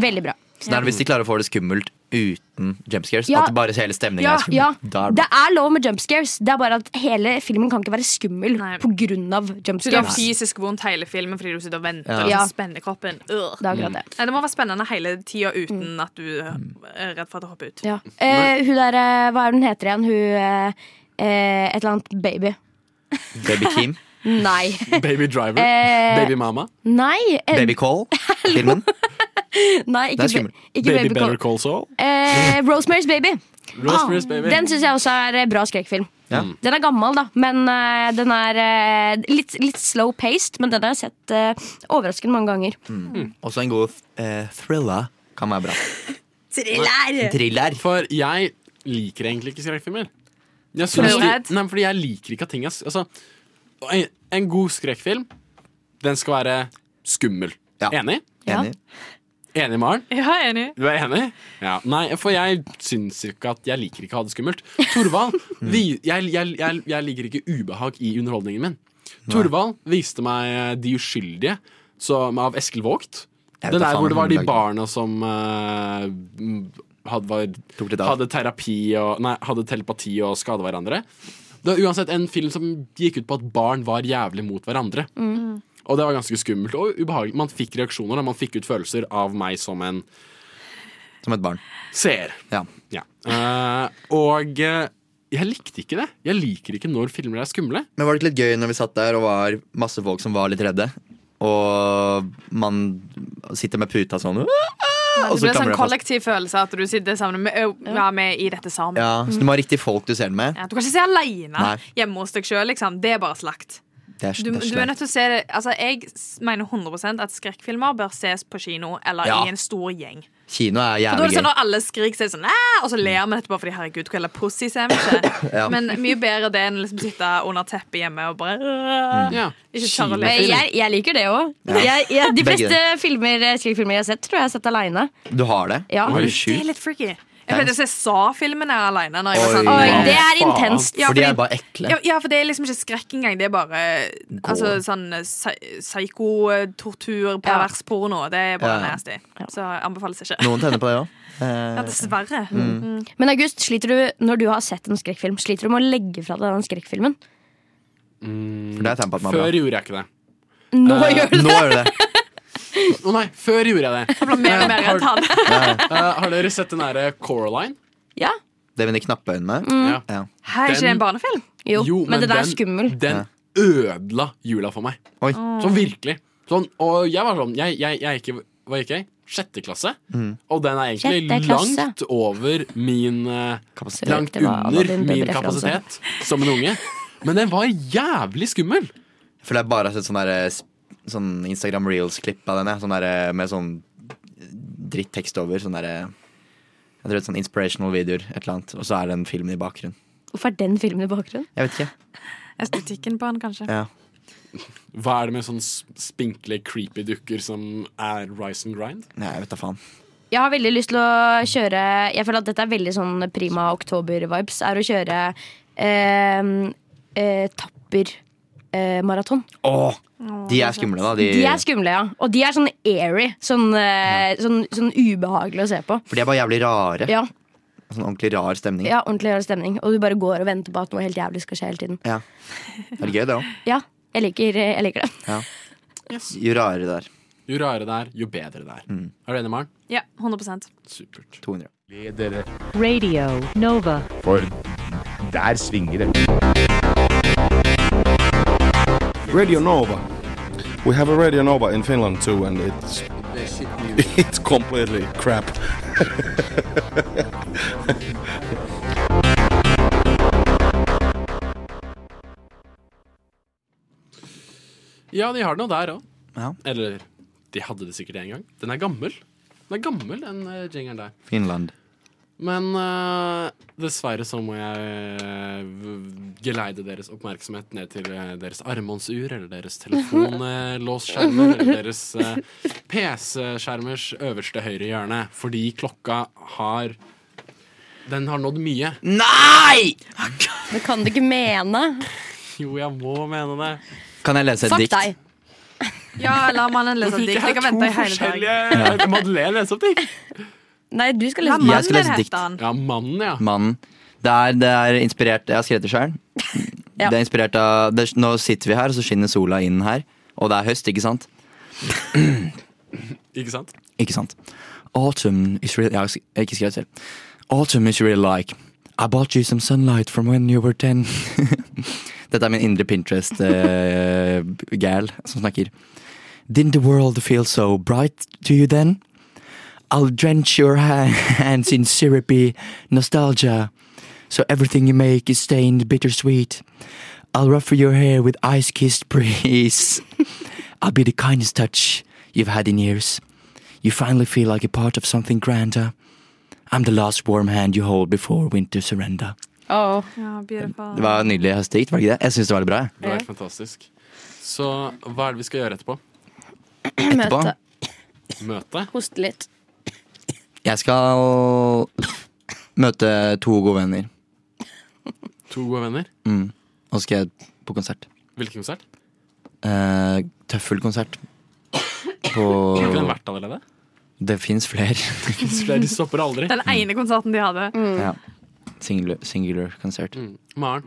[SPEAKER 8] Veldig bra.
[SPEAKER 7] Så det er hvis de klarer å få det skummelt uten jumpscares.
[SPEAKER 8] Ja.
[SPEAKER 7] At det bare hele stemningen
[SPEAKER 8] Ja,
[SPEAKER 7] er skummel.
[SPEAKER 8] ja.
[SPEAKER 7] Da er
[SPEAKER 8] Det
[SPEAKER 7] det bra.
[SPEAKER 8] er lov med jumpscares. Det er bare at hele filmen kan ikke være skummel pga.
[SPEAKER 6] Så du har
[SPEAKER 8] jumpscares.
[SPEAKER 6] fysisk vondt hele filmen fordi du sitter og venter
[SPEAKER 8] Ja.
[SPEAKER 6] og
[SPEAKER 8] Ja.
[SPEAKER 6] liksom spenner kroppen. Ugh.
[SPEAKER 8] Det er akkurat det.
[SPEAKER 6] Nei, det må være spennende hele tida uten at du eh, er redd for at det hopper ut.
[SPEAKER 8] Mm. Ja. Eh, hun der, eh, hva er det hun heter igjen? Hun eh, eh, Et eller annet baby.
[SPEAKER 7] Baby Kim.
[SPEAKER 8] Nei.
[SPEAKER 5] Baby Driver.
[SPEAKER 8] Eh,
[SPEAKER 5] Baby Mama.
[SPEAKER 8] Nei, eh,
[SPEAKER 7] Baby Call. Filmen.
[SPEAKER 8] nei ikke,
[SPEAKER 7] Det er
[SPEAKER 8] ba-
[SPEAKER 7] skummelt.
[SPEAKER 8] ikke
[SPEAKER 5] Baby,
[SPEAKER 8] Baby
[SPEAKER 5] Better Call
[SPEAKER 8] Call.
[SPEAKER 5] Saul.
[SPEAKER 8] Eh, Rosemary's Baby.
[SPEAKER 5] Rosemary's
[SPEAKER 8] Ah,
[SPEAKER 5] Baby.
[SPEAKER 8] Den syns jeg også er eh, bra skrekkfilm.
[SPEAKER 5] Ja.
[SPEAKER 8] Den er gammel, da, men eh, den er eh, litt, litt slow paced. Men den har jeg sett eh, overraskende mange ganger.
[SPEAKER 7] Mm. Også en god eh, thriller kan være bra.
[SPEAKER 5] Thriller. For jeg liker egentlig ikke skrekkfilmer. Jeg
[SPEAKER 7] For
[SPEAKER 5] synes
[SPEAKER 7] du er
[SPEAKER 5] de,
[SPEAKER 7] redd?
[SPEAKER 5] nei, fordi jeg liker ikke at ting er s- altså, en, en god skrekkfilm, den skal være skummel. Enig?
[SPEAKER 6] Ja.
[SPEAKER 7] Enig.
[SPEAKER 5] Enig, Maren?
[SPEAKER 6] Ja, enig.
[SPEAKER 5] Du er enig? Ja. Nei, for jeg syns ikke at jeg liker ikke å ha det skummelt. Torvald, vi, jeg, jeg, jeg, jeg liker ikke ubehag i underholdningen min. Torvald viste meg De uskyldige som, av Eskil Vågt.
[SPEAKER 7] Jeg vet
[SPEAKER 5] Den
[SPEAKER 7] da
[SPEAKER 5] der
[SPEAKER 7] faen
[SPEAKER 5] hvor det var de
[SPEAKER 7] hvordan
[SPEAKER 5] barna som eh, m, hadde, var, hadde terapi og Nei, hadde telepati og skada hverandre. Det var uansett en film som gikk ut på at barn var jævlig mot hverandre.
[SPEAKER 14] Mm.
[SPEAKER 5] Og det var ganske skummelt og ubehagelig. Man fikk reaksjoner, og man fikk ut følelser av meg som en
[SPEAKER 7] Som et barn.
[SPEAKER 5] Seer.
[SPEAKER 7] Ja.
[SPEAKER 5] Eh, og eh, jeg likte ikke det. Jeg liker ikke når filmer er skumle.
[SPEAKER 7] Men var det ikke litt gøy når vi satt der og var masse folk som var litt redde? Og man sitter med puta sånn
[SPEAKER 6] Det
[SPEAKER 7] og så klamrer
[SPEAKER 6] blir en sånn
[SPEAKER 7] deg fast.
[SPEAKER 6] kollektiv følelse at du sitter sammen med, ø, ja, med i dette sammen.
[SPEAKER 7] Ja, så du må ha riktig folk du ser den med.
[SPEAKER 6] Ja, du kan ikke se aleine
[SPEAKER 7] Nei.
[SPEAKER 6] hjemme hos deg sjøl. Liksom. Det er bare slakt.
[SPEAKER 7] Det er,
[SPEAKER 6] Du,
[SPEAKER 7] det er
[SPEAKER 6] du er nødt til å se det altså, Jeg s- mener 100 at skrekkfilmer bør ses på kino eller
[SPEAKER 7] Ja.
[SPEAKER 6] i en stor gjeng.
[SPEAKER 7] Kino er
[SPEAKER 6] For da er det
[SPEAKER 7] jævlig
[SPEAKER 6] sånn
[SPEAKER 7] gøy.
[SPEAKER 6] Når alle skriker, så er det sånn Æ! Og så ler man etterpå fordi herregud, hva slags pussy ser vi ikke?
[SPEAKER 7] Ja.
[SPEAKER 6] Men mye bedre det enn å liksom sitte under teppet hjemme og bare
[SPEAKER 7] Mm. Ja.
[SPEAKER 6] Ikke tørre å le.
[SPEAKER 8] Men Eh, jeg, jeg liker det òg.
[SPEAKER 7] Ja.
[SPEAKER 8] Jeg, jeg, de
[SPEAKER 7] Begge
[SPEAKER 8] fleste filmer, eh, skrekkfilmer jeg har sett, tror jeg jeg har sett aleine.
[SPEAKER 7] Du har det?
[SPEAKER 8] Ja.
[SPEAKER 7] Oi,
[SPEAKER 6] Det er
[SPEAKER 7] sjukt.
[SPEAKER 6] litt freaky. Jeg pleide å se Sa-filmene alene. Når jeg
[SPEAKER 7] Oi,
[SPEAKER 6] var sånn,
[SPEAKER 7] Oi, det er
[SPEAKER 6] faen.
[SPEAKER 7] intenst.
[SPEAKER 6] Ja,
[SPEAKER 7] For de er bare ekle.
[SPEAKER 6] Ja, ja, for det er liksom ikke skrekk engang. Det er bare altså, sånn psy- psyko-tortur, pervers porno. Det er bare
[SPEAKER 7] Ja.
[SPEAKER 6] nasty. Så anbefales ikke.
[SPEAKER 7] Noen tenner på det òg.
[SPEAKER 6] Ja, dessverre.
[SPEAKER 7] Mm.
[SPEAKER 6] Mm.
[SPEAKER 8] Men August, sliter du, når du har sett en skrekkfilm, sliter du med å legge fra deg den skrekkfilmen?
[SPEAKER 7] For det er tegn på at man er bra.
[SPEAKER 5] Før gjorde jeg ikke det.
[SPEAKER 8] Nå
[SPEAKER 5] Eh,
[SPEAKER 8] gjør du det!
[SPEAKER 7] Nå gjør du det.
[SPEAKER 5] Å nei, før gjorde jeg det.
[SPEAKER 6] mer og mer
[SPEAKER 5] Eh, har-
[SPEAKER 6] redd han.
[SPEAKER 5] Eh, har dere sett den derre Coraline?
[SPEAKER 8] Ja.
[SPEAKER 7] Det med de knappe øynene.
[SPEAKER 5] Mm.
[SPEAKER 7] Ja.
[SPEAKER 6] Her er ikke det en barnefilm?
[SPEAKER 8] Jo, men det der er
[SPEAKER 5] den-
[SPEAKER 8] skummel.
[SPEAKER 5] Den ødela jula for meg.
[SPEAKER 7] Oi.
[SPEAKER 5] Sånn virkelig. Sånn, og jeg var sånn Jeg, jeg, jeg gikk i hva gikk jeg? i? Sjette klasse.
[SPEAKER 7] Mm.
[SPEAKER 5] Og den er egentlig
[SPEAKER 8] Sjette klasse.
[SPEAKER 5] langt over min eh, Langt
[SPEAKER 8] det var
[SPEAKER 5] under
[SPEAKER 8] Aladdin,
[SPEAKER 5] min
[SPEAKER 8] Bubbe referanse.
[SPEAKER 5] kapasitet som en unge. Men den var jævlig skummel.
[SPEAKER 7] For jeg bare har sett sånn der, eh, sånn Instagram Reels-klipp av denne. Sånn der, eh, med sånn drittekst over. Sånn der, eh, jeg tror det er sånn inspirational videoer, et eller annet. Og så er det en film i bakgrunnen.
[SPEAKER 8] Hvorfor er den filmen i bakgrunnen?
[SPEAKER 7] Jeg vet ikke.
[SPEAKER 6] Estetikken på han, kanskje.
[SPEAKER 7] Ja.
[SPEAKER 5] Hva er det med sånne s- spinkle, creepy dukker som er rise and grind?
[SPEAKER 7] Nei, jeg vet da faen.
[SPEAKER 8] Jeg har veldig lyst til å kjøre Jeg føler at dette er veldig sånn prima oktober-vibes. Er å kjøre eh, eh, tapper eh, maraton.
[SPEAKER 7] Åh, de er skumle, da. De,
[SPEAKER 8] De er skumle, ja. Og de er sånn airy. Sånn, eh, sånn, sånn ubehagelig å se på.
[SPEAKER 7] for de er bare jævlig rare.
[SPEAKER 8] Ja,
[SPEAKER 7] Sånn ordentlig rar stemning.
[SPEAKER 8] ja ordentlig rar stemning. Og du bare går og venter på at noe helt jævlig skal skje hele tiden.
[SPEAKER 7] Ja. Det er gøy, det òg.
[SPEAKER 8] Ja, jeg liker, jeg liker det.
[SPEAKER 7] Ja. Jo rarere det er.
[SPEAKER 5] Jo rarere det er, jo bedre det er.
[SPEAKER 7] Mm.
[SPEAKER 5] Er du enig, Maren?
[SPEAKER 6] Ja, 100
[SPEAKER 5] Supert.
[SPEAKER 7] 200.
[SPEAKER 15] Ledere.
[SPEAKER 11] Radio Nova.
[SPEAKER 15] For der svinger det. Radio Nova. We have a Radio Nova in Finland too, and it's it's completely crap.
[SPEAKER 5] Ja, de har det nå der òg.
[SPEAKER 7] Ja.
[SPEAKER 5] Eller de hadde det sikkert en gang. Den er gammel. Den er gammel, den eh, jingeren der.
[SPEAKER 7] Finland.
[SPEAKER 5] Men eh, dessverre så må jeg eh, v- geleide deres oppmerksomhet ned til eh, deres armbåndsur eller deres telefonlåsskjermer eller deres eh, PC-skjermers øverste høyre hjørne, fordi klokka har Den har nådd mye.
[SPEAKER 7] Nei!
[SPEAKER 8] Det kan du ikke mene.
[SPEAKER 5] Jo, jeg må mene det.
[SPEAKER 7] Kan jeg lese et
[SPEAKER 8] Fuck
[SPEAKER 7] dikt?
[SPEAKER 8] deg.
[SPEAKER 6] Ja, la mannen lese
[SPEAKER 5] Nå
[SPEAKER 6] et
[SPEAKER 5] fikk
[SPEAKER 6] dikt. Jeg
[SPEAKER 5] jeg
[SPEAKER 6] kan vente i
[SPEAKER 5] to
[SPEAKER 6] hele dag.
[SPEAKER 5] forskjellige Madeleine lese opp dikt.
[SPEAKER 8] Nei, du skal
[SPEAKER 6] La
[SPEAKER 8] lese
[SPEAKER 7] Jeg skal lese dikt.
[SPEAKER 6] Mm.
[SPEAKER 5] Ja, mannen, ja.
[SPEAKER 7] Mannen. Det er, det er inspirert Jeg har skrevet det sjøl.
[SPEAKER 8] Ja.
[SPEAKER 7] Det er inspirert av det, Nå sitter vi her, og så skinner sola inn her. Og det er høst, ikke sant?
[SPEAKER 5] Ikke sant?
[SPEAKER 7] Ikke sant? Autumn is really Jeg har sk- jeg har ikke skrevet selv. Autumn is really like I bought you some sunlight from when you were ten. Dette er min indre Pinterest-gal uh, som snakker. Didn't the world feel so bright to you then? I'll drench your ha- hands in syrupy nostalgia, so everything you make is stained bittersweet. I'll ruffle your hair with ice kissed breeze. I'll be the kindest touch you've had in years. You finally feel like a part of something grander. I'm the last warm hand you hold before winter surrender.
[SPEAKER 6] Ja, beautiful.
[SPEAKER 7] Det var nydelig høstdikt, var det ikke det? Jeg syns det var litt bra. jeg.
[SPEAKER 5] Det var helt fantastisk. Så hva er det vi skal gjøre etterpå?
[SPEAKER 7] Etterpå
[SPEAKER 5] Møte?
[SPEAKER 8] Hoste litt.
[SPEAKER 7] Jeg skal møte to gode venner.
[SPEAKER 5] To gode venner?
[SPEAKER 7] Mm. Og så skal jeg på konsert.
[SPEAKER 5] Hvilken konsert?
[SPEAKER 7] uh, tøffelkonsert på
[SPEAKER 5] Har ikke den vært allerede?
[SPEAKER 7] Det fins flere.
[SPEAKER 5] De stopper aldri.
[SPEAKER 6] Den ene konserten de hadde.
[SPEAKER 7] ja. Singular, singular konsert.
[SPEAKER 5] Maren,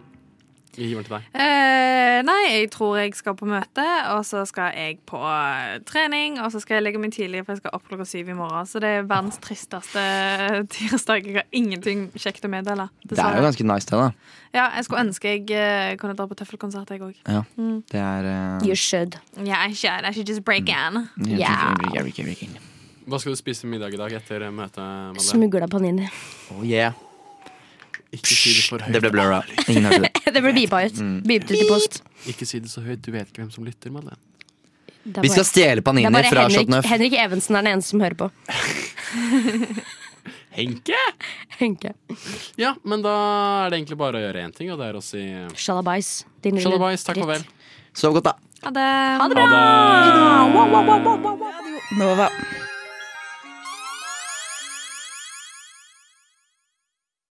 [SPEAKER 5] vi gir den til deg.
[SPEAKER 6] Eh, nei, jeg tror jeg skal på møte, og så skal jeg på eh, trening. Og så skal jeg legge meg tidlig, for jeg skal opp klokka syv i morgen. Så det er verdens tristeste tirsdag. Jeg har ingenting kjekt å meddele.
[SPEAKER 7] Det er jo ganske nice, det, da.
[SPEAKER 6] Ja, jeg skulle ønske jeg eh, kunne dra på tøffelkonsert, jeg òg.
[SPEAKER 7] Ja,
[SPEAKER 6] Mm.
[SPEAKER 7] det er eh,
[SPEAKER 8] should.
[SPEAKER 6] Yeah, I should. I should just
[SPEAKER 7] Mm.
[SPEAKER 6] break in.
[SPEAKER 7] jeg tenker- jeg liker- jeg liker- jeg liker.
[SPEAKER 5] Hva skal du spise til middag i dag etter eh, møtet? Madde?
[SPEAKER 8] Smugla panini.
[SPEAKER 7] Oh, yeah.
[SPEAKER 5] Ikke si det for høyt.
[SPEAKER 7] Det ble blurra. Ingen hørte det.
[SPEAKER 8] det ble beepa ut.
[SPEAKER 7] Mm.
[SPEAKER 8] Beepet ut i post.
[SPEAKER 5] Ikke si det så høyt. Du vet ikke hvem som lytter, Madeleine.
[SPEAKER 8] Det er
[SPEAKER 7] Vi skal
[SPEAKER 8] bare-
[SPEAKER 7] stjele panini
[SPEAKER 8] det er bare
[SPEAKER 7] fra
[SPEAKER 8] Henrik,
[SPEAKER 7] Chateau Neuf.
[SPEAKER 8] Henrik Evensen er den eneste som hører på.
[SPEAKER 5] Henke!
[SPEAKER 8] Henke.
[SPEAKER 5] Ja, men da er det egentlig bare å gjøre én ting, og det er å si
[SPEAKER 8] Shalabais. Din lille
[SPEAKER 5] Shalabais, takk og
[SPEAKER 8] dritt. Ah!
[SPEAKER 5] vel.
[SPEAKER 7] Sov godt, da.
[SPEAKER 6] Ha det.
[SPEAKER 8] Ha det bra!
[SPEAKER 10] Nova.